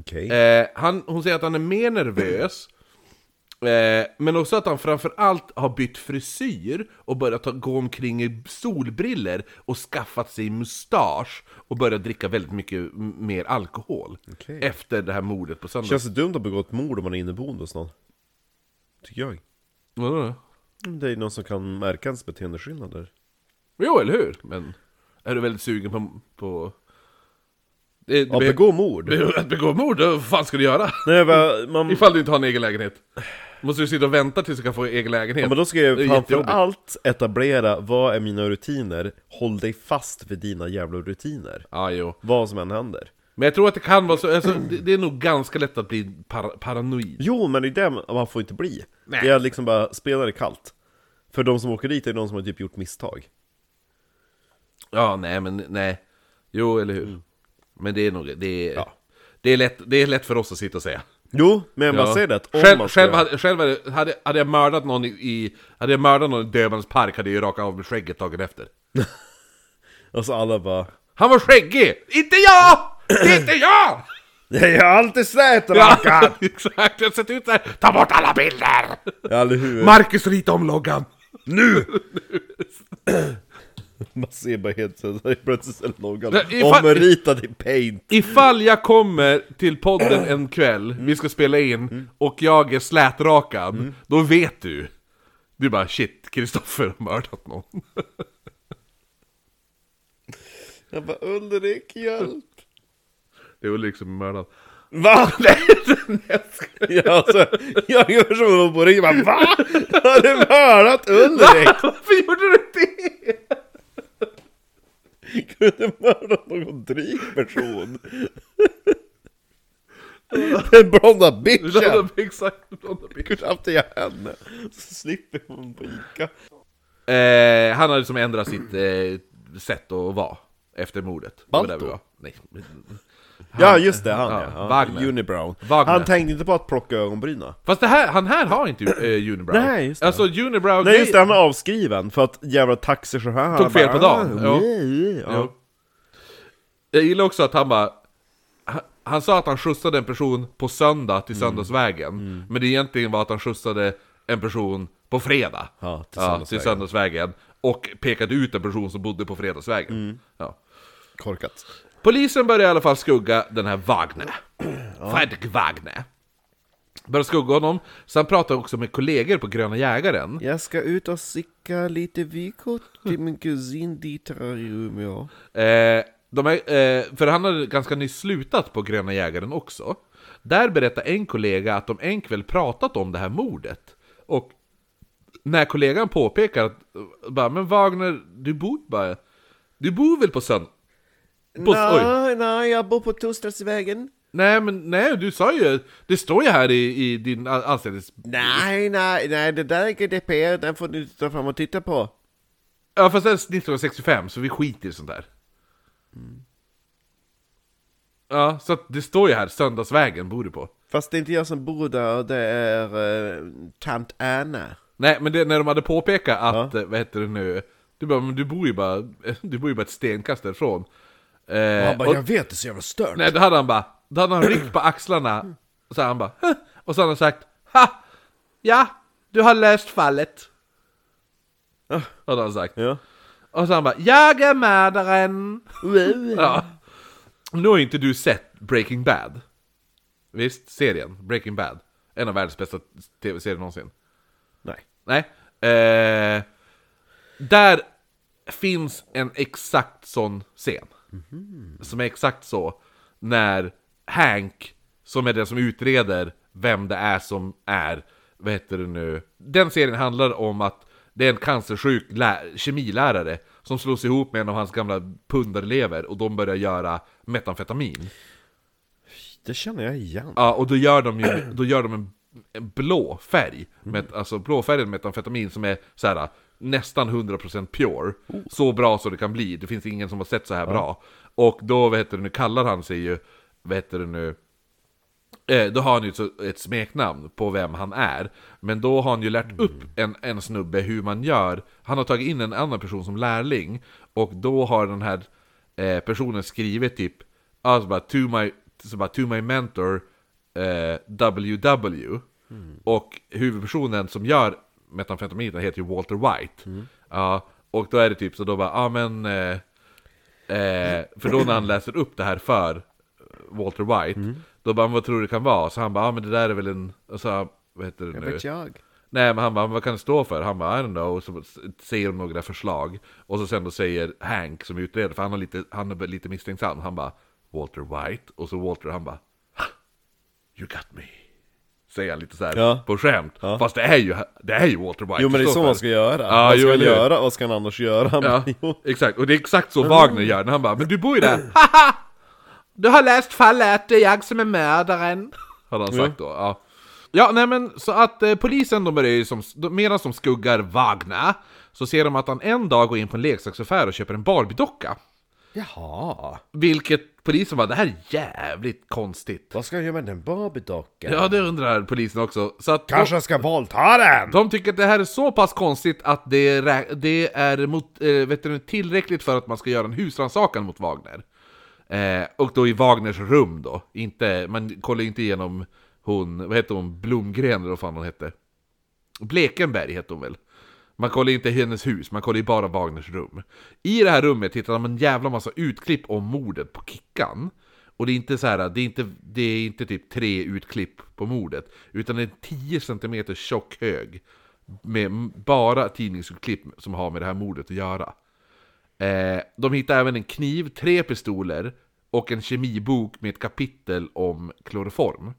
B: Okej.
A: Eh, han, hon säger att han är mer nervös. Eh, men också att han framförallt har bytt frisyr och börjat ta, gå omkring i solbriller och skaffat sig mustasch och börjat dricka väldigt mycket m- mer alkohol.
B: Okej.
A: Efter det här mordet på söndagen.
B: Känns det dumt att begå ett mord om man är inneboende hos någon? Tycker jag.
A: Vadå då?
B: Det är någon som kan märka ens beteendeskillnader.
A: Jo, eller hur? Men är du väldigt sugen på... på... Det, det
B: Att
A: be-
B: begå mord?
A: be- att begå mord, då vad fan ska du göra?
B: Nej, men, man,
A: Ifall du inte har en egen lägenhet. Måste du sitta och vänta tills du kan få egen lägenhet?
B: men då ska jag
A: Det är jättejobbigt.
B: framförallt etablera vad är mina rutiner? Håll dig fast vid dina jävla rutiner.
A: Ja, jo.
B: Vad som än händer.
A: Men jag tror att det kan vara så, alltså, det, det är nog ganska lätt att bli par- paranoid.
B: Jo, men det är det man får inte bli.
A: Nej.
B: Det är liksom bara, spela det kallt. För de som åker dit är de som har typ gjort misstag.
A: Ja, nej men nej. Jo, eller hur? Men det är nog, det är,
B: Mm. Ja.
A: det, är lätt, det är lätt för oss att sitta och säga.
B: Jo, men jag bara
A: Ja.
B: säger det att om
A: själv,
B: man ska...
A: själv, hade, själv hade, hade, hade jag mördat någon i, i hade jag mördat någon i Döbelns park hade jag ju rakat av med skägget dagen efter.
B: Alltså alla bara...
A: Han var skäggig! Inte jag! Det är inte
B: Oh
A: jag!
B: Jag har alltid sett
A: Ja, exakt, jag har sett ut såhär, ta bort alla bilder!
B: Ja, eller hur?
A: Marcus rita om loggan! Nu!
B: Man ser bara helt såhär, plötsligt så är loggan
A: Nej, ifall-
B: omritad i paint.
A: Ifall jag kommer till podden en kväll, vi ska spela in, och jag är slätrakad, då vet du. Du bara shit, Kristoffer har mördat någon.
B: Jag bara, Ulrik, hjälp!
A: Det är väl liksom mördat.
B: Va? jag, alltså, jag gör som om jag på ryggen, bara va? Har du mördat Ulrik?
A: Varför gjorde du det?
B: Kunde du mördat någon dryg person? Den blonda bitchen!
A: Blonda, exakt, blonda bild.
B: Kunde haft ihjäl henne, så slipper hon på Ica.
A: eh, Han hade liksom ändrat sitt eh, sätt att vara efter mordet. Det var
B: Balto?
A: där vi var. Nej.
B: Ja just det, han
A: ja,
B: ja. ja.
A: Wagner.
B: Unibrow.
A: Wagner.
B: Han tänkte inte på att plocka ögonbryna.
A: Fast det här, han här har inte eh, Unibrow.
B: Nej, just det.
A: Alltså Unibrow...
B: Nej just det, han är avskriven för att jävla taxichauffören
A: Tog fel på dagen,
B: Ah,
A: ja.
B: nej, ja.
A: Ja. Jag gillar också att han bara... Han, han sa att han skjutsade en person på söndag till
B: Mm.
A: söndagsvägen. Men det egentligen var att han skjutsade en person på fredag.
B: Ja, till
A: till
B: söndagsvägen.
A: söndagsvägen. Och pekade ut en person som bodde på fredagsvägen.
B: Mm.
A: Ja.
B: Korkat.
A: Polisen börjar i alla fall skugga den här Wagner. Fredrik Wagner. Börjar skugga honom. Sen pratar han också med kollegor på Gröna Jägaren.
B: Jag ska ut och sicka lite vykort till min kusin Dieter i Umeå.
A: Eh, de är, eh, för han hade ganska nyss slutat på Gröna Jägaren också. Där berättar en kollega att de en kväll pratat om det här mordet. Och när kollegan påpekar att, eh, bara, men Wagner, du bor ju bara, du bor väl på söndag? På, oj.
B: Nej, nej, jag bor på Torsdagsvägen.
A: Nej men nej, du sa ju, det står ju här i, i din a- anställnings...
B: Nej, nej, nej, det där är GDPR, den får du inte ta fram och titta på.
A: Ja fast det är 1965 så vi skiter i sånt där. Ja, så att det står ju här, söndagsvägen bor du på.
B: Fast det är inte jag som bor där, det är eh, tant Anna.
A: Nej, men det, när de hade påpekat att, eh, vad heter det nu, du bara, men du bor ju bara, du bor ju bara ett stenkast därifrån. Eh, och,
B: vet, det är så jävla stört.
A: nej, då hade han bara, då hade han ryckt på axlarna, och så hade han bara, "Huh." och så hade han sagt, ha, ja, du har löst fallet. Hade han sagt.
B: Ja.
A: Och så han bara, jag är mördaren. Ja. Nu har ju inte du sett Breaking Bad. Visst, serien, Breaking Bad. En av världens bästa tv-serier någonsin.
B: Nej.
A: Nej. Eh, där finns en exakt sån scen. Som är exakt så. När Hank, som är den som utreder vem det är som är, vad heter det nu? Den serien handlar om att det är en cancersjuk lä- kemilärare som slås ihop med en av hans gamla pundarelever och de börjar göra metamfetamin.
B: Det känner jag igen.
A: Ja, och då gör de ju, då gör de en, en blå färg, med, alltså blåfärgen metamfetamin som är så här nästan 100% pure. Så bra så det kan bli, det finns ingen som har sett så här bra. Och då, vad heter det nu, kallar han sig ju, vad heter det nu, Eh, då har han ju ett, ett smeknamn på vem han är. Men då har han ju lärt upp en, en snubbe hur man gör. Han har tagit in en annan person som lärling. Och då har den här eh, personen skrivit typ, alltså bara to my, så bara, to my mentor eh, WW. Och huvudpersonen som gör metamfetaminet heter ju Walter White. Ja, och då är det typ så då bara, ja ah, men... Eh, Eh, för då när han läser upp det här för Walter White,
B: Mm.
A: då bara vad tror du det kan vara? Så han bara, ah, men det där är väl en, och så, vad heter det nu?
B: Vet jag.
A: Nej men han bara, vad kan det stå för? Han bara, I don't know, och så säger de några förslag. Och så sen då säger Hank som utreder, för han är lite, han är lite misstänksam, han bara Walter White, och så Walter han bara "Ha, You got me. Säger han lite så här
B: Ja.
A: på skämt.
B: Ja.
A: Fast det är ju, det är ju Walter White.
B: Jo men det är
A: står
B: så
A: för
B: man ska göra.
A: Ja,
B: vad
A: jo,
B: ska han
A: eller hur?
B: göra? Vad ska han annars göra? Han
A: Ja, Mm.
B: bara, jo.
A: exakt. Och det är exakt så Wagner gör när han bara ”Men du bor ju där!” Haha! Du har läst fallet, det är jag som är mördaren! Hade han sagt då, ja. Ja, nej men så att eh, polisen de börjar ju som, de, medan de skuggar Wagner så ser de att han en dag går in på en leksaksaffär och köper en Barbie-docka.
B: Jaha.
A: Vilket polisen bara, det här är jävligt konstigt.
B: Vad ska jag göra med den Barbie-dockan?
A: Ja, det undrar polisen också. Så att
B: Kanske jag ska våldta den!
A: De tycker att det här är så pass konstigt att det, rä- det är mot, eh, vet du, tillräckligt för att man ska göra en husrannsakan mot Wagner. Eh, och då i Wagners rum då. Inte, man kollar ju inte igenom hon, vad heter hon, Blomgren eller vad fan hon hette. Blekenberg hette hon väl. Man kollar inte hennes hus, man kollar ju bara Wagners rum. I det här rummet hittar de en jävla massa utklipp om mordet på Kickan. Och det är inte så här, det är inte, det är inte typ tre utklipp på mordet. Utan det är en 10 cm tjock hög. Med m- bara tidningsutklipp som har med det här mordet att göra. Eh, de hittar även en kniv, tre pistoler och en kemibok med ett kapitel om kloroform.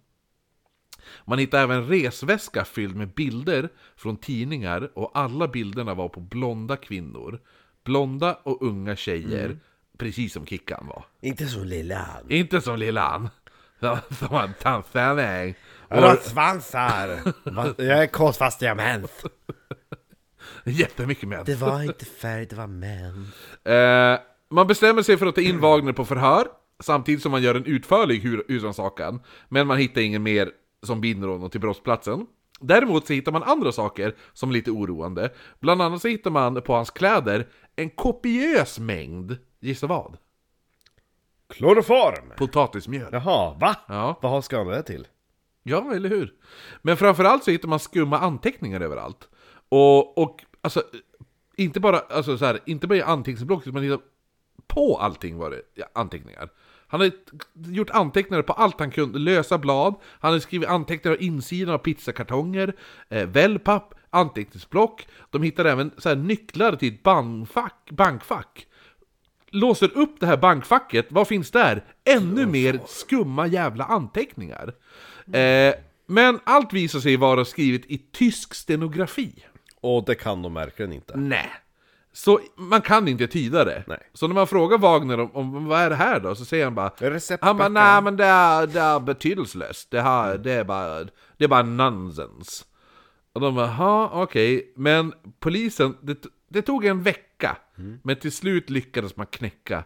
A: Man hittade även en resväska fylld med bilder från tidningar och alla bilderna var på blonda kvinnor. Blonda och unga tjejer, precis som Kickan var.
B: Mm. Inte så lilla.
A: Inte som Lillan, som- som han dansade med.
B: Råttsvansar! jag är kåt fast jag är mens.
A: Jättemycket med.
B: Det var inte färg, det var män.
A: Eh, man bestämmer sig för att ta in Wagner på förhör, samtidigt som man gör en utförlig hu- husrannsakan, men man hittar ingen mer som binder honom till brottsplatsen. Däremot så hittar man andra saker som är lite oroande. Bland annat så hittar man på hans kläder en kopiös mängd, gissa vad?
B: Kloroform!
A: Potatismjöl.
B: Jaha, va?
A: Ja.
B: Vad ska han det till?
A: Ja, eller hur? Men framförallt så hittar man skumma anteckningar överallt. Och, och alltså, inte bara, alltså så här, inte bara i anteckningsblocket, utan man hittar på allting var det ja, anteckningar. Han har gjort anteckningar på allt han kunde, lösa blad, han har skrivit anteckningar på insidan av pizzakartonger, eh, wellpapp, anteckningsblock. De hittar även så här, nycklar till ett bankfack, bankfack. Låser upp det här bankfacket, vad finns där? Ännu mer skumma jävla anteckningar. Eh, men allt visar sig vara skrivet i tysk stenografi.
B: Och det kan de verkligen inte.
A: Nej. Så man kan inte tyda det.
B: Nej.
A: Så när man frågar Wagner om, om vad är det här då, så säger han bara
B: Receptböcker. Mm.
A: Han bara nej men det är, det är betydelslöst, det, här, det, är bara, det är bara nonsens. Och de bara "Jaha, okej, men polisen, det, det tog en vecka.
B: Mm.
A: Men till slut lyckades man knäcka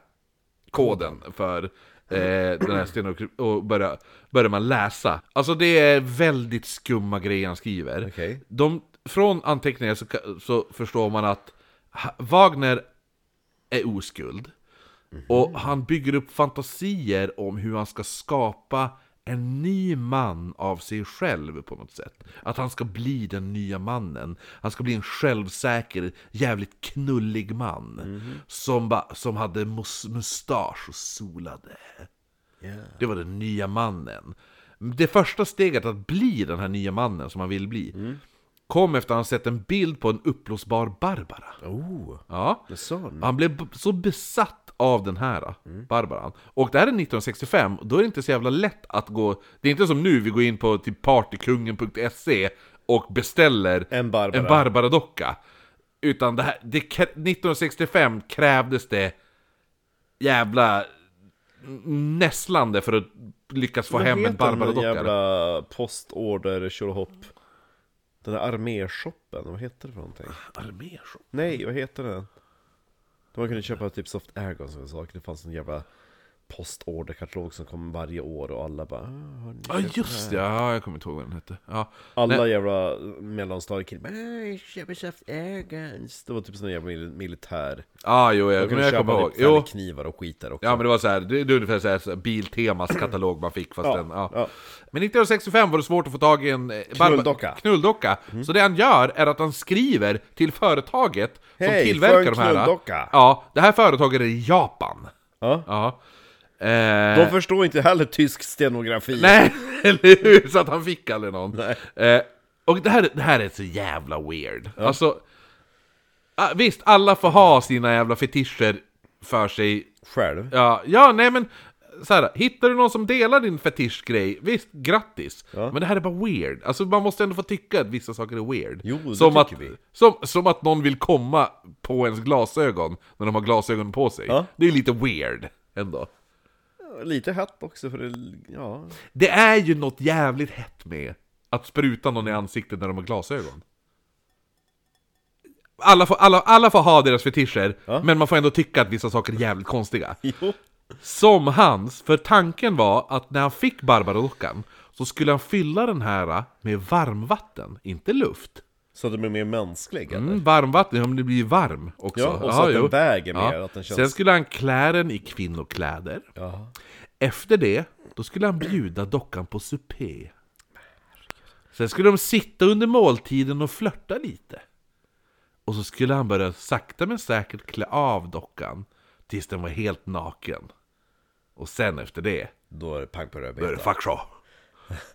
A: koden för eh, den här stenen och, och börja, börjar man läsa. Alltså det är väldigt skumma grejer han skriver.
B: Okej.
A: De, från anteckningar så, ka- så förstår man att ha- Wagner är oskuld. Och han bygger upp fantasier om hur han ska skapa en ny man av sig själv på något sätt. Att han ska bli den nya mannen. Han ska bli en självsäker, jävligt knullig man. Som, ba, som hade mus- mustasch och solade. Det var den nya mannen. Det första steget att bli den här nya mannen som han vill bli kom efter att han sett en bild på en uppblåsbar Barbara.
B: Oh,
A: Ja.
B: det sa han.
A: Mm. Han blev b- så besatt av den här äh,
B: Mm.
A: Barbaran. Och det här är 1965, och då är det inte så jävla lätt att gå... Det är inte som nu, vi går in på typ partykungen.se E och beställer
B: En Barbara.
A: en Barbara-docka. Utan det här, det, krä- 1965 krävdes det jävla nässlande för att lyckas få hem en Barbara-docka.
B: jävla postorder tjolahopp? Den där arméshoppen, vad heter det för någonting?
A: Arméshow.
B: Nej, vad heter den? Där man kunde köpa typ soft airgun som jag sa, det fanns en jävla postorderkatalog som kom varje år och alla bara "Ah, har ni
A: Ja just det, ja, jag kommer inte ihåg vad den hette. Ja.
B: Alla jävla mellanstadiekillar bara, "Ah, köper soft airguns Det var typ sån jävla mil- militär
A: Ah, jo, jag,
B: Jag
A: jag,
B: kunde
A: jag kommer
B: köpa
A: ihåg.
B: typ
A: Jo,
B: jo. knivar och skit där också
A: Ja men det var så här, det, det är ungefär så här, så här Biltemas katalog man fick fast
B: Ja,
A: den, ja.
B: ja.
A: Men 1965 var det svårt att få tag i en eh, barba-
B: Knulldocka. Mm.
A: knulldocka. Så det han gör är att han skriver till företaget som
B: Hej,
A: tillverkar
B: för en
A: de här eh,
B: knulldocka.
A: Ja, det här företaget är i Japan
B: Ja.
A: Ja
B: De
A: eh,
B: förstår inte heller tysk stenografi
A: Nej, eller hur? Så att han fick aldrig någon eh, Och det här, det här är så jävla weird Alltså ah, Visst, alla får ha sina jävla fetischer för sig
B: Själv
A: Ja, ja nej men så här, hittar du någon som delar din fetischgrej, visst, grattis! Men det här är bara weird. Alltså man måste ändå få tycka att vissa saker är weird.
B: Jo, det
A: som
B: tycker
A: att,
B: vi.
A: Som, som att någon vill komma på ens glasögon när de har glasögon på sig.
B: Ja.
A: Det är lite weird ändå.
B: Lite hett också för det, ja
A: Det är ju något jävligt hett med Att spruta någon i ansiktet när de har glasögon. Alla får, alla, alla får ha deras fetischer, men man får ändå tycka att vissa saker är jävligt konstiga.
B: Jo.
A: Som hans, för tanken var att när han fick Barbarockan så skulle han fylla den här med varmvatten, inte luft.
B: Så att det blir mer mänsklig eller?
A: Mm, varmvatten, ja men det blir ju varm också.
B: Ja, och så
A: Jaha,
B: att den
A: jo.
B: väger mer, att den känns-
A: Sen skulle han klä den i kvinnokläder.
B: Ja.
A: Efter det, då skulle han bjuda dockan på supé. Sen skulle de sitta under måltiden och flörta lite. Och så skulle han börja sakta men säkert klä av dockan tills den var helt naken. Och sen efter det,
B: Då är det pang på
A: då är det
B: rödbetan.
A: fuck show.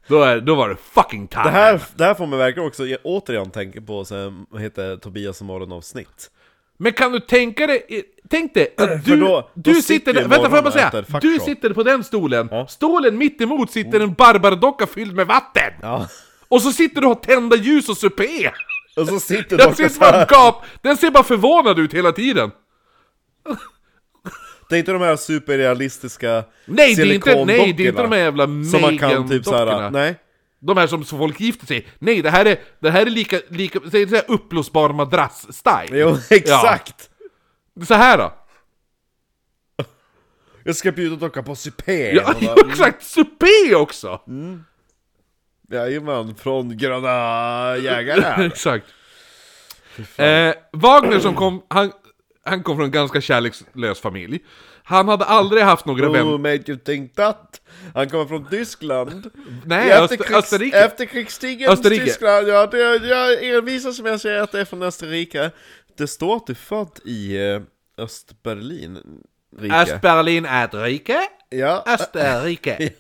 A: Då, är, då var det fucking time!
B: Det här, det här får man verkligen också jag återigen tänka på sen, vad heter det, Tobias och Malin avsnitt.
A: Men kan du tänka dig, tänk dig att du,
B: då- då
A: du
B: sitter
A: sitter,
B: ju
A: där, vänta får jag bara
B: morgonen och
A: säga,
B: äter fuck
A: du
B: shop.
A: sitter på den stolen, stolen mitt emot sitter en barbardocka fylld med vatten!
B: Ja.
A: Och så sitter du och har tända ljus och supé!
B: Och så sitter
A: Den
B: dockan
A: ser,
B: så
A: bara
B: här.
A: gap, den ser bara förvånad ut hela tiden!
B: Det är inte de här superrealistiska
A: Nej det är inte, nej, det är inte
B: silikondockorna
A: de här jävla
B: Som man kan typ såhär,
A: Megan-dockorna.
B: nej.
A: De här som som folk gifter sig, nej det här är, det här är lika, lika, säg så här uppblåsbar madrass-style!
B: Jo, exakt!
A: Ja. Så här då!
B: Jag ska bjuda dockan på supé!
A: Ja,
B: Man bara,
A: exakt! Supé också!
B: "Mm, Jajamän, från Gröna Jägare!
A: Exakt. Eh, Wagner som kom, han, han kom från en ganska kärlekslös familj. Han hade aldrig haft några
B: Who
A: vänner.
B: made you think that? Han kommer från Tyskland.
A: Nej,
B: I
A: Öster-
B: efterkrigs-
A: Österrike.
B: Efterkrigstidens
A: Österrike.
B: Tyskland. Ja, det, jag envisas som jag säger att det är från Österrike. Det står att du är född i eh, Östberlin. Rike.
A: Östberlin är ett rike.
B: ja.
A: Österrike.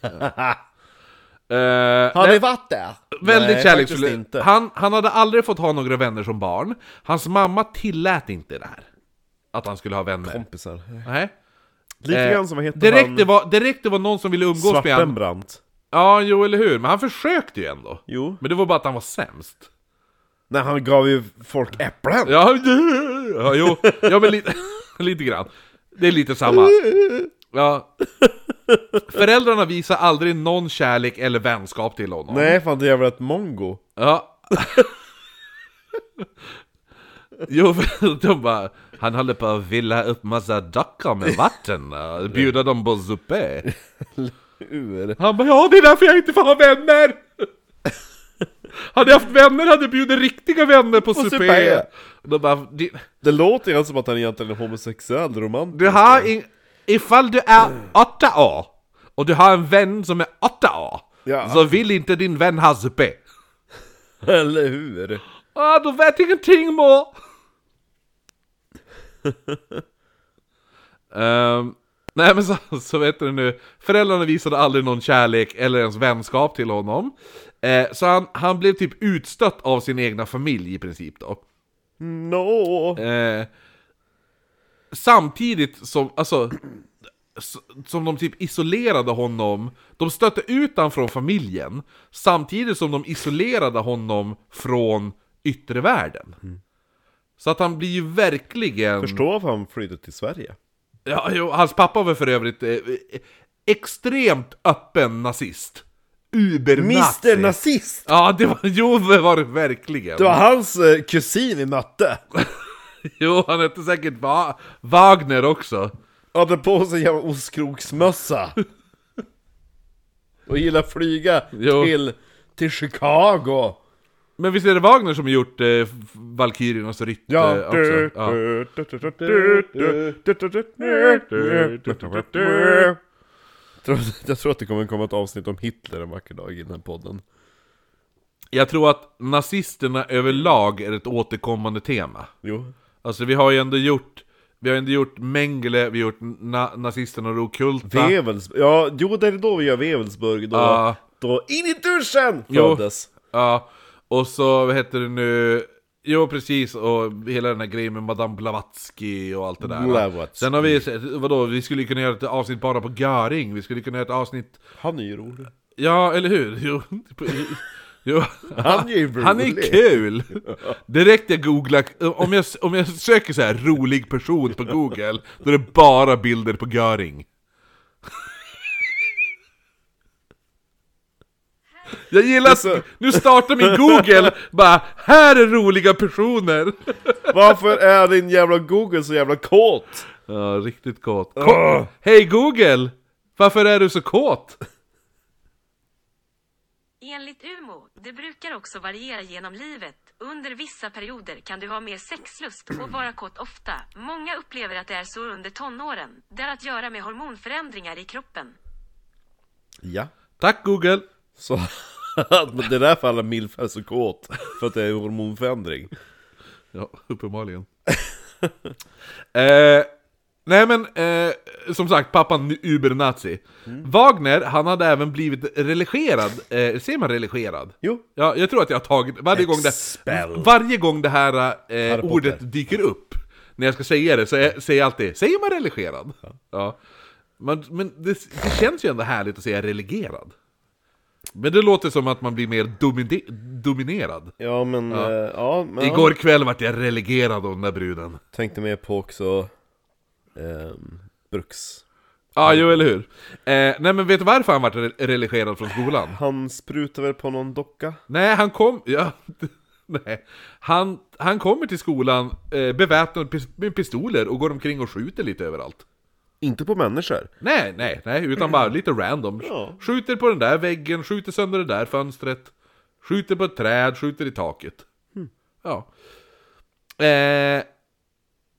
A: Eh,
B: Har
A: nej,
B: ni varit där?
A: väldigt
B: faktiskt
A: kärleksfull.
B: inte.
A: Han, han hade aldrig fått ha några vänner som barn. Hans mamma tillät inte det här. Att han skulle ha vänner.
B: Kompisar.
A: Nej.
B: Lite
A: Eh,
B: grann som vad heter
A: direkt,
B: han?
A: det var, direkt det var någon som ville umgås med honom.
B: Svartenbrandt.
A: Ja, jo eller hur. Men han försökte ju ändå.
B: Jo.
A: Men det var bara att han var sämst.
B: När han gav ju folk äpplen.
A: Ja, ja jo, ja men lite, lite grann. Det är lite samma. Ja. Föräldrarna visar aldrig någon kärlek eller vänskap till honom.
B: Nej, fan det är väl ett mongo.
A: Ja. Jo, för de bara, han håller på att villa upp massa dockor med vatten och bjuda dem på supé.
B: Ur.
A: Han bara, ja det är därför jag inte får ha vänner! Hade jag haft vänner hade jag bjudit riktiga vänner på, supé.
B: supé.
A: De bara, "Det-
B: Det låter ju som att han egentligen är homosexuell romantisk.
A: Du har in, ifall du är åtta år och du har en vän som är åtta år
B: Ja.
A: så vill inte din vän ha supé.
B: Eller hur?
A: Ah, du vet ingenting mor! Ehm, nej men så, så vet du nu, föräldrarna visade aldrig någon kärlek eller ens vänskap till honom. Eh, så han, han blev typ utstött av sin egna familj i princip då.
B: No.
A: Eh, samtidigt som, alltså, s- som de typ isolerade honom, de stötte ut honom från familjen, samtidigt som de isolerade honom från yttre världen.
B: Mm.
A: Så att han blir ju verkligen...
B: Förstå varför han flydde till Sverige.
A: Ja, jo, hans pappa var för övrigt eh, eh, extremt öppen nazist. Ubernazi.
B: Mr Nazist!
A: Ja, det var, jo, det var det verkligen.
B: Det var hans eh, kusin vi mötte.
A: Jo, han hette säkert Va- Wagner också.
B: Hade på sig en jävla ostkroksmössa. Och gillar flyga
A: Jo.
B: till, till Chicago.
A: Men visst är det Wagner som har gjort eh, Valkyriernas rytte
B: Ja.
A: också?
B: Du,
A: Ja.
B: du, du, du, du, du, du, du, du, du, du, du, du, du, du. Jag tror- Jag tror att det kommer komma ett avsnitt om Hitler en vacker dag i den här podden.
A: Jag tror att nazisterna överlag är ett återkommande tema.
B: Jo.
A: Alltså vi har ju ändå gjort, vi har ändå gjort Mengele, vi har gjort na- nazisterna och det ockulta.
B: Vevelsburg, ja, jo det är då vi gör Vevelsburg, då,
A: Ja.
B: då in i duschen
A: Jo.
B: föddes.
A: Ja, och så, vad heter det nu? Jo precis, och hela den här grejen med Madame Blavatsky och allt det där.
B: Blavatsky.
A: Sen har vi, sett- vadå, vi skulle kunna göra ett avsnitt bara på Göring, vi skulle kunna göra ett avsnitt,
B: Han är ju rolig.
A: ja eller hur? Jo, jo.
B: Han är ju rolig.
A: Han är kul! Direkt jag googlar, om jag, om jag söker så här rolig person på google, då är det bara bilder på Göring. Jag gillar att
B: så-
A: nu startar min Google bara Här är roliga personer!
B: Varför är din jävla Google så jävla kåt?
A: Ja, riktigt kåt. Ko- Hej Google! Varför är du så kåt?
D: Enligt UMO, det brukar också variera genom livet. Under vissa perioder kan du ha mer sexlust och vara kåt ofta. Många upplever att det är så under tonåren. Det har att göra med hormonförändringar i kroppen.
B: Ja.
A: Tack Google!
B: Så att men det är därför alla milf är så kåt. För att det är en hormonförändring.
A: Ja, uppenbarligen. eh, nej men, eh, som sagt, pappan ubernazi.
B: Mm.
A: Wagner, han hade även blivit religerad. Eh, ser man religerad?
B: Jo.
A: Ja, jag tror att jag har tagit, varje gång det,
B: Expelled.
A: varje gång det här eh,
B: Potter.
A: ordet dyker upp, när jag ska säga det, så jag, säger jag alltid Säger man religerad? Ja. Men, men det, det känns ju ändå härligt att säga religerad. Men det låter som att man blir mer domine- dominerad.
B: Ja men, ja, eh, ja men
A: Igår kväll vart jag religerad av den där bruden.
B: tänkte mer på också ehm, Bruks.
A: Ja, jo eller hur. Eh, nej men vet du varför han vart re- religerad från skolan?
B: Han sprutar väl på någon docka?
A: Nej, han kom... Ja, nej. Han, han kommer till skolan eh, beväpnad pis- med pistoler och går omkring och skjuter lite överallt.
B: Inte på människor.
A: Nej, nej, nej, utan bara lite random.
B: Ja.
A: Skjuter på den där väggen, skjuter sönder det där fönstret, skjuter på ett träd, skjuter i taket. Ja. Eh,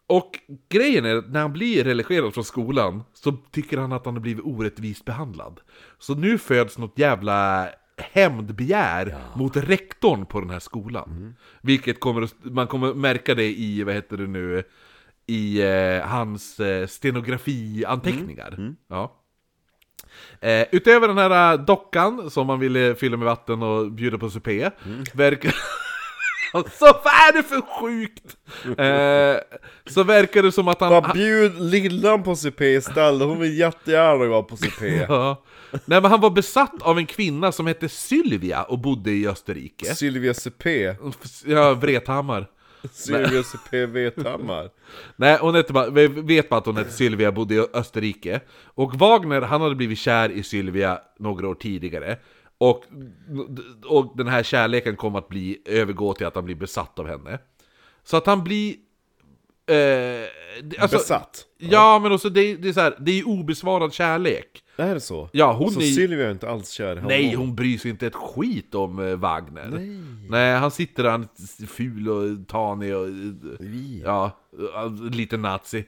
A: och grejen är att när han blir religerad från skolan så tycker han att han har blivit orättvist behandlad. Så nu föds något jävla hämndbegär mot rektorn på den här skolan. Vilket kommer att, man kommer att märka det i, vad heter det nu, i eh, hans eh, stenografianteckningar. Ja. Eh, utöver den här eh, dockan som man ville fylla med vatten och bjuda på supé, verkar... Så vad är det för sjukt? Eh, så verkar det som att han...
B: Bara bjud lillan på CP istället, hon vill jättegärna vara på CP.
A: Ja. Nej men han var besatt av en kvinna som hette Sylvia och bodde i Österrike.
B: Sylvia CP.
A: Ja, Vrethammar.
B: Sylvia CP Vethammar.
A: Nej, hon hette bara, vi vet bara att hon hette Sylvia, bodde i Österrike. Och Wagner, han hade blivit kär i Sylvia några år tidigare. Och, och den här kärleken kom att bli, övergå till att han blir besatt av henne. Så att han blir... Eh, det- alltså,
B: Besatt.
A: Ja, men också det, det är så här, det är ju obesvarad kärlek.
B: Är det så?
A: Ja, hon
B: så
A: är ju-
B: Sylvia är inte alls kär i honom?
A: Nej, hon bryr sig inte ett skit om eh, Wagner. Nej, han sitter där, han är ful och tanig och...
B: Vi. Mm.
A: Ja, eh, lite nazi.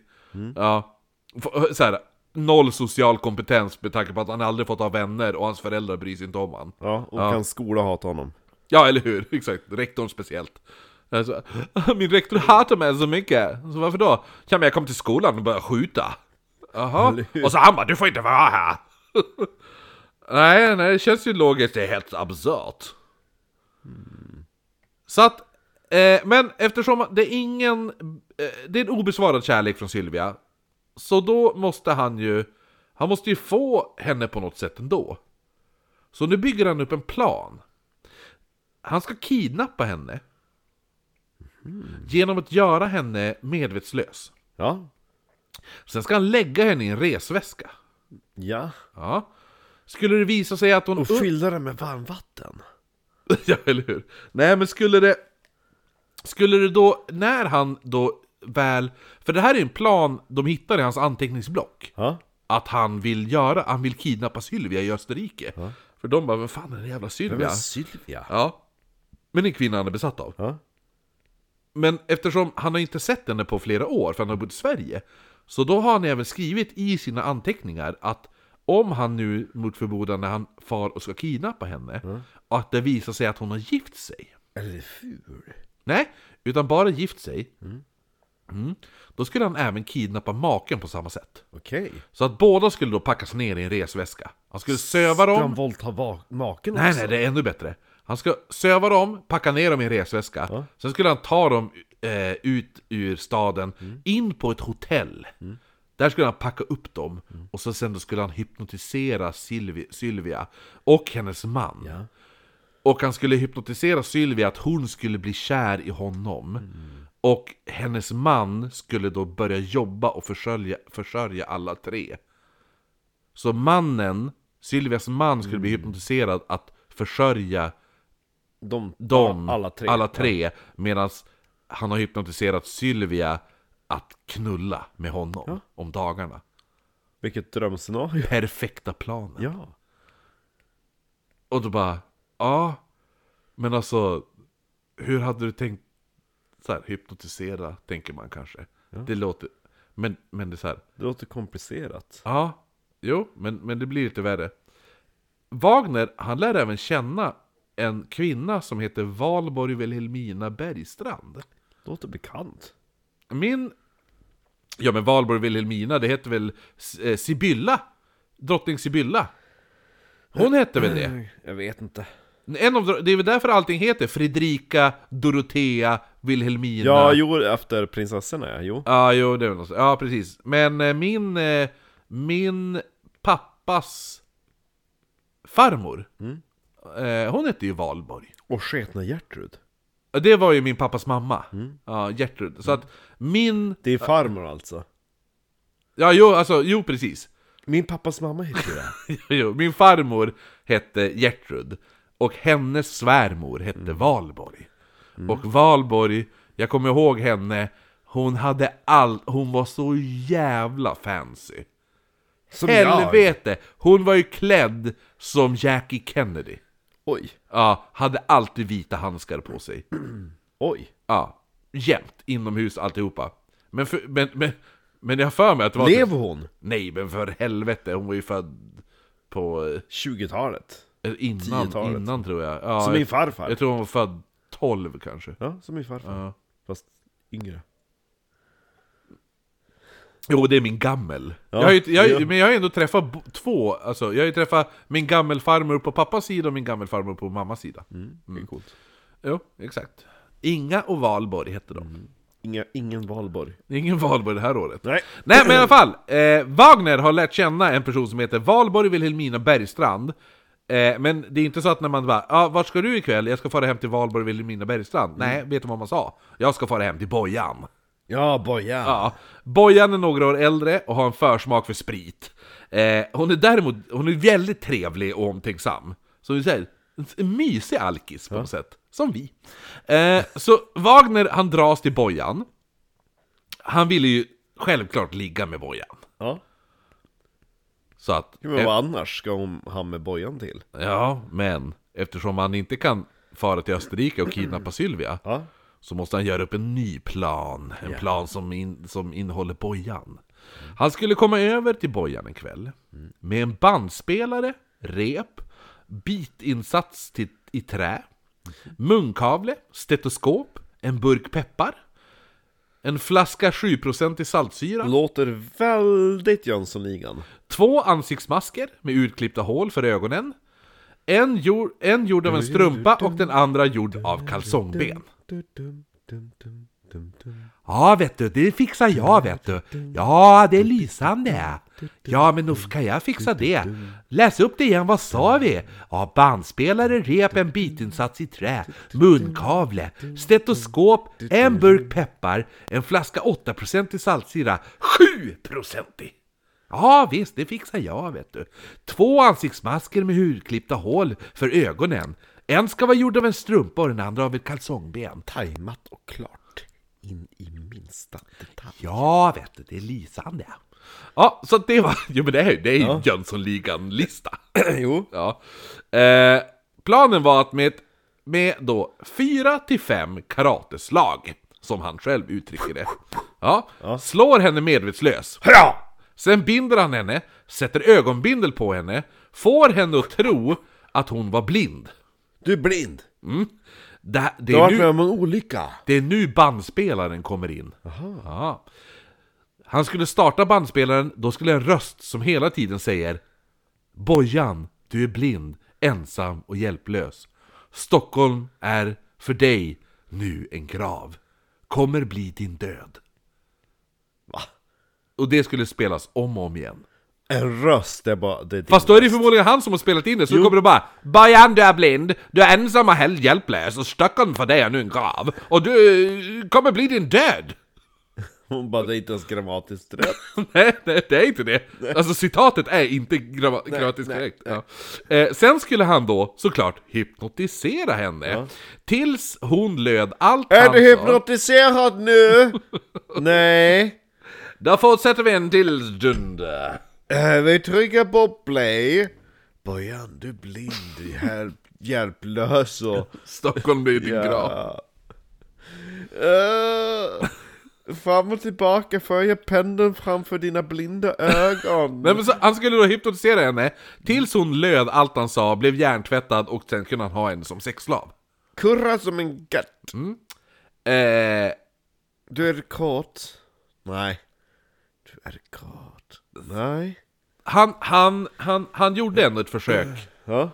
A: Ja. F- eh, Så här, noll social kompetens med tanke på att han aldrig fått ha vänner och hans föräldrar bryr sig inte om han.
B: Ja, och hans skola hatar honom.
A: Ja, eller hur? Exakt, rektorn speciellt. Alltså, min rektor hatar mig så mycket. Så varför då? Ja, men jag kom till skolan och började skjuta. Jaha. Och så han bara, du får inte vara här. nej, nej, det känns ju logiskt. Det är helt absurt. Hmm. Så att, eh, men eftersom det är ingen, eh, det är en obesvarad kärlek från Sylvia. Så då måste han ju, han måste ju få henne på något sätt ändå. Så nu bygger han upp en plan. Han ska kidnappa henne. Genom att göra henne medvetslös.
B: Ja.
A: Sen ska han lägga henne i en resväska.
B: Ja.
A: Ja. Skulle det visa sig att hon...
B: Och fylla den med varmvatten.
A: ja, eller hur? Nej, men skulle det... Skulle det då, när han då väl... För det här är en plan de hittar i hans anteckningsblock.
B: Ja.
A: Att han vill göra, han vill kidnappa Sylvia i Österrike. För de bara, vem fan är den jävla Sylvia?
B: Sylvia?
A: Ja. Men det är en kvinna han är besatt av.
B: Ja.
A: Men eftersom han har inte sett henne på flera år, för han har bott i Sverige, så då har han även skrivit i sina anteckningar att om han nu mot förmodan när han far och ska kidnappa henne, och att det visar sig att hon har gift sig.
B: Eller ful?
A: Nej, utan bara gift sig. Mm. Då skulle han även kidnappa maken på samma sätt.
B: Okej.
A: Så att båda skulle då packas ner i en resväska. Han skulle söva
B: Ska
A: dem,
B: han våldta va- maken
A: Nej,
B: också?
A: nej, det är ännu bättre. Han ska söva dem, packa ner dem i en resväska. Sen skulle han ta dem eh, ut ur staden, in på ett hotell. Där skulle han packa upp dem och så sen då skulle han hypnotisera Sylvi- Sylvia och hennes man. Och han skulle hypnotisera Sylvia att hon skulle bli kär i honom. Och hennes man skulle då börja jobba och försörja, försörja alla
B: Mm.
A: tre. Så mannen, Sylvias man, skulle bli hypnotiserad att försörja
B: De,
A: dem,
B: alla tre.
A: alla tre medan han har hypnotiserat Sylvia att knulla med honom om dagarna.
B: Vilket drömscenario.
A: Perfekta planen.
B: Ja.
A: Och då bara, ja, men alltså, hur hade du tänkt så här, hypnotisera, tänker man kanske. Det låter, men, men det är så här,
B: Det låter komplicerat.
A: Ja, jo, men, men det blir lite värre. Wagner, han lär även känna en kvinna som heter Valborg Wilhelmina Bergstrand.
B: Låter bekant.
A: Min... Ja, men Valborg Wilhelmina, det heter väl eh, Sibylla? Drottning Sibylla? Hon hette väl det?
B: Jag vet inte.
A: En av, dro- det är väl därför allting heter Fredrika, Dorotea, Wilhelmina?
B: Ja, jo, efter prinsessorna ja, jo.
A: Ja, jo, det är väl något. så- Ja, precis. Men eh, min, eh, min pappas farmor, eh, hon hette ju Valborg.
B: Och sketna Gertrud.
A: Det var ju min pappas mamma, ja, Gertrud. Så att min...
B: Det är farmor alltså.
A: Ja, jo, alltså, jo precis.
B: Min pappas mamma heter ju det.
A: Jo, min farmor hette Gertrud och hennes svärmor hette Valborg. Och Valborg, jag kommer ihåg henne, hon hade allt, hon var så jävla fancy.
B: Som
A: Helvete! Hon var ju klädd som Jackie Kennedy.
B: Oj,
A: Ja, hade alltid vita handskar på sig.
B: oj.
A: Ja, jämt, inomhus, alltihopa. Men, för, men, men, men jag har för mig att det var... typ-
B: Lever hon?
A: Nej, men för helvete, hon var ju född på... eh,
B: 20-talet.
A: Eh, Innan,
B: 10-talet.
A: innan tror jag. Ja,
B: Som min
A: jag,
B: farfar.
A: jag tror hon var född 12 kanske.
B: Ja, som min farfar. Fast yngre.
A: Jo, det är min gammel.
B: Ja,
A: jag har ju, jag, har ju-
B: ja.
A: Men jag har ju ändå träffat bo- två, alltså, jag har ju träffat min gammelfarmor på pappas sida och min gammelfarmor på mammas sida.
B: Mm,
A: Mm.
B: Det är coolt.
A: Jo, exakt. Inga och Valborg hette de.
B: Inga, ingen Valborg.
A: Det är ingen Valborg det här året.
B: Mm. Nej.
A: Nej men i alla fall, eh, Wagner har lärt känna en person som heter Valborg Wilhelmina Bergstrand. Eh, men det är inte så att när man bara ah, ”Vart ska du ikväll? Jag ska fara hem till Valborg Wilhelmina Bergstrand”.
B: Mm.
A: Nej, vet du vad man sa? ”Jag ska fara hem till Bojan”.
B: Ja, boja.
A: Ja, Bojan är några år äldre och har en försmak för sprit. Eh, hon är däremot hon är väldigt trevlig och omtänksam. Så vi säger, en mysig alkis på något sätt. Som vi. Eh, så Wagner, han dras till Bojan. Han ville ju självklart ligga med Bojan.
B: ja.
A: Så att...
B: Men vad annars ska hon, han med bojan till?
A: Ja, men eftersom han inte kan fara till Österrike och kidnappa Sylvia
B: Ja.
A: så måste han göra upp en ny plan. En plan som, in, som innehåller Bojan. Han skulle komma över till Bojan en kväll med en bandspelare, rep, bitinsats till, i trä, munkavle, stetoskop, en burk peppar, en flaska 7% i saltsyra,
B: Låter väldigt Jönssonligan.
A: Två ansiktsmasker med utklippta hål för ögonen. En gjord, en gjord av en strumpa och den andra gjord av kalsongben.
B: Dum, dum, dum, dum, dum, dum.
A: Ja, vet du, det fixar jag, vet du. Ja, det är lysande. Ja, men nu kan jag fixa det. Läs upp det igen, vad sa vi? Ja, bandspelare, rep, en bitinsats i trä, munkavle, stetoskop, en burk peppar, en flaska 8% i saltsyra, 7% i. Ja visst, det fixar jag vet du. Två ansiktsmasker med hudklippta hål för ögonen. En ska vara gjord av en strumpa och den andra av ett kalsongben.
B: Tajmat och klart. In i minsta detalj.
A: Ja, vet du, det är lysande. Ja, så det var... Jo, men det är ju det är ju Jönssonligan-lista.
B: jo.
A: Ja. Eh, planen var att med, ett- med då 4 till 5 karateslag, som han själv uttrycker det, ja, slår henne medvetslös.
B: Bra!
A: Sen binder han henne, sätter ögonbindel på henne, får henne att tro att hon var blind.
B: Du är blind.
A: Det, det,
B: Du har
A: är,
B: varit med
A: nu,
B: om en olycka.
A: det är nu bandspelaren kommer in. Ja. Han skulle starta bandspelaren, då skulle en röst som hela tiden säger Bojan, du är blind, ensam och hjälplös. Stockholm är för dig nu en grav. Kommer bli din död.
B: Va?
A: Och det skulle spelas om och om igen.
B: En röst, det är bara... Det är din
A: Fast då är det förmodligen han som har spelat in det, så då kommer det bara Bajan du är blind, du är ensam och helt hjälplös och Stockholm för dig är nu en grav och du eh, kommer bli din död.
B: Hon bara, det är inte ens grammatiskt rätt.
A: nej, nej, det är inte det. Alltså citatet är inte gra- grammatiskt
B: nej,
A: korrekt. Ja. Eh, sen skulle han då såklart hypnotisera henne. Tills hon löd allt
B: Är
A: han
B: du
A: sa.
B: hypnotiserad nu? Nej.
A: Då fortsätter vi en till stund.
B: Eh, Vi trycker på play. Bojan, du är blind, hjälp, hjälplös och...
A: Stockholm blir din grav.
B: Eh, fram och tillbaka för jag pendeln framför dina blinda ögon.
A: Nej, men så, han skulle då hypnotisera henne tills hon löd allt han sa, blev hjärntvättad och sen kunde han ha henne som sexslav.
B: Kurra som en gatt.
A: Eh,
B: Du är kåt. Nej. Du är kåt. Nej.
A: han, han, han, han gjorde ändå ett försök.
B: Ja.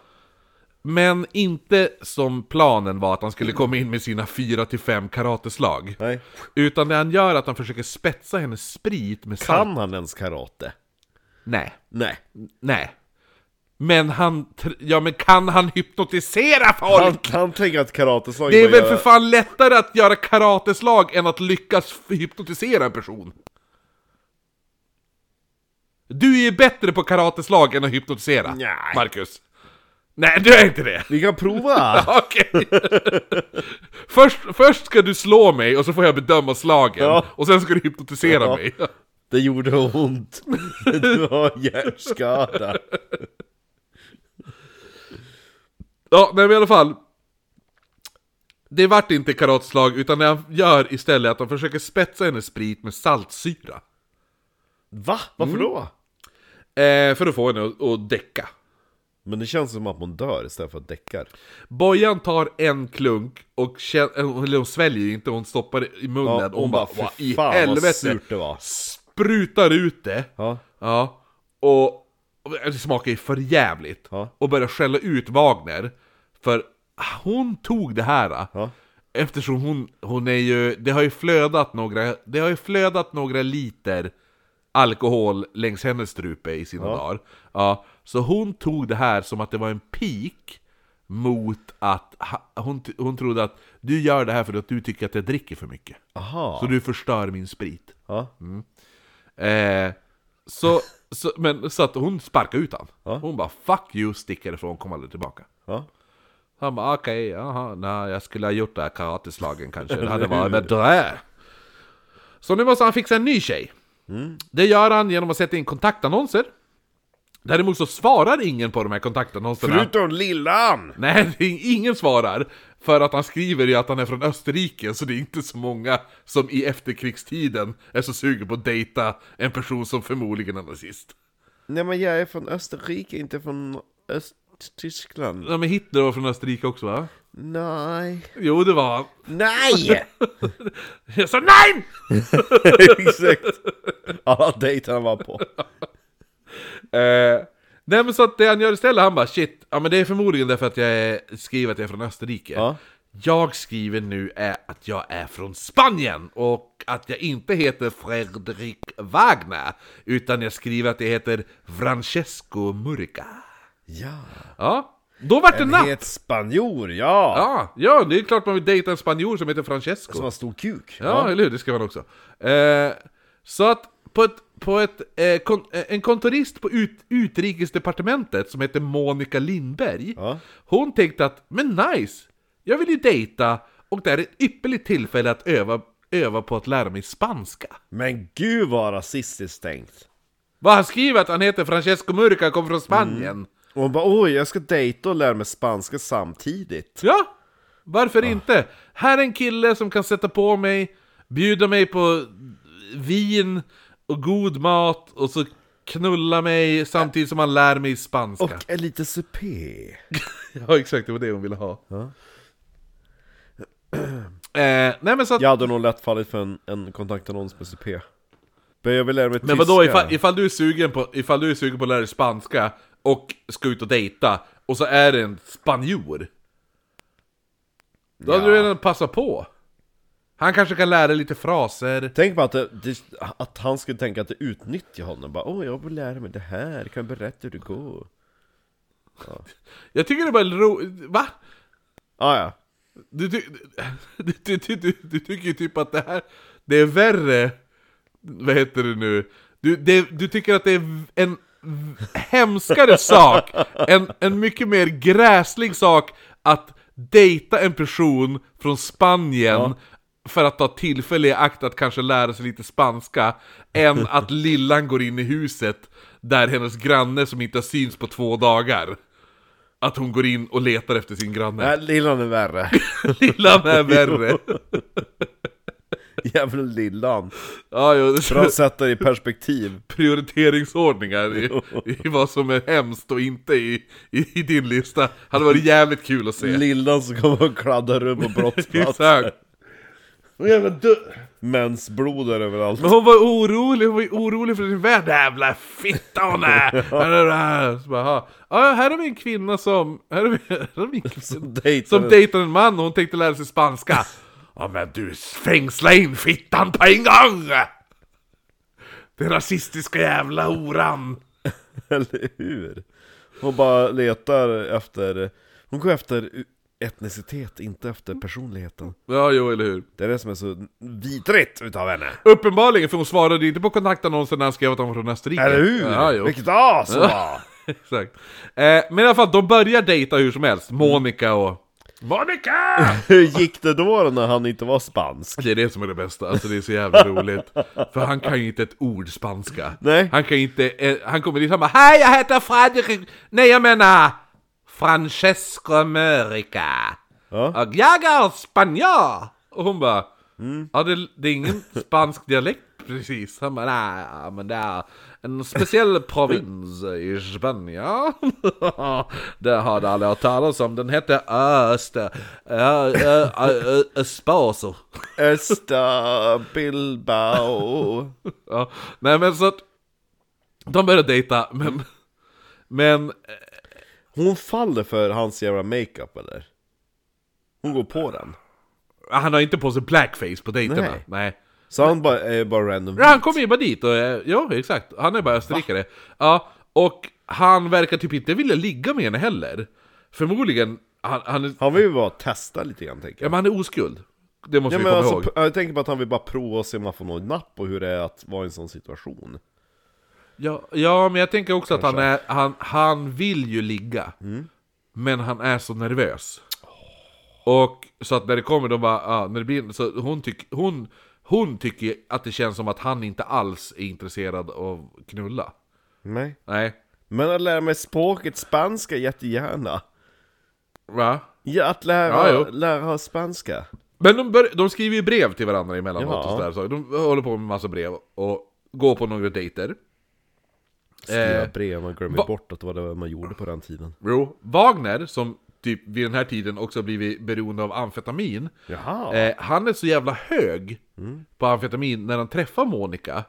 A: Men inte som planen var att han skulle komma in med sina 4-5 karateslag.
B: Nej.
A: Utan det han gör är att han försöker spetsa hennes sprit med salt.
B: Kan han ens karate?
A: Nej,
B: Nej.
A: nej. Men han... tr- Ja men kan han hypnotisera folk?
B: Han, han tänker att karateslag
A: Det är
B: bara
A: väl
B: gör-
A: för fan lättare att göra karateslag än att lyckas hypnotisera en person? Du är ju bättre på karateslag än att hypnotisera,
B: Nej.
A: Marcus. Nej, du är inte det.
B: Vi kan prova!
A: Okej. först, först ska du slå mig och så får jag bedöma slagen.
B: Ja.
A: Och sen ska du hypnotisera
B: Ja.
A: mig.
B: Det gjorde ont. Du har hjärnskada.
A: Ja, nej men i alla fall. Det vart inte karatslag, utan det han gör istället är att han försöker spetsa hennes sprit med saltsyra.
B: Va? Varför då?
A: Eh, för att få henne att, att däcka.
B: Men det känns som att hon dör istället för att däckar.
A: Bojan tar en klunk och känner, eller hon sväljer ju inte, hon stoppar det i munnen.
B: Ja,
A: och
B: hon
A: hon
B: bara,
A: bara,
B: "Fy
A: "Vad i
B: fan, vad
A: helvete.
B: surt det var."
A: Sprutar ut det.
B: Ja.
A: Ja. Och, och det smakar ju för jävligt.
B: Ja.
A: Och börjar skälla ut Wagner. För hon tog det här.
B: Ja.
A: Eftersom hon, hon är ju, det har ju flödat några, det har ju flödat några liter alkohol längs hennes strupe i sina dagar. Ja, så hon tog det här som att det var en pik mot att, ha- hon, t- hon trodde att du gör det här för att du tycker att jag dricker för mycket.
B: Aha.
A: Så du förstör min sprit.
B: Ja.
A: Eh, så, så, men, så att hon sparkade ut han.
B: Ja.
A: Hon bara 'fuck you' sticker ifrån, kom aldrig tillbaka.
B: Ja.
A: Han bara okej, jaha, nej jag skulle ha gjort det här karateslagen kanske, det hade varit bättre. Så nu måste han fixa en ny tjej.
B: Mm.
A: Det gör han genom att sätta in kontaktannonser. Däremot så svarar ingen på de här kontaktannonserna.
B: Förutom lillan!
A: Nej, det är ingen svarar. För att han skriver ju att han är från Österrike, så det är inte så många som i efterkrigstiden är så sugen på att dejta en person som förmodligen är nazist.
B: Nej men jag är från Österrike, inte från Östtyskland.
A: Ja, men Hitler var från Österrike också va?
B: Nej.
A: Jo, det var han.
B: Nej!
A: Jag sa NEJ!
B: Exakt. Alla dejter han var på.
A: Eh, nej men så att det han gör istället, han bara shit, ja men det är förmodligen därför att jag är, skriver att jag är från Österrike.
B: Ja.
A: Jag skriver nu är att jag är från Spanien och att jag inte heter Fredrik Wagner utan jag skriver att jag heter Francesco Murica.
B: Ja.
A: Ja, då vart det
B: En
A: natt!
B: het spanjor, ja!
A: Ja, ja, det är klart man vill dejta en spanjor som heter Francesco.
B: Som har stor kuk.
A: Ja, eller hur? Det ska man också. Eh, så att på, ett, på ett, eh, kon, eh, en kontorist på ut, utrikesdepartementet som heter Monica Lindberg,
B: Ja.
A: hon tänkte att men nice, jag vill ju dejta och det här är ett ypperligt tillfälle att öva, öva på att lära mig spanska.
B: Men gud vad rasistiskt tänkt.
A: Vad han skriver att han heter Francesco Murca, kommer från Spanien.
B: Och hon bara oj, jag ska dejta och lära mig spanska samtidigt.
A: Ja, varför inte? Här är en kille som kan sätta på mig, bjuda mig på vin och god mat och så knulla mig samtidigt som han lär mig spanska.
B: Och är lite supé.
A: Ja, exakt, det var det hon ville ha. eh, nej men så att,
B: Jag hade nog lätt fallit för en, en kontaktannons med CP. Men jag vill lära mig
A: Men
B: tyska.
A: vadå, ifall, ifall, du är sugen på, ifall du är sugen på att lära dig spanska och ska ut och dejta och så är det en spanjor. Då hade du redan passat på. Han kanske kan lära dig lite fraser.
B: Tänk på att, det, det, att han skulle tänka att det utnyttjar honom. Bara, åh, jag vill lära mig det här. Kan jag berätta hur det går?
A: Jag tycker det är bara roligt, va?
B: Ah, ja.
A: Du, ty- du, du, du, du, du tycker ju typ att det här, det är värre vad heter det nu? Du, det, du tycker att det är v- en v- hemskare sak, en, en mycket mer gräslig sak att dejta en person från Spanien för att ta tillfälle i akt att kanske lära sig lite spanska, än att lillan går in i huset där hennes granne som inte har syns på två dagar, att hon går in och letar efter sin granne.
B: Nej, lillan är värre.
A: Lillan är värre!
B: Jävla lillan.
A: Ja, jo, det-
B: Bra att sätta det i perspektiv.
A: prioriteringsordningar i, i vad som är hemskt och inte i, i, i din lista. Hade varit jävligt kul att se.
B: Lillan som kommer och kladdar rum och brottsplats.
A: Exakt.
B: Mensblod är överallt.
A: Men hon var orolig, hon var ju orolig för sin vän. Jävla fitta hon är! Så bara, "Jaha. ja, här har vi en kvinna som... Här har vi, här har vi en kvinna.
B: Som dejtar
A: Som
B: en-
A: dejtar en man och hon tänkte lära sig spanska. Ja men du, fängsla in fittan på en gång! Den rasistiska jävla horan!
B: Eller hur? Hon bara letar efter... Hon går efter etnicitet, inte efter personligheten.
A: Ja, jo, eller hur?
B: Det är det som är så vidrigt utav henne.
A: Uppenbarligen, för hon svarade inte på kontaktannonsen när han skrev att han var från Österrike.
B: Eller hur?
A: Ja, jo.
B: Vilket as hon var!
A: Exakt. Eh, men i alla fall, de börjar dejta hur som helst. Monica och... Monica!
B: Hur gick det då när han inte var spansk?
A: Det är det som är det bästa, alltså det är så jävla roligt. För han kan ju inte ett ord spanska.
B: Nej.
A: Han kan inte... Eh, han kommer dit och bara Hej, jag heter Fredrik... Nej, jag menar... Francesco America.
B: Ja.
A: Och jag är spanjor! Och hon bara... Ja, det, det är ingen spansk dialekt precis. Han bara, nej, men det är en speciell provins i Spanien. det har du aldrig hört talas om. Den hette Öster... Ö- ö- ö- ö- Esposo.
B: Östa Bilbao.
A: Ja, nej men så att de började dejta, men... Men... eh,
B: Hon faller för hans jävla makeup eller? Hon går på den.
A: Han har inte på sig blackface på dejterna.
B: Nej.
A: nej.
B: Så han bara, är bara random.
A: Ja, Han kommer ju bara dit och, eh, ja exakt, han är bara österrikare. Ja, och han verkar typ inte vilja ligga med henne heller. Förmodligen, han, han, är,
B: Han vill ju bara testa lite grann tänker
A: ja,
B: jag.
A: men han är oskuld. Det måste
B: Ja,
A: vi
B: men
A: komma
B: alltså,
A: ihåg.
B: p- jag tänker på att han vill bara prova och se om han får någon napp på hur det är att vara i en sån situation.
A: Ja, ja, men jag tänker också att han, är, han, han vill ju ligga.
B: Mm.
A: Men han är så nervös. Och så att när det kommer, de bara, ah, när det blir, så hon, tyck, hon, hon tycker att det känns som att han inte alls är intresserad av att knulla.
B: Nej.
A: Nej,
B: Men att lära mig språket spanska jättegärna.
A: va?
B: Ja, att lära,
A: Ja, jo.
B: lära spanska.
A: Men de, bör, de skriver ju brev till varandra emellanåt
B: Ja.
A: och sådär, så De håller på med massa brev och går på några dejter.
B: Skriva
A: Eh,
B: brev, man glömmer
A: va-
B: bort att det var det man gjorde på den tiden.
A: Jo, Wagner, som typ vid den här tiden också blivit beroende av amfetamin,
B: Jaha.
A: Eh, han är så jävla hög på amfetamin när han träffar Monica.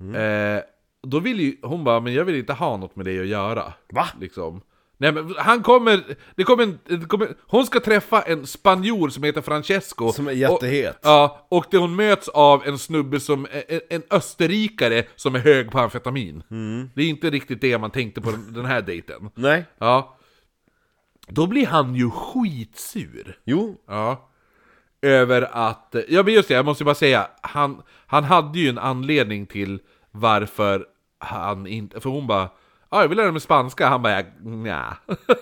B: Mm.
A: Eh, då vill ju, hon bara, men jag vill inte ha något med dig att göra.
B: Va?
A: Liksom. Nej men han kommer, det kommer, en, det kommer, hon ska träffa en spanjor som heter Francesco.
B: Som är jättehet.
A: Och, ja, och det hon möts av en snubbe som, en, en österrikare som är hög på amfetamin.
B: Mm.
A: Det är inte riktigt det man tänkte på den den här dejten.
B: Nej.
A: Ja. Då blir han ju skitsur.
B: Jo.
A: Ja. Över att, ja men just det, jag måste bara säga, han, han hade ju en anledning till varför han inte, för hon bara Ja, jag vill lära mig spanska, han bara nja.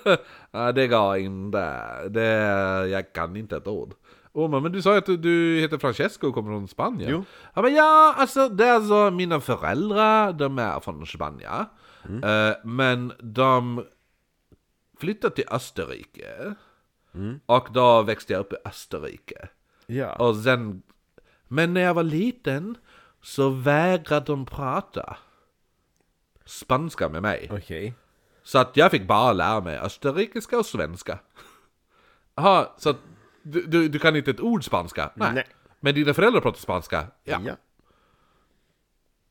A: ja, det går inte, det, jag kan inte ett ord. Och hon bara, men du sa ju att du, du heter Francesco och kommer från Spanien.
B: Jo.
A: Han bara, ja alltså det är så, mina föräldrar, de är från Spanien. Eh, men de flyttade till Österrike. Och då växte jag upp i Österrike.
B: Ja.
A: Och sen... Men när jag var liten så vägrade de prata spanska med mig.
B: Okej.
A: Så att jag fick bara lära mig österrikiska och svenska. Jaha, så att du, du, du kan inte ett ord spanska? Nej.
B: Nej.
A: Men dina föräldrar pratar spanska? Ja.
B: Ja.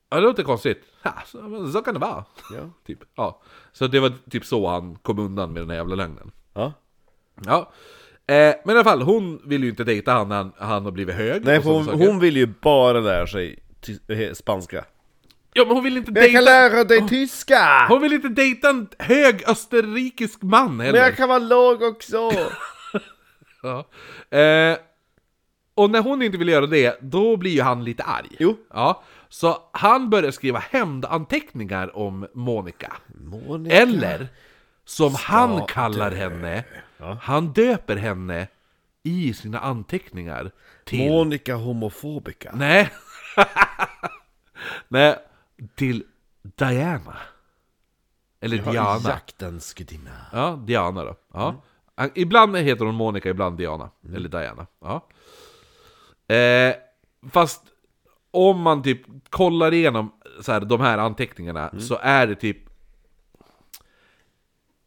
A: ja. Det låter konstigt. Ja, så, så kan det vara.
B: Ja.
A: Typ. Ja. Så det var typ så han kom undan med den här jävla lögnen.
B: ja.
A: Ja. Eh, men i alla fall, hon vill ju inte dejta han när han, han har blivit hög.
B: Nej,
A: och
B: för
A: sådana
B: hon,
A: saker.
B: hon vill ju bara lära sig ty- eh, spanska.
A: Ja, men hon vill inte
B: Jag
A: dejta...
B: kan lära dig tyska!
A: Hon vill inte dejta en hög österrikisk man heller.
B: Men jag kan vara låg också!
A: Ja. Eh, Och när hon inte vill göra det, då blir ju han lite arg.
B: Jo.
A: Ja. Så han börjar skriva hämndanteckningar om Monica.
B: Monica.
A: Eller, som han kallar henne, han döper henne i sina anteckningar till...
B: Monica homofobica.
A: Nej. Nej, till Diana. Eller Diana.
B: Jaktens gudinna.
A: Ja, Diana då. Ja. Han- Ibland heter hon Monica, ibland Diana. Eller Diana. Ja. Eh, fast om man typ kollar igenom så här, de här anteckningarna så är det typ...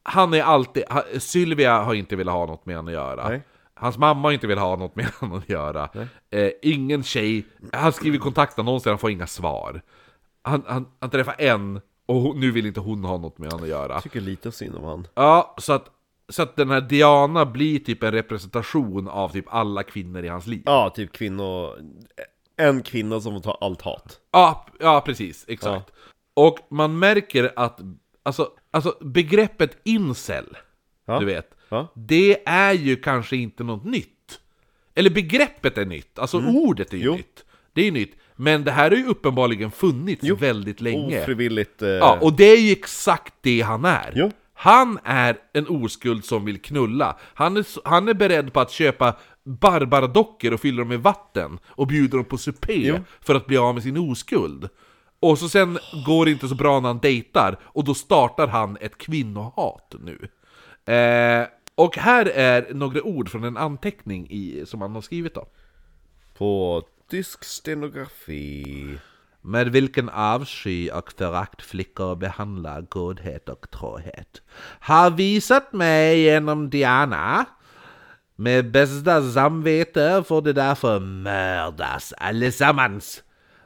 A: Han är alltid... ha- Sylvia har inte velat ha något med honom att göra.
B: Nej.
A: Hans mamma har inte velat ha något med honom att göra. Eh, ingen tjej. Han skriver kontaktannonser, han får inga svar. Han, han, han träffar en och hon, nu vill inte hon ha något med honom att göra.
B: Tycker lite synd om han.
A: Ja, så att, så att den här Diana blir typ en representation av typ alla kvinnor i hans liv. Ja,
B: Ja, typ kvinnor... En kvinna som får ta allt hat.
A: ja, precis. Exakt. Och man märker att, alltså, alltså begreppet incel,
B: Ja.
A: du vet,
B: Ja.
A: det är ju kanske inte något nytt. Eller begreppet är nytt, alltså ordet är ju
B: Mm. Jo.
A: nytt. Det är ju nytt. Men det här har ju uppenbarligen funnits väldigt länge.
B: Ofrivilligt... Eh,
A: Ja, och det är ju exakt det han är.
B: Jo.
A: Han är en oskuld som vill knulla. Han är, s- han är beredd på att köpa barbardockor och fylla dem med vatten och bjuder dem på supé för att bli av med sin oskuld. Och så sen går det inte så bra när han dejtar och då startar han ett kvinnohat nu. Eh, och här är några ord från en anteckning i, som han har skrivit då.
B: På tysk stenografi.
A: Med vilken avsky och förakt flickor behandlar godhet och trohet. Har visat mig genom Diana. Med bästa samvete får de därför mördas allesammans.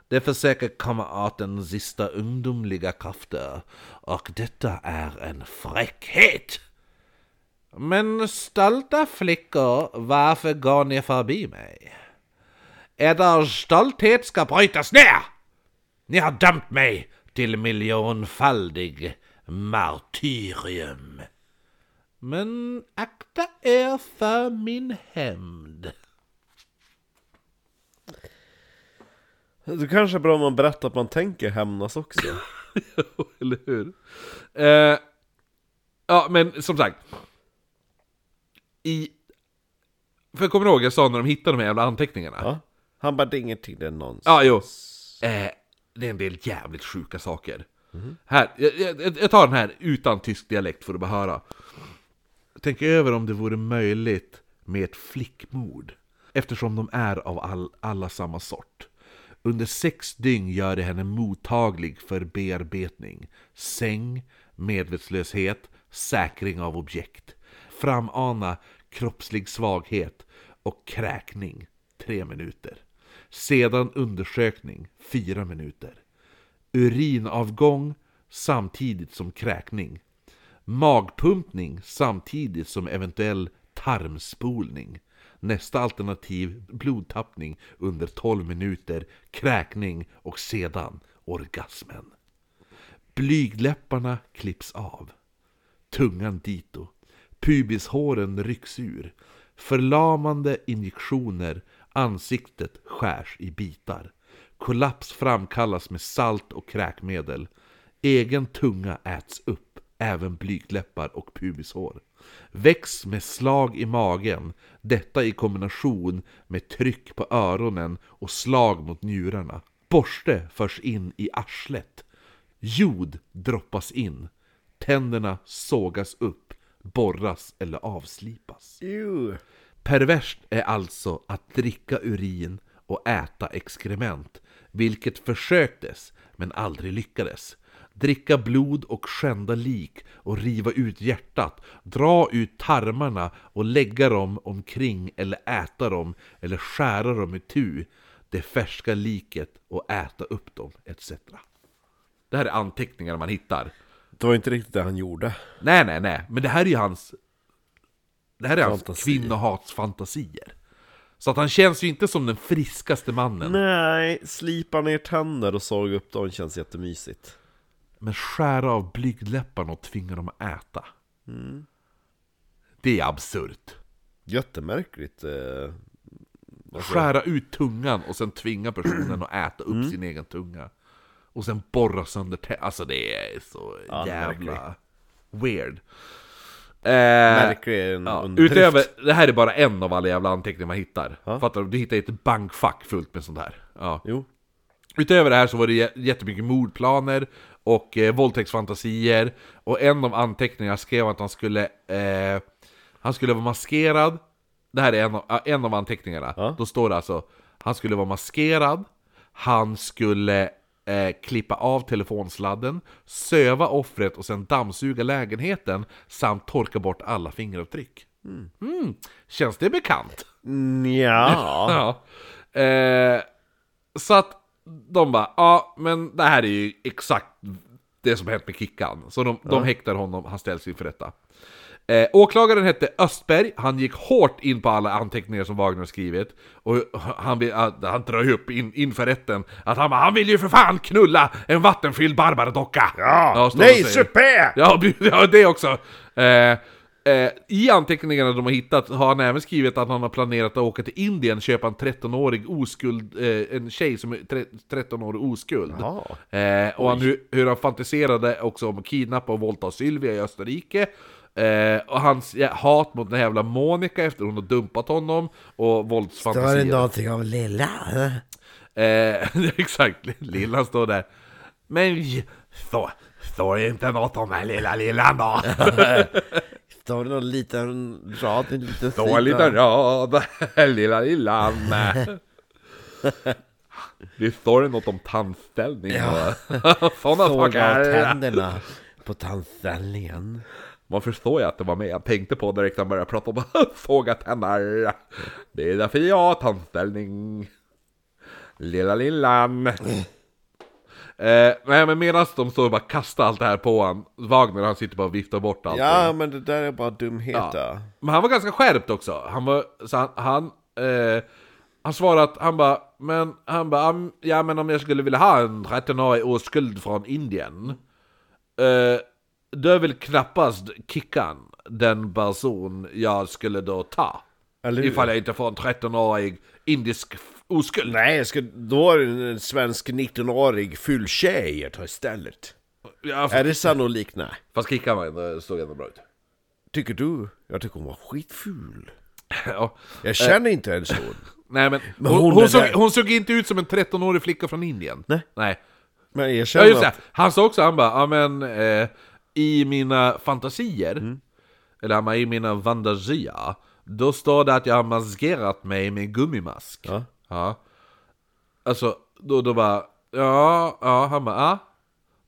A: De försöker komma åt den sista ungdomliga krafter. Och detta är en fräckhet. Men stolta flickor, varför går ni förbi mig? Eder stolthet ska brytas ner! Ni har dömt mig till miljonfaldig martyrium. Men akta er för min hämnd.
B: Det kanske är bra om man berättar att man tänker hämnas också.
A: Eller hur? Eh, ja, men som sagt. I... För jag kommer ihåg, jag sa när de hittade de här jävla anteckningarna.
B: Ja. Han bara, det är ingenting, det är nonsens.
A: Ja, jo. Eh, det är en del jävligt sjuka saker. Här, jag, jag, jag tar den här utan tysk dialekt för att bara höra. Tänk över om det vore möjligt med ett flickmord. Eftersom de är av all, alla samma sort. Under sex dygn gör det henne mottaglig för bearbetning. Säng, medvetslöshet, säkring av objekt. Framana kroppslig svaghet och kräkning, tre minuter. Sedan undersökning, fyra minuter. Urinavgång samtidigt som kräkning. Magpumpning samtidigt som eventuell tarmspolning. Nästa alternativ blodtappning under 12 minuter, kräkning och sedan orgasmen. Blygdläpparna klipps av. Tungan dito. Pubishåren rycks ur. Förlamande injektioner. Ansiktet skärs i bitar. Kollaps framkallas med salt och kräkmedel. Egen tunga äts upp, även blygdläppar och pubishår. Väcks med slag i magen, detta i kombination med tryck på öronen och slag mot njurarna. Borste förs in i arslet. Jod droppas in. Tänderna sågas upp, borras eller avslipas.
B: Ew.
A: Perverst är alltså att dricka urin och äta exkrement, vilket försöktes men aldrig lyckades. Dricka blod och skända lik och riva ut hjärtat, dra ut tarmarna och lägga dem omkring eller äta dem eller skära dem itu, det färska liket och äta upp dem etc. Det här är anteckningar man hittar.
B: Det var inte riktigt det han gjorde.
A: Nej, nej, nej. Men det här är ju hans... Det här är hans
B: Fantasi.
A: kvinnohatsfantasier. Så att han känns ju inte som den friskaste mannen.
B: Nej, slipa ner tänder och såg upp dem känns jättemysigt.
A: Men skära av blygdläpparna och tvinga dem att äta.
B: Mm.
A: Det är absurt. Äh,
B: Jättemärkligt eh, Alltså,
A: Skära ut tungan och sen tvinga personen att äta
B: Mm.
A: upp sin egen tunga. Och sen borra sönder tä- Alltså det är så
B: Ja, det är
A: jävla weird. Eh,
B: märklig är en
A: Ja,
B: underdrift.
A: utöver, det här är bara en av alla jävla anteckningar man hittar. Fattar du? Du hittar ett bankfack fullt med sånt här. Ja.
B: Jo.
A: Utöver det här så var det jä- jättemycket mordplaner och eh, våldtäktsfantasier. Och en av anteckningarna skrev att han skulle, eh, han skulle vara maskerad. Det här är en av, äh, en av anteckningarna.
B: Ja.
A: Då står det alltså, han skulle vara maskerad, han skulle eh, klippa av telefonsladden, söva offret och sen dammsuga lägenheten samt torka bort alla fingeravtryck. Mm. Känns det bekant?
B: Nja.
A: Ja. Eh, så att de bara, ja men det här är ju exakt det som hänt med Kickan. Så de, de häktar honom, han ställs inför rätta. Eh, åklagaren hette Östberg, han gick hårt in på alla anteckningar som Wagner skrivit. Och han, vill- att- han drar ju upp in, inför rätten att han bara, han vill ju för fan knulla en vattenfylld Barbara-docka! står och
B: Nej,
A: säger.
B: supé!
A: Ja, bu- ja det också! Eh, eh, I anteckningarna de har hittat har han även skrivit att han har planerat att åka till Indien köpa en 13-årig oskuld, eh, en tjej som är tre, 13 år oskuld.
B: Jaha.
A: Eh, och han, hur, hur han fantiserade också om att kidnappa och våldta Sylvia i Österrike. Eh, och hans ja, hat mot den här jävla Monica efter hon har dumpat honom och
E: Står det
A: våldsfantasier.
E: någonting om lilla?
A: Eh, exakt, lillan står där. Men så, står det inte något om den här lilla lillan då?
E: Står det någon liten rad, en liten
A: Då en liten rad, lilla lillan. Det står det något om tandställning och sådana
E: Såga
A: saker.
E: tänderna på tandställningen.
A: Man förstår ju att det var med. Jag tänkte på direkt när han började prata om såga tänder. Det är därför jag har tandställning. Lilla lillan. Eh, nej men medan de står och bara kastar allt det här på han Wagner han sitter bara och viftar bort allt.
B: Ja, men det där är bara dumheter.
A: Men han var ganska skärpt också. Han var, så han, han, eh, han svarade att han bara, men han bara, "Am- ja men om jag skulle vilja ha en 13-årig oskuld från Indien. Eh, då är väl knappast Kickan den person jag skulle då ta.
B: Eller hur?
A: Ifall jag inte får en 13-årig indisk f- oskuld.
B: Nej, jag ska, då är det en svensk 19-årig full tjej jag tar istället.
A: Ja, f-
B: Är det sannolikt? Nej.
A: fast Kickan var ändå, såg ändå bra ut.
B: Tycker du? Jag tycker hon var skitful.
A: ja.
B: Jag känner inte ens hon.
A: Nej men,
B: Men
A: hon, hon,
B: hon är
A: såg,
B: där.
A: hon såg inte ut som en 13-årig flicka från Indien.
B: Nej.
A: Nej.
B: Men jag
A: Ja
B: känner
A: just det,
B: att...
A: han sa också, han bara, ja men eh, i mina fantasier,
B: Mm.
A: eller han bara, i mina vandagia, då står det att jag har maskerat mig med gummimask.
B: Ja.
A: Ja. Alltså, då, då bara, ja, ja, han bara, ja.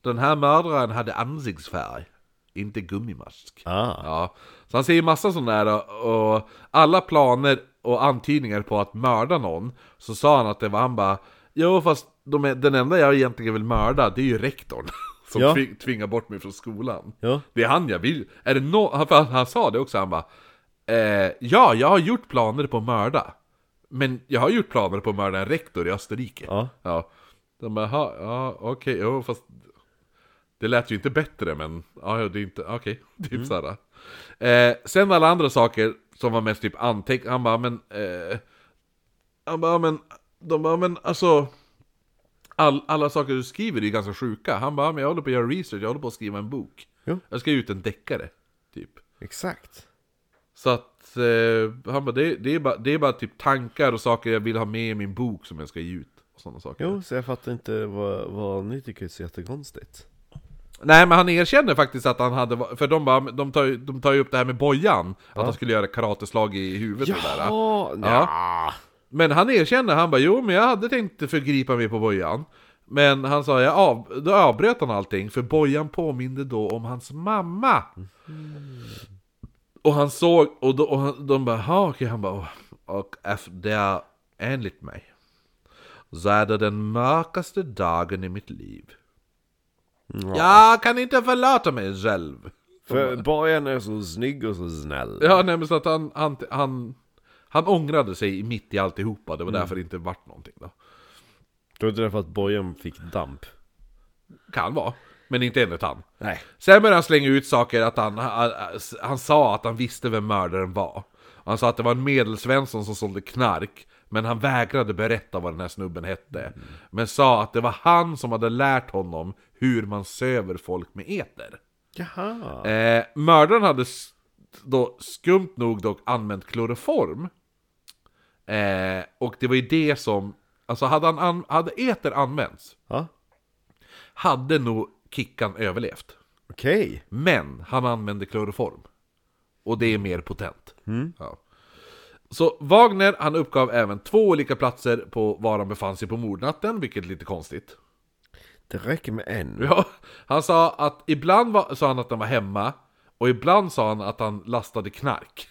A: Den här mördaren hade ansiktsfärg, inte gummimask.
B: Ah.
A: Ja. Så han ser ju massa sådana där och alla planer och antydningar på att mörda någon Så sa han att det var han bara Jo fast de är, den enda jag egentligen vill mörda det är ju rektorn Som
B: Ja.
A: tvi- tvingar bort mig från skolan
B: Ja.
A: Det är han jag vill är det nå han, för han, han sa det också han bara eh, Ja jag har gjort planer på att mörda Men jag har gjort planer på att mörda en rektor i Österrike
B: Ja.
A: Ja. De bara, "Ha, ja okej, jo fast det lät ju inte bättre men, ja ja, det är inte, okej, typ såhär. Eh, sen alla andra saker som var mest typ anteck, han bara men, eh, han bara men, de bara men alltså, all, alla saker du skriver är ju ganska sjuka. Han bara men jag håller på att göra research, jag håller på att skriva en bok.
B: Jo.
A: Jag ska ge ut en deckare, typ.
B: Exakt.
A: Så att, eh, han bara det, det, är bara det är bara typ tankar och saker jag vill ha med i min bok som jag ska ge ut. Och sådana saker.
B: Jo, så jag fattar inte vad, vad ni tycker är så jättekonstigt.
A: Nej men han erkänner faktiskt att han hade, för de, bara, de, tar, ju- de tar ju upp det här med bojan, att han skulle göra karateslag i huvudet och sådär.
B: Ja,
A: Ja. Men han erkänner, han bara jo men jag hade tänkt förgripa mig på bojan. Men han sa, jag av, då avbröt han allting, för bojan påminde då om hans mamma. Och han såg, och, då, och han, de bara, "Ha, okej, han bara, "Åh." och efter det är enligt mig. Så är det den mörkaste dagen i mitt liv. Jag kan inte förlåta mig själv.
B: För Bajen är så snygg och så snäll.
A: Ja, nej men så att han, han, han, han ångrade sig mitt i alltihopa, det var därför det inte vart någonting då.
B: Tror inte det är för att Bojan fick damp?
A: Kan vara, men inte enligt han.
B: Nej.
A: Sen började han slänga ut saker att han, han, han sa att han visste vem mördaren var. Han sa att det var en medelsvensson som sålde knark, Men han vägrade berätta vad den här snubben hette. Men sa att det var han som hade lärt honom hur man söver folk med eter.
B: Jaha.
A: Eh, mördaren hade s- då skumt nog dock använt kloroform. Eh, och det var ju det som... Alltså hade, han an, hade eter använts
B: Ja.
A: hade nog Kickan överlevt.
B: Okej.
A: Men han använde kloroform. Och det är mer potent. Ja. Så Wagner, han uppgav även två olika platser på var han befann sig på mordnatten, vilket är lite konstigt.
B: Det räcker med en.
A: Ja, han sa att ibland var, sa han att han var hemma och ibland sa han att han lastade knark.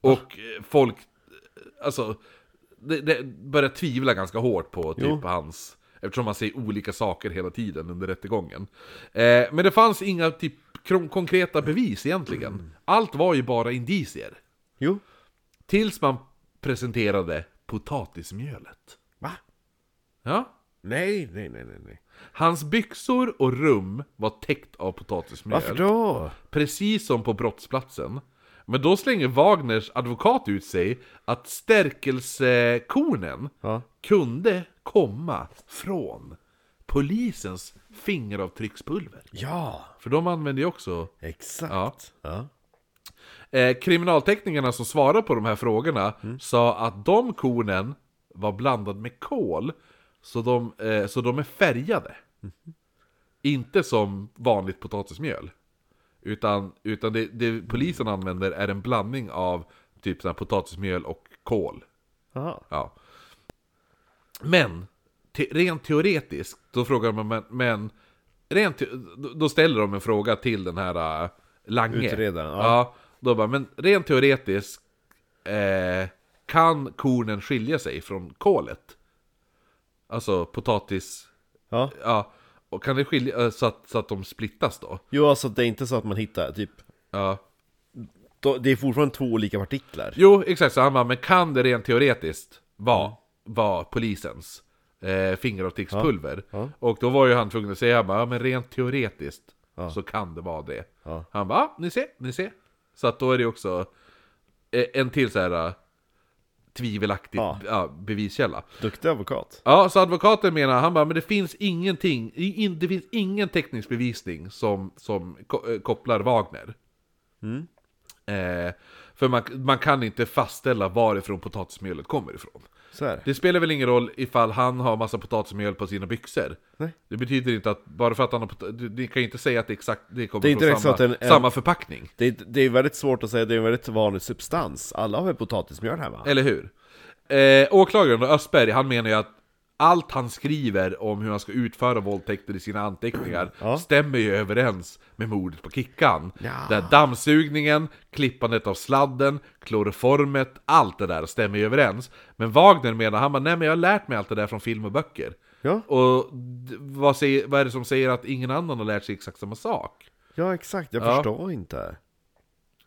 A: Och eh, folk, eh, alltså, det, det började tvivla ganska hårt på typ hans, eftersom han säger olika saker hela tiden under rättegången. Eh, men det fanns inga typ kron- konkreta bevis egentligen. Allt var ju bara indicier.
B: Jo.
A: Tills man presenterade potatismjölet.
B: Va?
A: Ja.
B: Nej, nej, nej, nej. nej.
A: Hans byxor och rum var täckt av potatismjöl.
B: Varför då?
A: precis som på brottsplatsen. Men då slänger Wagners advokat ut sig att stärkelsekornen
B: Ja.
A: kunde komma från polisens fingeravtryckspulver.
B: Ja,
A: För de använde ju också...
B: exakt. Ja.
A: Eh, kriminalteknikerna som svarade på de här frågorna sa att de kornen var blandad med kol, så de, eh, så de är färgade. Inte som vanligt potatismjöl. Utan, utan det, det polisen använder är en blandning av typ så här potatismjöl och kol.
B: Aha.
A: Ja. Men, te rent teoretiskt, då frågar man, men, men rent, te- då- då ställer de en fråga till den här äh, Lange.
B: Utredaren, ja.
A: då bara, men rent teoretiskt, eh, kan kornen skilja sig från kolet? Alltså potatis,
B: Ja.
A: ja. Och kan det skilja, eh, så att, så att de splittas då?
B: Jo, alltså det är inte så att man hittar typ...
A: Ja.
B: då- Det är fortfarande två olika partiklar.
A: Jo, exakt. Så han bara, men kan det rent teoretiskt
B: Mm.
A: vara var polisens eh, fingeravtryckspulver? Och då var ju han tvungen att säga, han bara, ja, men rent teoretiskt så kan det vara det.
B: Ja.
A: Han bara, ja, ni ser, ni ser. Så att då är det också eh, en till så här eh, tvivelaktig
B: Ja.
A: ja, beviskälla.
B: Duktig advokat.
A: Ja, så advokaten menar, han bara, men det finns ingenting, i- in, det finns ingen teknisk bevisning som, som ko- eh, kopplar Wagner.
B: Mm.
A: Eh, för man, man kan inte fastställa varifrån potatismjölet kommer ifrån.
B: Så här.
A: Det spelar väl ingen roll ifall han har massa potatismjöl på sina byxor.
B: Nej.
A: Det betyder inte att, bara för att han har pot- du, du kan ju inte säga att det exakt, det kommer
B: Det är inte
A: från
B: direkt så
A: samma,
B: att en- en-
A: samma förpackning.
B: Det, är- det är väldigt svårt att säga, det är en väldigt vanlig substans. Alla har väl potatismjöl hemma?
A: Eller hur? Eh, åklagaren då, Östberg, han menar ju att allt han skriver om hur han ska utföra våldtäkter i sina anteckningar
B: Ja.
A: stämmer ju överens med mordet på Kickan.
B: Ja.
A: Där dammsugningen, klippandet av sladden, kloroformet, allt det där stämmer ju överens. Men Wagner menar, han bara, nej men jag har lärt mig allt det där från film och böcker.
B: Ja.
A: Och d- vad, säger, vad är det som säger att ingen annan har lärt sig exakt samma sak?
B: Ja, exakt. Jag
A: Ja.
B: förstår inte.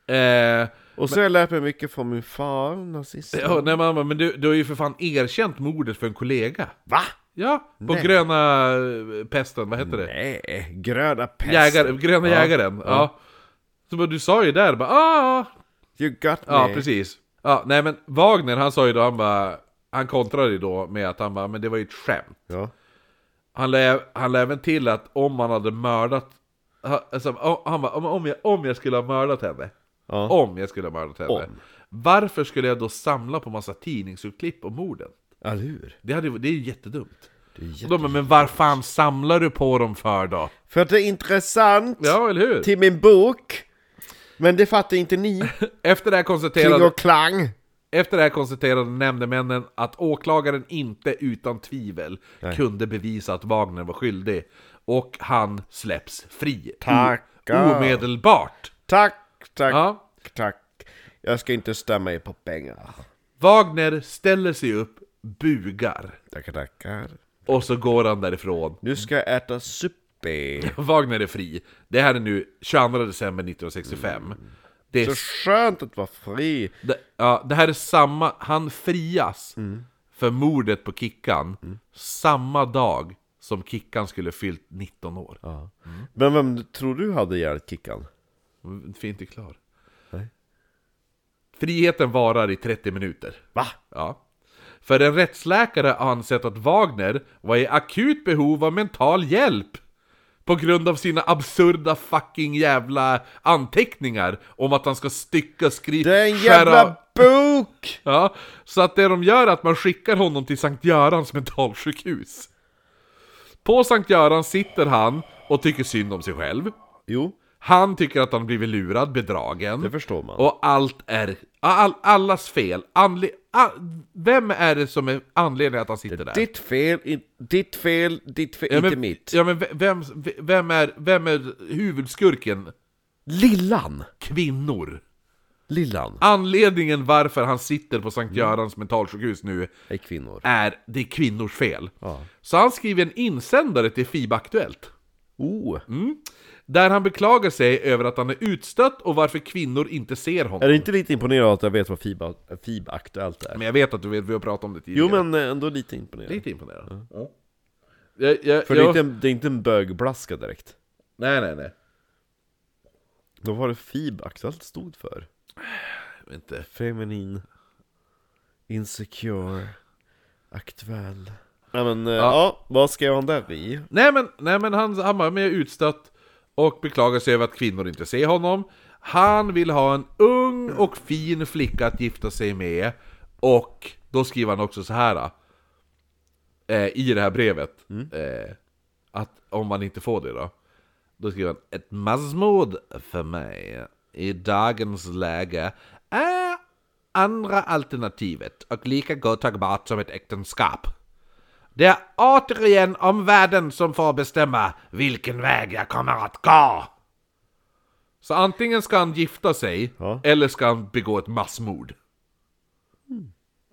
A: Eh,
B: Och så har jag lärt mig mycket från min far, nazisten.
A: ja, nej, mamma, men du, du har ju för fan erkänt mordet för en kollega.
B: Va?
A: Ja, på
B: Nej.
A: gröna eh, pesten, vad heter det?
B: Nej, gröna pest.
A: Jägare, gröna
B: Ja,
A: jägaren, ja. Så bara, du sa ju där bara ah,
B: You got me.
A: Ja, precis. Ja, nej men Wagner han sa ju då, han bara, han kontrade ju då med att han bara, men det var ju ett skämt.
B: Ja.
A: Han lade han lade även till att om man hade mördat, ha- alltså, o- han bara, om, om, jag, om jag skulle ha mördat henne,
B: Ja.
A: om jag skulle ha mördat henne,
B: Om.
A: varför skulle jag då samla på massa tidningsutklipp om morden?
B: Eller hur?
A: Det, hade, ju- det är ju jättedumt.
B: Det är
A: Och
B: jätte...
A: de bara, men vad fan samlar du på dem för då?
B: För att det är intressant
A: Ja, eller hur?
B: till min bok. Men det fattar inte ni.
A: Efter det,
B: Kling
A: här konstaterade,
B: och klang.
A: efter det här konstaterade nämndemännen att åklagaren inte utan tvivel kunde bevisa att Wagner var skyldig. Och han släpps fri. O-
B: Tackar.
A: Omedelbart!
B: Tack, tack,
A: Ja.
B: tack. Jag ska inte stämma er på pengar.
A: Wagner ställer sig upp, bugar.
B: Tackar, tackar.
A: Och så går han därifrån.
B: Nu ska jag äta suppe.
A: Wagner är fri. Det här är nu 22 december 1965. Det är
B: Så skönt att vara fri.
A: Det, ja, det här är samma, han frias
B: Mm.
A: för mordet på Kickan samma dag som Kickan skulle fyllt 19 år.
B: Men vem tror du hade hjälpt Kickan?
A: Fint är klar.
B: Nej.
A: Friheten varar i 30 minuter.
B: Va?
A: Ja. För en rättsläkare har ansett att Wagner var i akut behov av mental hjälp. På grund av sina absurda fucking jävla anteckningar om att han ska stycka, skriva,
B: Det är en jävla bok!
A: Ja, så att det de gör är att man skickar honom till Sankt Görans mentalsjukhus. På Sankt Göran sitter han och tycker synd om sig själv.
B: Jo,
A: Han tycker att han blivit lurad, bedragen.
B: det förstår man.
A: Och allt är... All, allas fel. Anle, a, vem är det som är anledningen att han sitter där?
E: Ditt fel, in, ditt fel, ditt fel,
A: ja,
E: inte
A: men,
E: mitt.
A: Ja, men ve- vem, ve- vem, är, vem är huvudskurken?
E: Lillan!
A: Kvinnor.
E: Lillan
A: Anledningen varför han sitter på Sankt Görans mentalsjukhus nu
E: är kvinnor.
A: är det är kvinnors fel. Så han skriver en insändare till FIB Aktuellt.
B: Oh.
A: Där han beklagar sig över att han är utstött och varför kvinnor inte ser honom.
B: Är det inte lite imponerande att jag vet vad FIB, FIB Aktuellt är?
A: Men jag vet att du vet, vi har pratat om det tidigare.
B: Jo men eh, ändå lite imponerande.
A: Lite imponerad. Jag, jag,
B: För det är,
A: jag,
B: inte en, det är inte en bögblaska direkt.
A: Nej, nej, nej.
B: Vad var det FIB Aktuellt stod för?
A: Jag vet Inte.
B: Feminin. Insecure. Aktuell. Nej men, eh, ja. vad skrev han där i?
A: Nej, men, nej, men han, han var med utstött och beklagar sig över att kvinnor inte ser honom. Han vill ha en ung och fin flicka att gifta sig med. Och då skriver han också så här eh, i det här brevet. Eh, att om man inte får det då. Då skriver han ett massmord för mig i dagens läge är andra alternativet och lika godtagbart som ett äktenskap. Det är återigen omvärlden som får bestämma vilken väg jag kommer att gå. Så antingen ska han gifta sig,
B: Ja.
A: eller ska han begå ett massmord.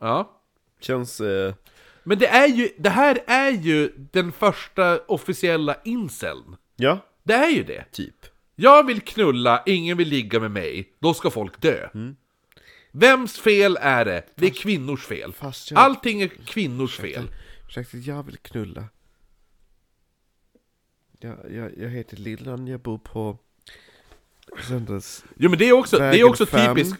A: Ja.
B: Känns... Eh,
A: Men det, är ju, det här är ju den första officiella inceln.
B: ja,
A: Det är ju det.
B: typ.
A: Jag vill knulla, ingen vill ligga med mig, då ska folk dö.
B: Mm.
A: Vems fel är det? Det är kvinnors fel.
B: fast jag-
A: Allting är kvinnors fel.
B: Ursäkta, jag vill knulla. Jag, jag, jag heter Lillan, jag bor på Söndags...
A: Jo men det är också, det är
B: Vägen
A: också
B: fem.
A: typisk...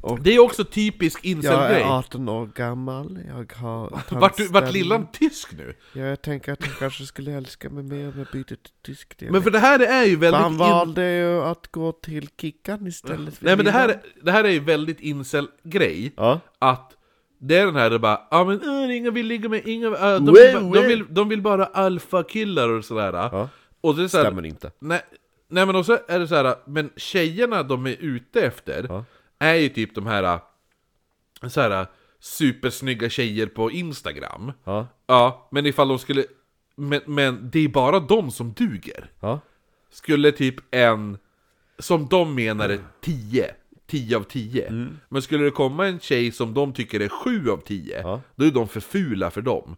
B: Och-
A: Det är också typisk incel-grej.
B: 18 år gammal, jag har
A: Vart, du- vart lillan tysk nu?
B: Ja, jag tänker att han kanske skulle älska mig mer om jag bytte till tysk
A: Men för det här är ju väldigt...
B: Han
A: in-
B: valde ju att gå till Kickan istället för
A: Nej men det här,
B: Lillan.
A: det här är ju väldigt incel-grej.
B: Ja,
A: att det är den här, det bara ja men äh, ingen vill ligga med, ingen, äh,
B: Well,
A: de, vill, ba-
B: well.
A: de, vill, de vill bara alfakillar och sådär.
B: Ja.
A: Och det är så här,
B: stämmer inte.
A: Nej, nej men också är det så här, men tjejerna de är ute efter
B: Ja.
A: är ju typ de här, så här äh, supersnygga tjejer på Instagram.
B: Ja,
A: Ja, men ifall de skulle, men, men det är bara de som duger.
B: ja.
A: Skulle typ en, som de menar
B: Mm.
A: är 10, 10 av 10 Men skulle det komma en tjej som de tycker är 7 av 10
B: Ja.
A: Då är de för fula för dem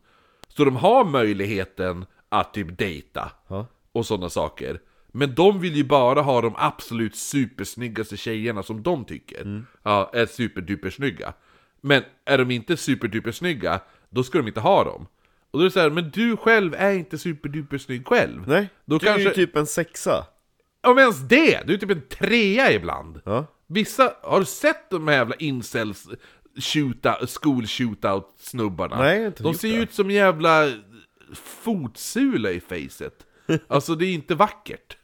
A: Så de har möjligheten att typ dejta
B: Ja.
A: och sådana saker Men de vill ju bara ha de absolut supersnyggaste tjejerna som de tycker
B: Mm.
A: ja, är superdupersnygga Men är de inte superdupersnygga, då ska de inte ha dem och då är det så här, men du själv är inte superdupersnygg själv
B: Nej,
A: då
B: du
A: kanske...
B: är ju typ en sexa.
A: Om ens det! Du är typ en trea ibland.
B: Ja.
A: Vissa, har du sett de här jävla incels shootout, school shootout snubbarna?
B: Nej, jag har inte
A: De
B: gjort
A: ser
B: det.
A: ut som jävla fotsula i facet. Alltså det är inte vackert.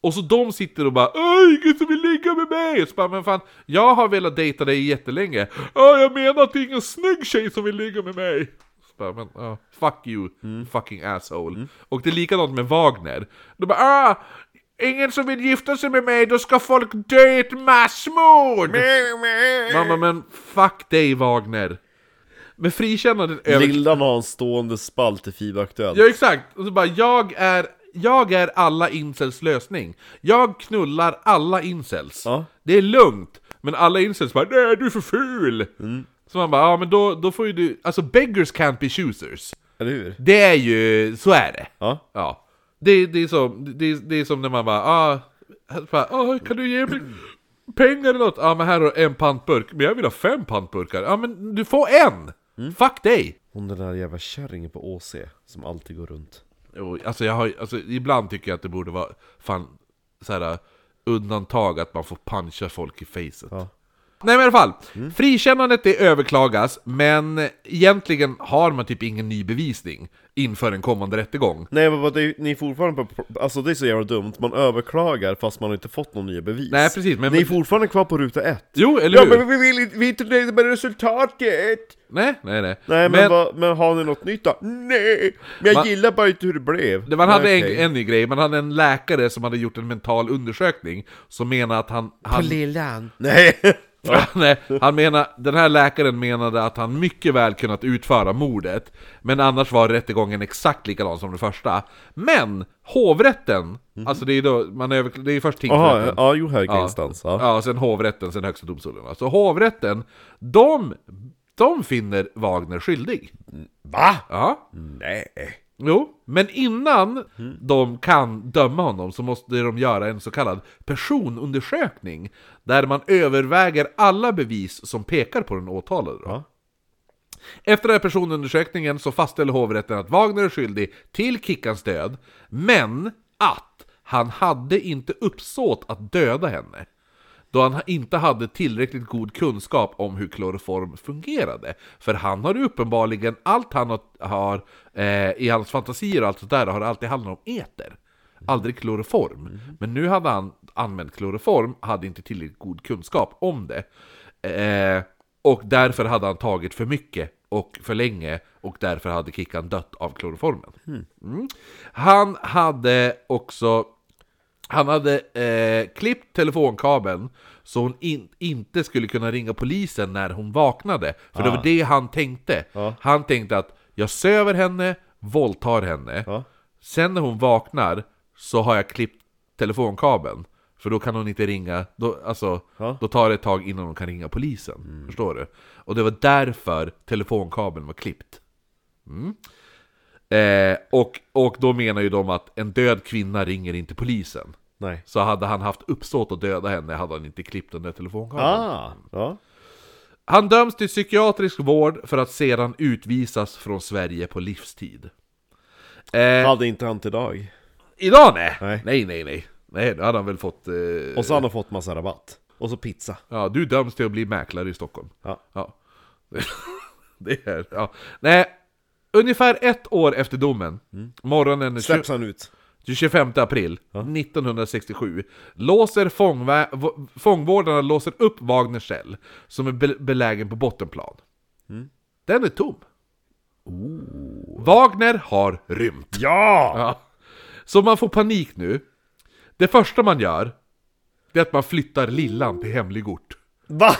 A: Och så de sitter och bara Åh, ingen som vill ligga med mig! Och Så bara, men fan, jag har velat dejta dig jättelänge. Åh, jag menar att det är ingen snygg tjej som vill ligga med mig! Så bara, men, ja, fuck you, fucking asshole. Och det är likadant med Wagner. De bara ah, Ingen som vill gifta sig med mig, då ska folk dö i ett massmord! Mamma men fuck dig Wagner! Men frikännandet över...
B: Lillan har en stående spalt i FIB Aktuellt.
A: Ja exakt! Och så bara, jag är, jag är alla incels lösning. Jag knullar alla incels.
B: Ja.
A: Det är lugnt. Men alla incels bara nej du är för ful!
B: Mm.
A: Så man bara, ja men då, då får ju du, alltså beggars can't be choosers.
B: Eller hur?
A: Det är ju, så är det.
B: Ja.
A: Ja. Det, det, är som, det, det är som när man bara, ah, så bara ah, kan du ge mig pengar eller något? Ja ah, men här har du en pantburk, men jag vill ha fem pantburkar. Ja ah, men du får en!
B: Mm.
A: Fuck dig!
B: Hon den där jävla kärringen på ÅC som alltid går runt.
A: Jo, Alltså, jag har, alltså ibland tycker jag att det borde äh, vara fan, så här, undantag att man får puncha folk i facet.
B: Ja. Mm.
A: Nej men i alla fall, frikännandet det överklagas, men egentligen har man typ ingen ny bevisning inför en kommande rättegång.
B: Nej men vad det, är ju- ni är fortfarande på, alltså det är så jävla dumt, man överklagar fast man har inte fått någon nya bevis
A: Nej, precis, men-
B: Ni är fortfarande kvar på ruta ett
A: Jo, eller hur?
B: vi, vill, inte- vi är inte nöjda med resultatet!
A: Nej, nej, nej.
B: Nej men,
A: Men-
B: vad- men har ni något nytt då? Nej! Men jag
A: Man-
B: gillar bara inte hur det blev
A: Det- Man hade
B: Nej,
A: en,
B: okej.
A: en ny grej, man hade en läkare som hade gjort en mental undersökning som menade att han... han
E: lillan.
B: Nej!
A: Nej, han menar, den här läkaren menade att han mycket väl kunnat utföra mordet, men annars var rättegången exakt likadan som den första. Men hovrätten, alltså det är ju då, man över, det är ju först
B: Mhm. Jaha,
A: tingsrätten.
B: ja, ja jo högre instans ja.
A: ja, sen hovrätten, sen högsta domstolen. va. Så hovrätten, de, de finner Wagner skyldig.
B: Va?
A: Ja.
B: Nej!
A: Jo, men innan de kan döma honom så måste de göra en så kallad personundersökning där man överväger alla bevis som pekar på den åtalade. Då.
B: Ja.
A: Efter den här personundersökningen så fastställer hovrätten att Wagner är skyldig till Kickans död, men att han hade inte uppsåt att döda henne då han inte hade tillräckligt god kunskap om hur kloroform fungerade. För han har ju uppenbarligen, allt han har, har eh, i hans fantasier och allt sånt där har alltid handlat om eter. Aldrig kloroform. Men nu hade han använt kloroform, hade inte tillräckligt god kunskap om det. Eh, och därför hade han tagit för mycket och för länge och därför hade Kickan dött av kloroformen. Mm. Han hade också han hade eh, klippt telefonkabeln så hon in, inte skulle kunna ringa polisen när hon vaknade. För det var det han tänkte. Han tänkte att jag söver henne, våldtar henne.
B: Ja.
A: Sen när hon vaknar så har jag klippt telefonkabeln. För då kan hon inte ringa, då, alltså,
B: Ja. Mm.
A: då tar det ett tag innan hon kan ringa polisen. Förstår du? Och det var därför telefonkabeln var klippt. Mm. Eh, och, och då menar ju de att en död kvinna ringer inte polisen.
B: Nej
A: Så hade han haft uppsåt att döda henne hade han inte klippt den där telefonkabeln.
B: Ah! Ja.
A: Han döms till psykiatrisk vård för att sedan utvisas från Sverige på livstid. Eh,
B: Hade inte han till idag
A: idag nej.
B: Nej.
A: nej! Nej, nej, nej. då hade han väl fått... Eh,
B: Och så har han fått massa rabatt Och så pizza
A: ja, du döms till att bli mäklare i Stockholm.
B: Ja.
A: Ja. Det är... Ja. Nej. Ungefär ett år efter domen, morgonen den
B: Mm. Släpps han ut?
A: 25 april 1967 låser fångvä- v- fångvårdarna låser upp Wagners cell som är be- belägen på bottenplan.
B: Mm.
A: Den är tom. Wagner har rymt.
B: Ja!
A: Ja. Så man får panik nu. Det första man gör, det är att man flyttar Lillan till hemlig ort.
B: Va?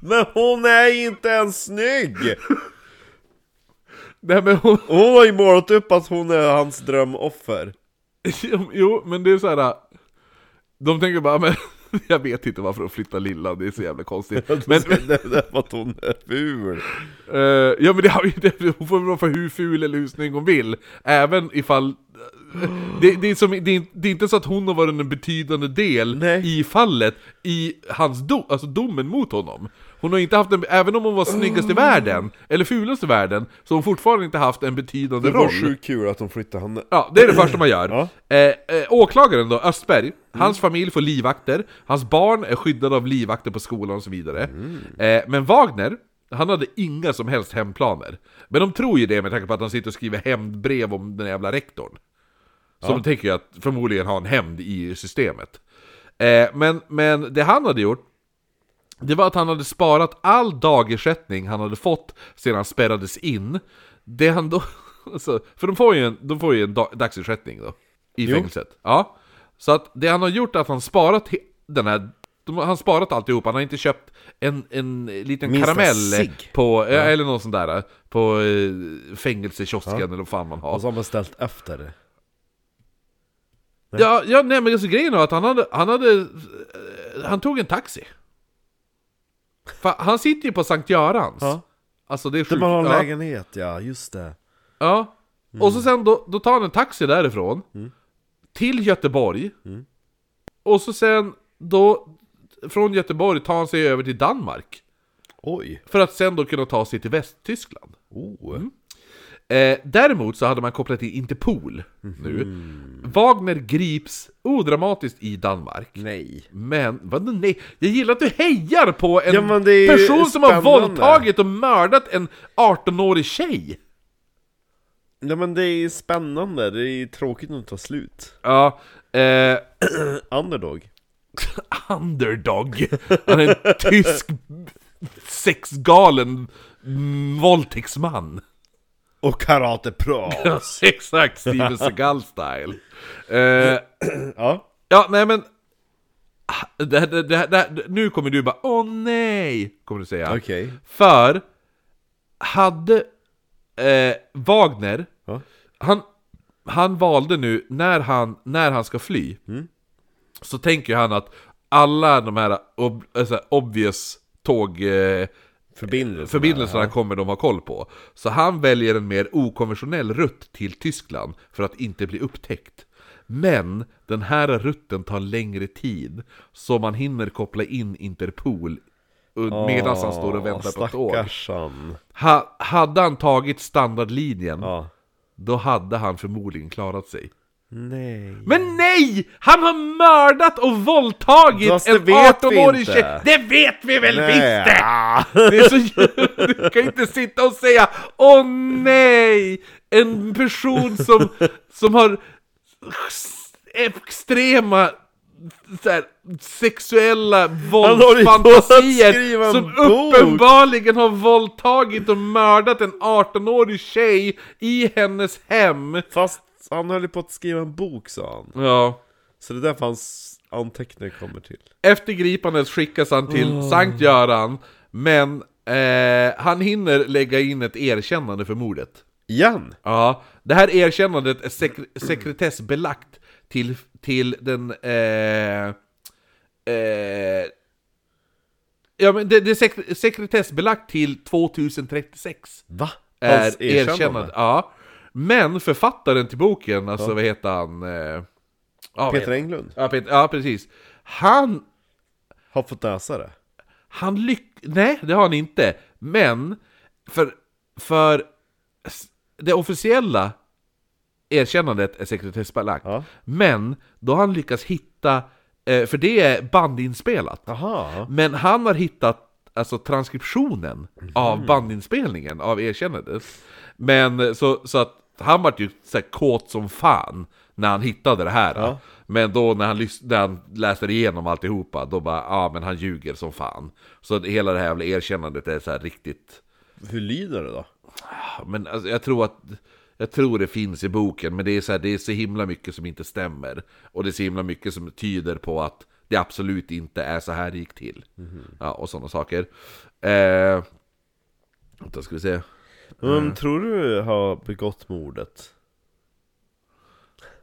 B: Men hon är inte ens snygg!
A: Nej, men hon,
B: Hon har ju målat upp att hon är hans drömoffer
A: Jo, men det är så här. äh, De tänker bara, men jag vet inte varför de flyttar Lillan, det är så jävla konstigt. Men,
B: det är för att hon är ful
A: Eh, ja men det har ju inte, hon får väl vara hur ful eller hur snygg hon vill, även ifall... Det, det, är som, det, är, det är inte så att hon har varit en betydande del
B: Nej.
A: i fallet, i hans do, alltså domen mot honom. Hon har inte haft en, även om hon var snyggast i världen, eller fulast i världen, så har hon fortfarande inte haft en betydande
B: Det var
A: roll.
B: sjukt kul att hon flyttade henne
A: Ja, det är det första man gör.
B: Ja.
A: Eh, eh, åklagaren då, Östberg, hans familj får livvakter, hans barn är skyddade av livvakter på skolan och så vidare. Eh, men Wagner, han hade inga som helst hemplaner. Men de tror ju det med tanke på att han sitter och skriver hämndbrev om den jävla rektorn. Så de tänker ju att förmodligen ha en hämnd i systemet. Eh, men, men det han hade gjort, det var att han hade sparat all dagersättning han hade fått sedan han spärrades in. Det han då... Alltså, för de får ju en, de får ju en dag, dagsersättning då. I fängelset. Ja. Så att det han har gjort är att han sparat he- den här... De, han har sparat alltihop, han har inte köpt en, en liten
B: Minsta
A: karamell
B: cigg.
A: på... eh, Eller någon sån där. eh, På eh, fängelsekiosken eller vad fan man har.
B: Och så har man ställt efter det
A: Ja, ja nej men alltså, grejen var att han hade, han hade, eh, han tog en taxi. Fa- han sitter ju på Sankt Görans.
B: Ja.
A: Alltså det är sjukt.
B: Där Typ, man har en
A: ja.
B: lägenhet Mm. ja, just det
A: ja. Och så sen då, då tar han en taxi därifrån.
B: Mm.
A: Till Göteborg. Och så sen då, från Göteborg tar han sig över till Danmark.
B: Oj!
A: För att sen då kunna ta sig till Västtyskland.
B: Oh.
A: Mm. Eh, däremot så hade man kopplat till Interpol nu.
B: Mhm.
A: Wagner grips odramatiskt i Danmark.
B: Mm.
E: Nej.
A: Men, vadå nej? Jag gillar att du hejar på en
B: Ja, men det är ju
A: person som har
B: spännande.
A: våldtagit och mördat en 18-årig tjej!
B: Nej men det är spännande, det är tråkigt att ta slut.
A: Ja, eh,
B: Underdog.
A: underdog. Han är en tysk sexgalen mm, våldtäktsman.
B: Och karatepro.
A: Exakt, Steven Seagal-style. Eh,
B: ja.
A: Ja, nej men... Ah, Det, här- det, det, det, här- nu kommer du bara åh nej, kommer du säga.
B: Okej.
A: För, hade eh, Wagner,
B: Ja.
A: han, han valde nu när han, när han ska fly, så tänker han att alla de här ob, alltså, obvious tåg... Eh,
B: Förbindelse.
A: Förbindelserna kommer de ha koll på. Så han väljer en mer okonventionell rutt till Tyskland för att inte bli upptäckt. Men den här rutten tar längre tid, så man hinner koppla in Interpol medan han står och väntar på ett tåg.
B: Stackarsan.
A: Ha, hade han tagit standardlinjen,
B: Ja.
A: då hade han förmodligen klarat sig.
B: Nej.
A: Men nej! Han har mördat och våldtagit
B: Fast det
A: en
B: vet vi
A: 18-årig
B: inte.
A: tjej! Det vet vi väl
B: Nej.
A: visst det! Det är så, du kan ju inte sitta och säga Åh nej! En person som, som har extrema så här, sexuella
B: håller ju på att skriva
A: våldsfantasier
B: en
A: som
B: bok.
A: uppenbarligen har våldtagit och mördat en 18-årig tjej i hennes hem.
B: Fast han höll ju på att skriva en bok sa han.
A: Ja.
B: Så det är därför hans anteckningar kommer till.
A: Efter gripandet skickas han till Sankt Göran, men eh, han hinner lägga in ett erkännande för mordet.
B: Igen?
A: Ja, det här erkännandet är sek- sekretessbelagt till, till den... Eh, eh, ja, men det, det är sek- sekretessbelagt till 2036.
B: Va?
A: Är erkännande. Ja. Men författaren till boken, alltså vad heter han? Eh, ja, vad
B: Peter
A: heter-
B: Englund
A: ja, Peter, ja, precis. Han
B: har fått läsa det.
A: Han lyck... Nej, det har han inte. Men, för, för s- det officiella erkännandet är sekretessbelagt.
B: Ja.
A: Men då har han lyckats hitta, eh, för det är bandinspelat.
B: Aha.
A: Men han har hittat alltså transkriptionen av bandinspelningen av erkännandet. Men så, så att han vart ju så här kåt som fan när han hittade det här. Men då när han, lys- när han läste igenom alltihopa, då bara ja ah, men han ljuger som fan. Så att hela det här jävla erkännandet är så här riktigt...
B: Hur lyder det då?
A: ah, Men alltså, jag tror att... Jag tror det finns i boken, men det är, så här, det är så himla mycket som inte stämmer. Och det är så himla mycket som tyder på att det absolut inte är så här det gick till.
B: Mhm.
A: Ja, och sådana saker. Eh, då ska vi se.
B: Vem
A: Mm.
B: tror du har begått mordet?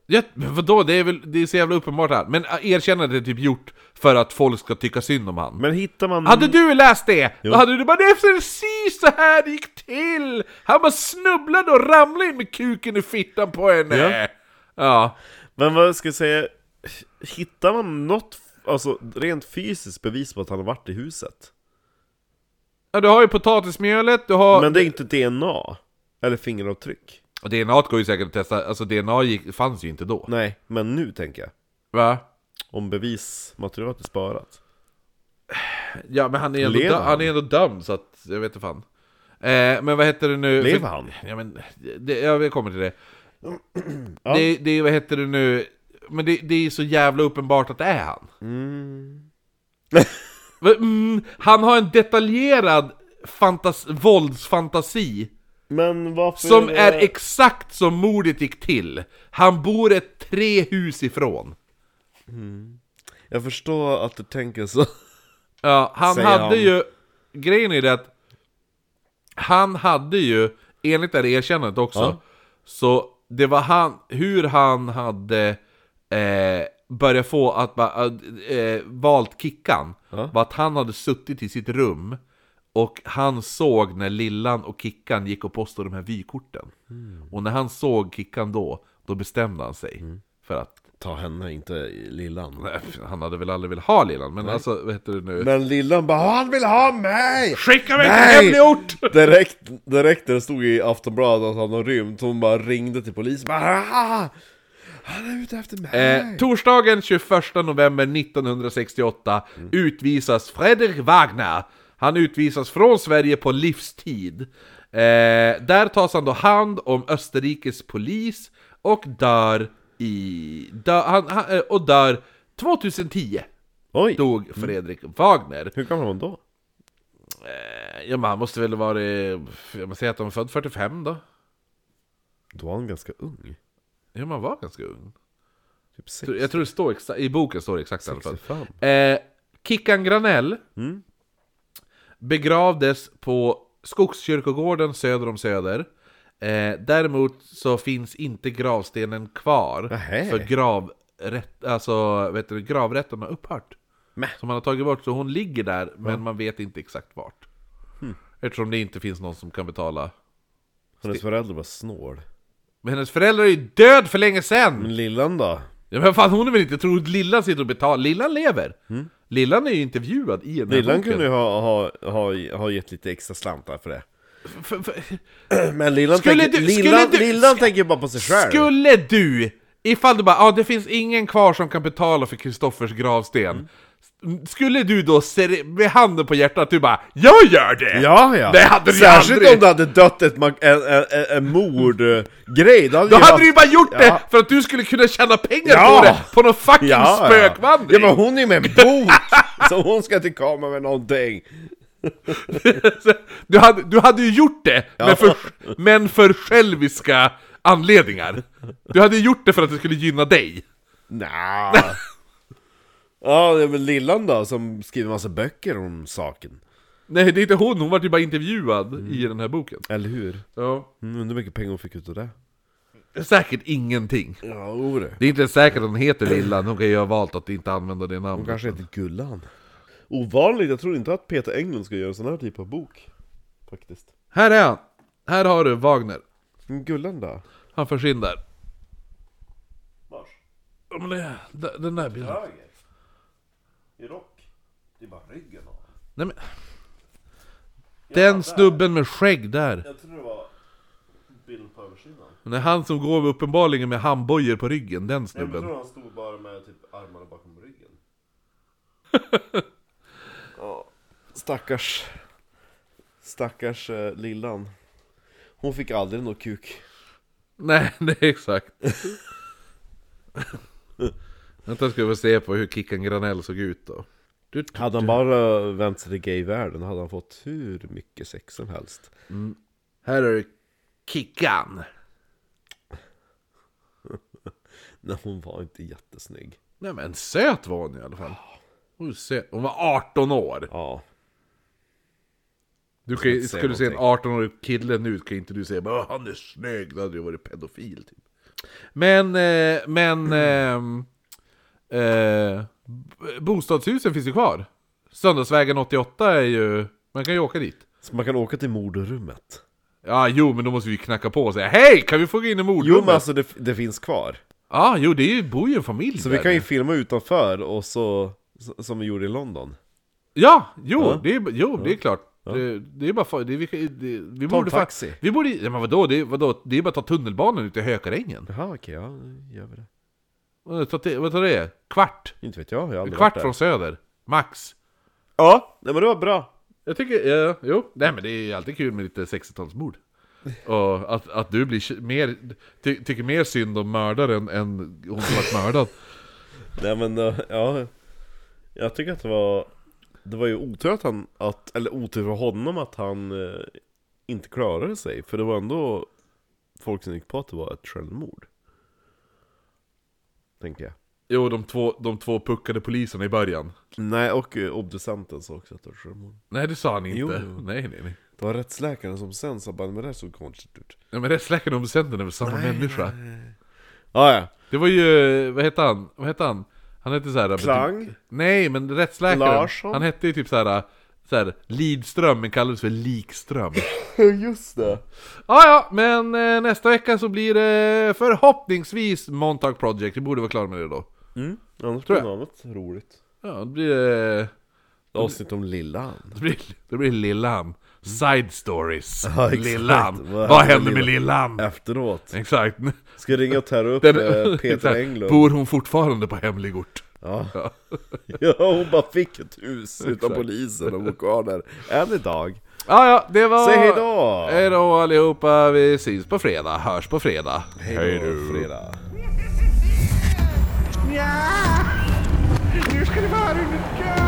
A: Ja, men vadå, det är väl det är så jävla uppenbart här. Men eh, erkännandet är typ gjort för att folk ska tycka synd om han.
B: Men hittar man...
A: Hade du läst det, då hade du bara det är precis så här det gick till! Han bara snubblade och ramlade in med kuken i fittan på henne!
B: Ja.
A: Ja.
B: Men vad ska jag säga? Hittar man något, alltså rent fysiskt bevis på att han har varit i huset?
A: ja. Du har ju potatismjölet, du har...
B: Men det är inte DNA? Eller fingeravtryck?
A: Och DNA går ju säkert att testa, alltså DNA gick, fanns ju inte då.
B: Nej, men nu tänker jag.
A: Va?
B: Om bevismaterialet är sparat.
A: Ja men han är ändå,
B: Lever
A: dö-
B: han?
A: han är ändå dömd så att, jag vet inte fan. Eh, men vad heter det nu?
B: Lever
A: För-
B: han?
A: Ja men, det, ja, jag kommer till det. Det, det är, vad heter det nu? Men det, det är så jävla uppenbart att det är han.
B: Mm.
A: Va- mm, han har en detaljerad fantas, våldsfantasi
B: Men varför...
A: som är exakt som mordet gick till. Han bor ett tre hus ifrån.
B: Jag förstår att du tänker så.
A: Ja, han
B: Säger
A: hade
B: han.
A: ju... Grejen är det att han hade ju, enligt det här erkännandet också, så det var han, hur han hade eh, börjat få att ba- att, eh, valt Kickan, var att han hade suttit i sitt rum och han såg när Lillan och Kickan gick och
B: Mm.
A: postade de här vykorten. Och när han såg Kickan då, då bestämde han sig för att
B: Ta henne, inte lillan.
A: Nej, Han hade väl aldrig velat ha lillan, men alltså vad heter det nu?
B: Men lillan bara 'Han vill ha mig!'
A: Skicka mig
B: Nej!
A: till hemlig ort!
B: Direkt, direkt när det stod i Aftonbladet att han har rymt, hon bara ringde till polisen bara "Ah, Han är ute efter mig!
A: Eh, torsdagen 21 november 1968 utvisas Fredrik Wagner. Han utvisas från Sverige på livstid. Eh, där tas han då hand om Österrikes polis och dör i... Dö, han, han, eh, och dör 2010
B: Oj!
A: dog Fredrik Wagner.
B: Hur gammal var hon då?
A: Eh, ja, men han måste väl vara... eh, Jag måste säga att han var född 45 då.
B: Då var han ganska ung.
A: Ja, man var ganska ung.
B: Typ
A: Jag
B: sex.
A: tror- Jag tror det står exakt, i boken står det exakt i alla fall.
B: 65.
A: Eh, Kickan Granell
B: Mm.
A: begravdes på Skogskyrkogården söder om Söder. Eh, däremot så finns inte gravstenen kvar,
B: Nähä.
A: för gravrätt, alltså, vet du, gravrätten har upphört.
B: Mäh.
A: Så man har tagit bort, så hon ligger där, men man vet inte exakt vart.
B: Hm.
A: Eftersom det inte finns någon som kan betala.
B: Hennes föräldrar var snål.
A: Men hennes föräldrar är ju död för länge sedan!
B: Men lillan då?
A: Ja men fan hon är väl inte trodd, Lillan sitter och betalar, Lillan lever! Lillan är ju intervjuad i den här
B: Mm. Lillan
A: boken.
B: kunde ju ha, ha, ha, ha gett lite extra slantar för det.
A: F- f-
B: Men lillan,
A: Skulle
B: tänker,
A: du-
B: lillan,
A: skulle du-
B: lillan tänker bara på sig själv.
A: Skulle du, ifall du bara ah, det finns ingen kvar som kan betala för Kristoffers
B: Mm.
A: gravsten Mm, Skulle du då seri- med handen på hjärtat du bara 'Jag gör det!'
B: Ja, ja.
A: Det hade du ju
B: Särskilt
A: aldrig.
B: om du hade dött ett, mag- en, en, en, en mordgrej. Då hade, ju
A: Då hade
B: haft-
A: du ju bara gjort det
B: Ja.
A: för att du skulle kunna tjäna pengar
B: Ja.
A: på det! På någon fucking
B: Ja.
A: spökvandring!
B: ja men hon är ju med en bot! så hon ska inte komma med någonting.
A: du, hade, du hade ju gjort det, men, för, men för själviska anledningar Du hade ju gjort det för att det skulle gynna dig
B: Nja. ja det är väl Lillan då som skriver massa böcker om saken.
A: Nej, det är inte hon, hon var ju bara intervjuad
B: Mm.
A: i den här boken.
B: Eller hur?
A: Ja.
B: Mm, undrar hur mycket pengar hon fick ut av det.
A: Säkert ingenting.
B: Ja, o det.
A: Det är inte ens säkert att hon heter Lillan, hon kan ju ha valt att inte använda det namnet.
B: Hon kanske heter Gullan. Ovanligt, jag tror inte att Peter Englund ska göra en sån här typ av bok. Faktiskt.
A: Här är han! Här har du Wagner.
B: Men Gullan då?
A: Han förs in där. Ja, men det, d- den där bilden.
B: Höger. I rock. Det är bara ryggen av
A: Nej, men... Den snubben med skägg där.
B: Jag tror det var bilden på översidan.
A: Det är han som går uppenbarligen med handbojor på ryggen, den
B: Jag
A: snubben.
B: tror han stod bara med typ armarna bakom ryggen. Stackars. Stackars eh, lillan. Hon fick aldrig någon kuk.
A: Nej, det är exakt. Vänta ska vi få se på hur Kickan Granell såg ut då. Du-
B: Hade han bara vänt sig till gayvärlden hade han fått hur mycket sex som helst.
A: Här är Kickan.
B: Nej, hon var inte jättesnygg.
A: Nej men söt var hon i alla fall. Hon, är söt. hon var 18 år.
B: Ja.
A: Du kan, ju-
B: inte säga
A: skulle du se en
B: någonting.
A: 18-årig kille nu kan ju inte du säga bara "Åh, han är snygg, då hade du varit pedofil typ. Men, eh, men... ehm, eh, b- bostadshusen finns ju kvar. Söndagsvägen 88 är ju... Man kan ju åka dit.
B: Så man kan åka till mordrummet.
A: Ja, jo, men då måste vi ju knacka på och säga Hej, kan vi få gå in i
B: Jo men
A: mordrummet?
B: alltså det, det finns kvar.
A: Ja, jo, det är ju, bor ju en familj
B: Så
A: där.
B: vi kan ju filma utanför och så, så- som vi gjorde i London.
A: Ja, jo, Det, är, jo det är klart. Det, det är bara fa- det, vi, kan- det, vi
B: Ta en
A: borde fa-
B: taxi.
A: Vi borde, ja, men vadå, det, vadå, det är bara att ta tunnelbanan ut till Hökarängen.
B: Jaha okej, ja nu gör vi det.
A: Vad tar det- vad tar det? Kvart?
B: Inte vet jag, jag har aldrig varit
A: Kvart
B: där.
A: från söder, max.
B: Ja, nej men det var bra.
A: Jag tycker, eh, jo, nej men det är ju alltid kul med lite 60-talsmord. Och att, att du blir ki- mer, ty, tycker mer synd om mördaren än hon som varit mördad.
B: Nej men eh, ja, jag tycker att det var, det var ju otur att han, att, eller otur för honom att han eh, inte klarade sig. För det var ändå folk som gick på att det var ett självmord. Tänker jag.
A: Jo, de två, de två puckade poliserna i början.
B: Nej, och eh, obducenten sa också att det var ett självmord.
A: Nej, det sa han inte.
B: Jo.
A: Nej, nej, nej.
B: Det var rättsläkaren som sen sa bara, men det här såg konstigt ut.
A: Ja, men rättsläkaren och obducenten är väl samma människa?
B: Ah, ja.
A: Det var ju, vad hette han? Vad hette han? Han hette såhär...
B: Klang?
A: Nej, men rättsläkaren.
B: Larsson?
A: Han hette ju typ såhär... så här, Lidström, men kallades för Likström.
B: Just det.
A: Ja, ja, men eh, nästa vecka så blir det förhoppningsvis Montauk Project. Vi borde vara klara med det då.
B: Annars blir
A: Tror jag.
B: det något roligt.
A: Ja, då blir det...
B: Avsnitt om Lillan.
A: Då blir, då blir det Lillan. Side stories.
B: Ja, exakt.
A: Lillan.
B: Vad
A: Vad
B: hände
A: hände med
B: med
A: Lillan?
B: Efteråt.
A: Exakt.
B: Ska jag ringa och terra upp eh, Peter
A: exakt.
B: Englund?
A: Bor hon fortfarande på hemlig ort?
B: Ja. ja, hon bara fick ett hus utan
A: Exakt.
B: polisen och bor kvar där än idag.
A: Ja, ja, det var...
B: Säg hej då!
A: Hej då allihopa, vi syns på fredag, hörs på fredag.
B: Hej då, fredag.
F: Ja! Nu ska det vara riktigt gött!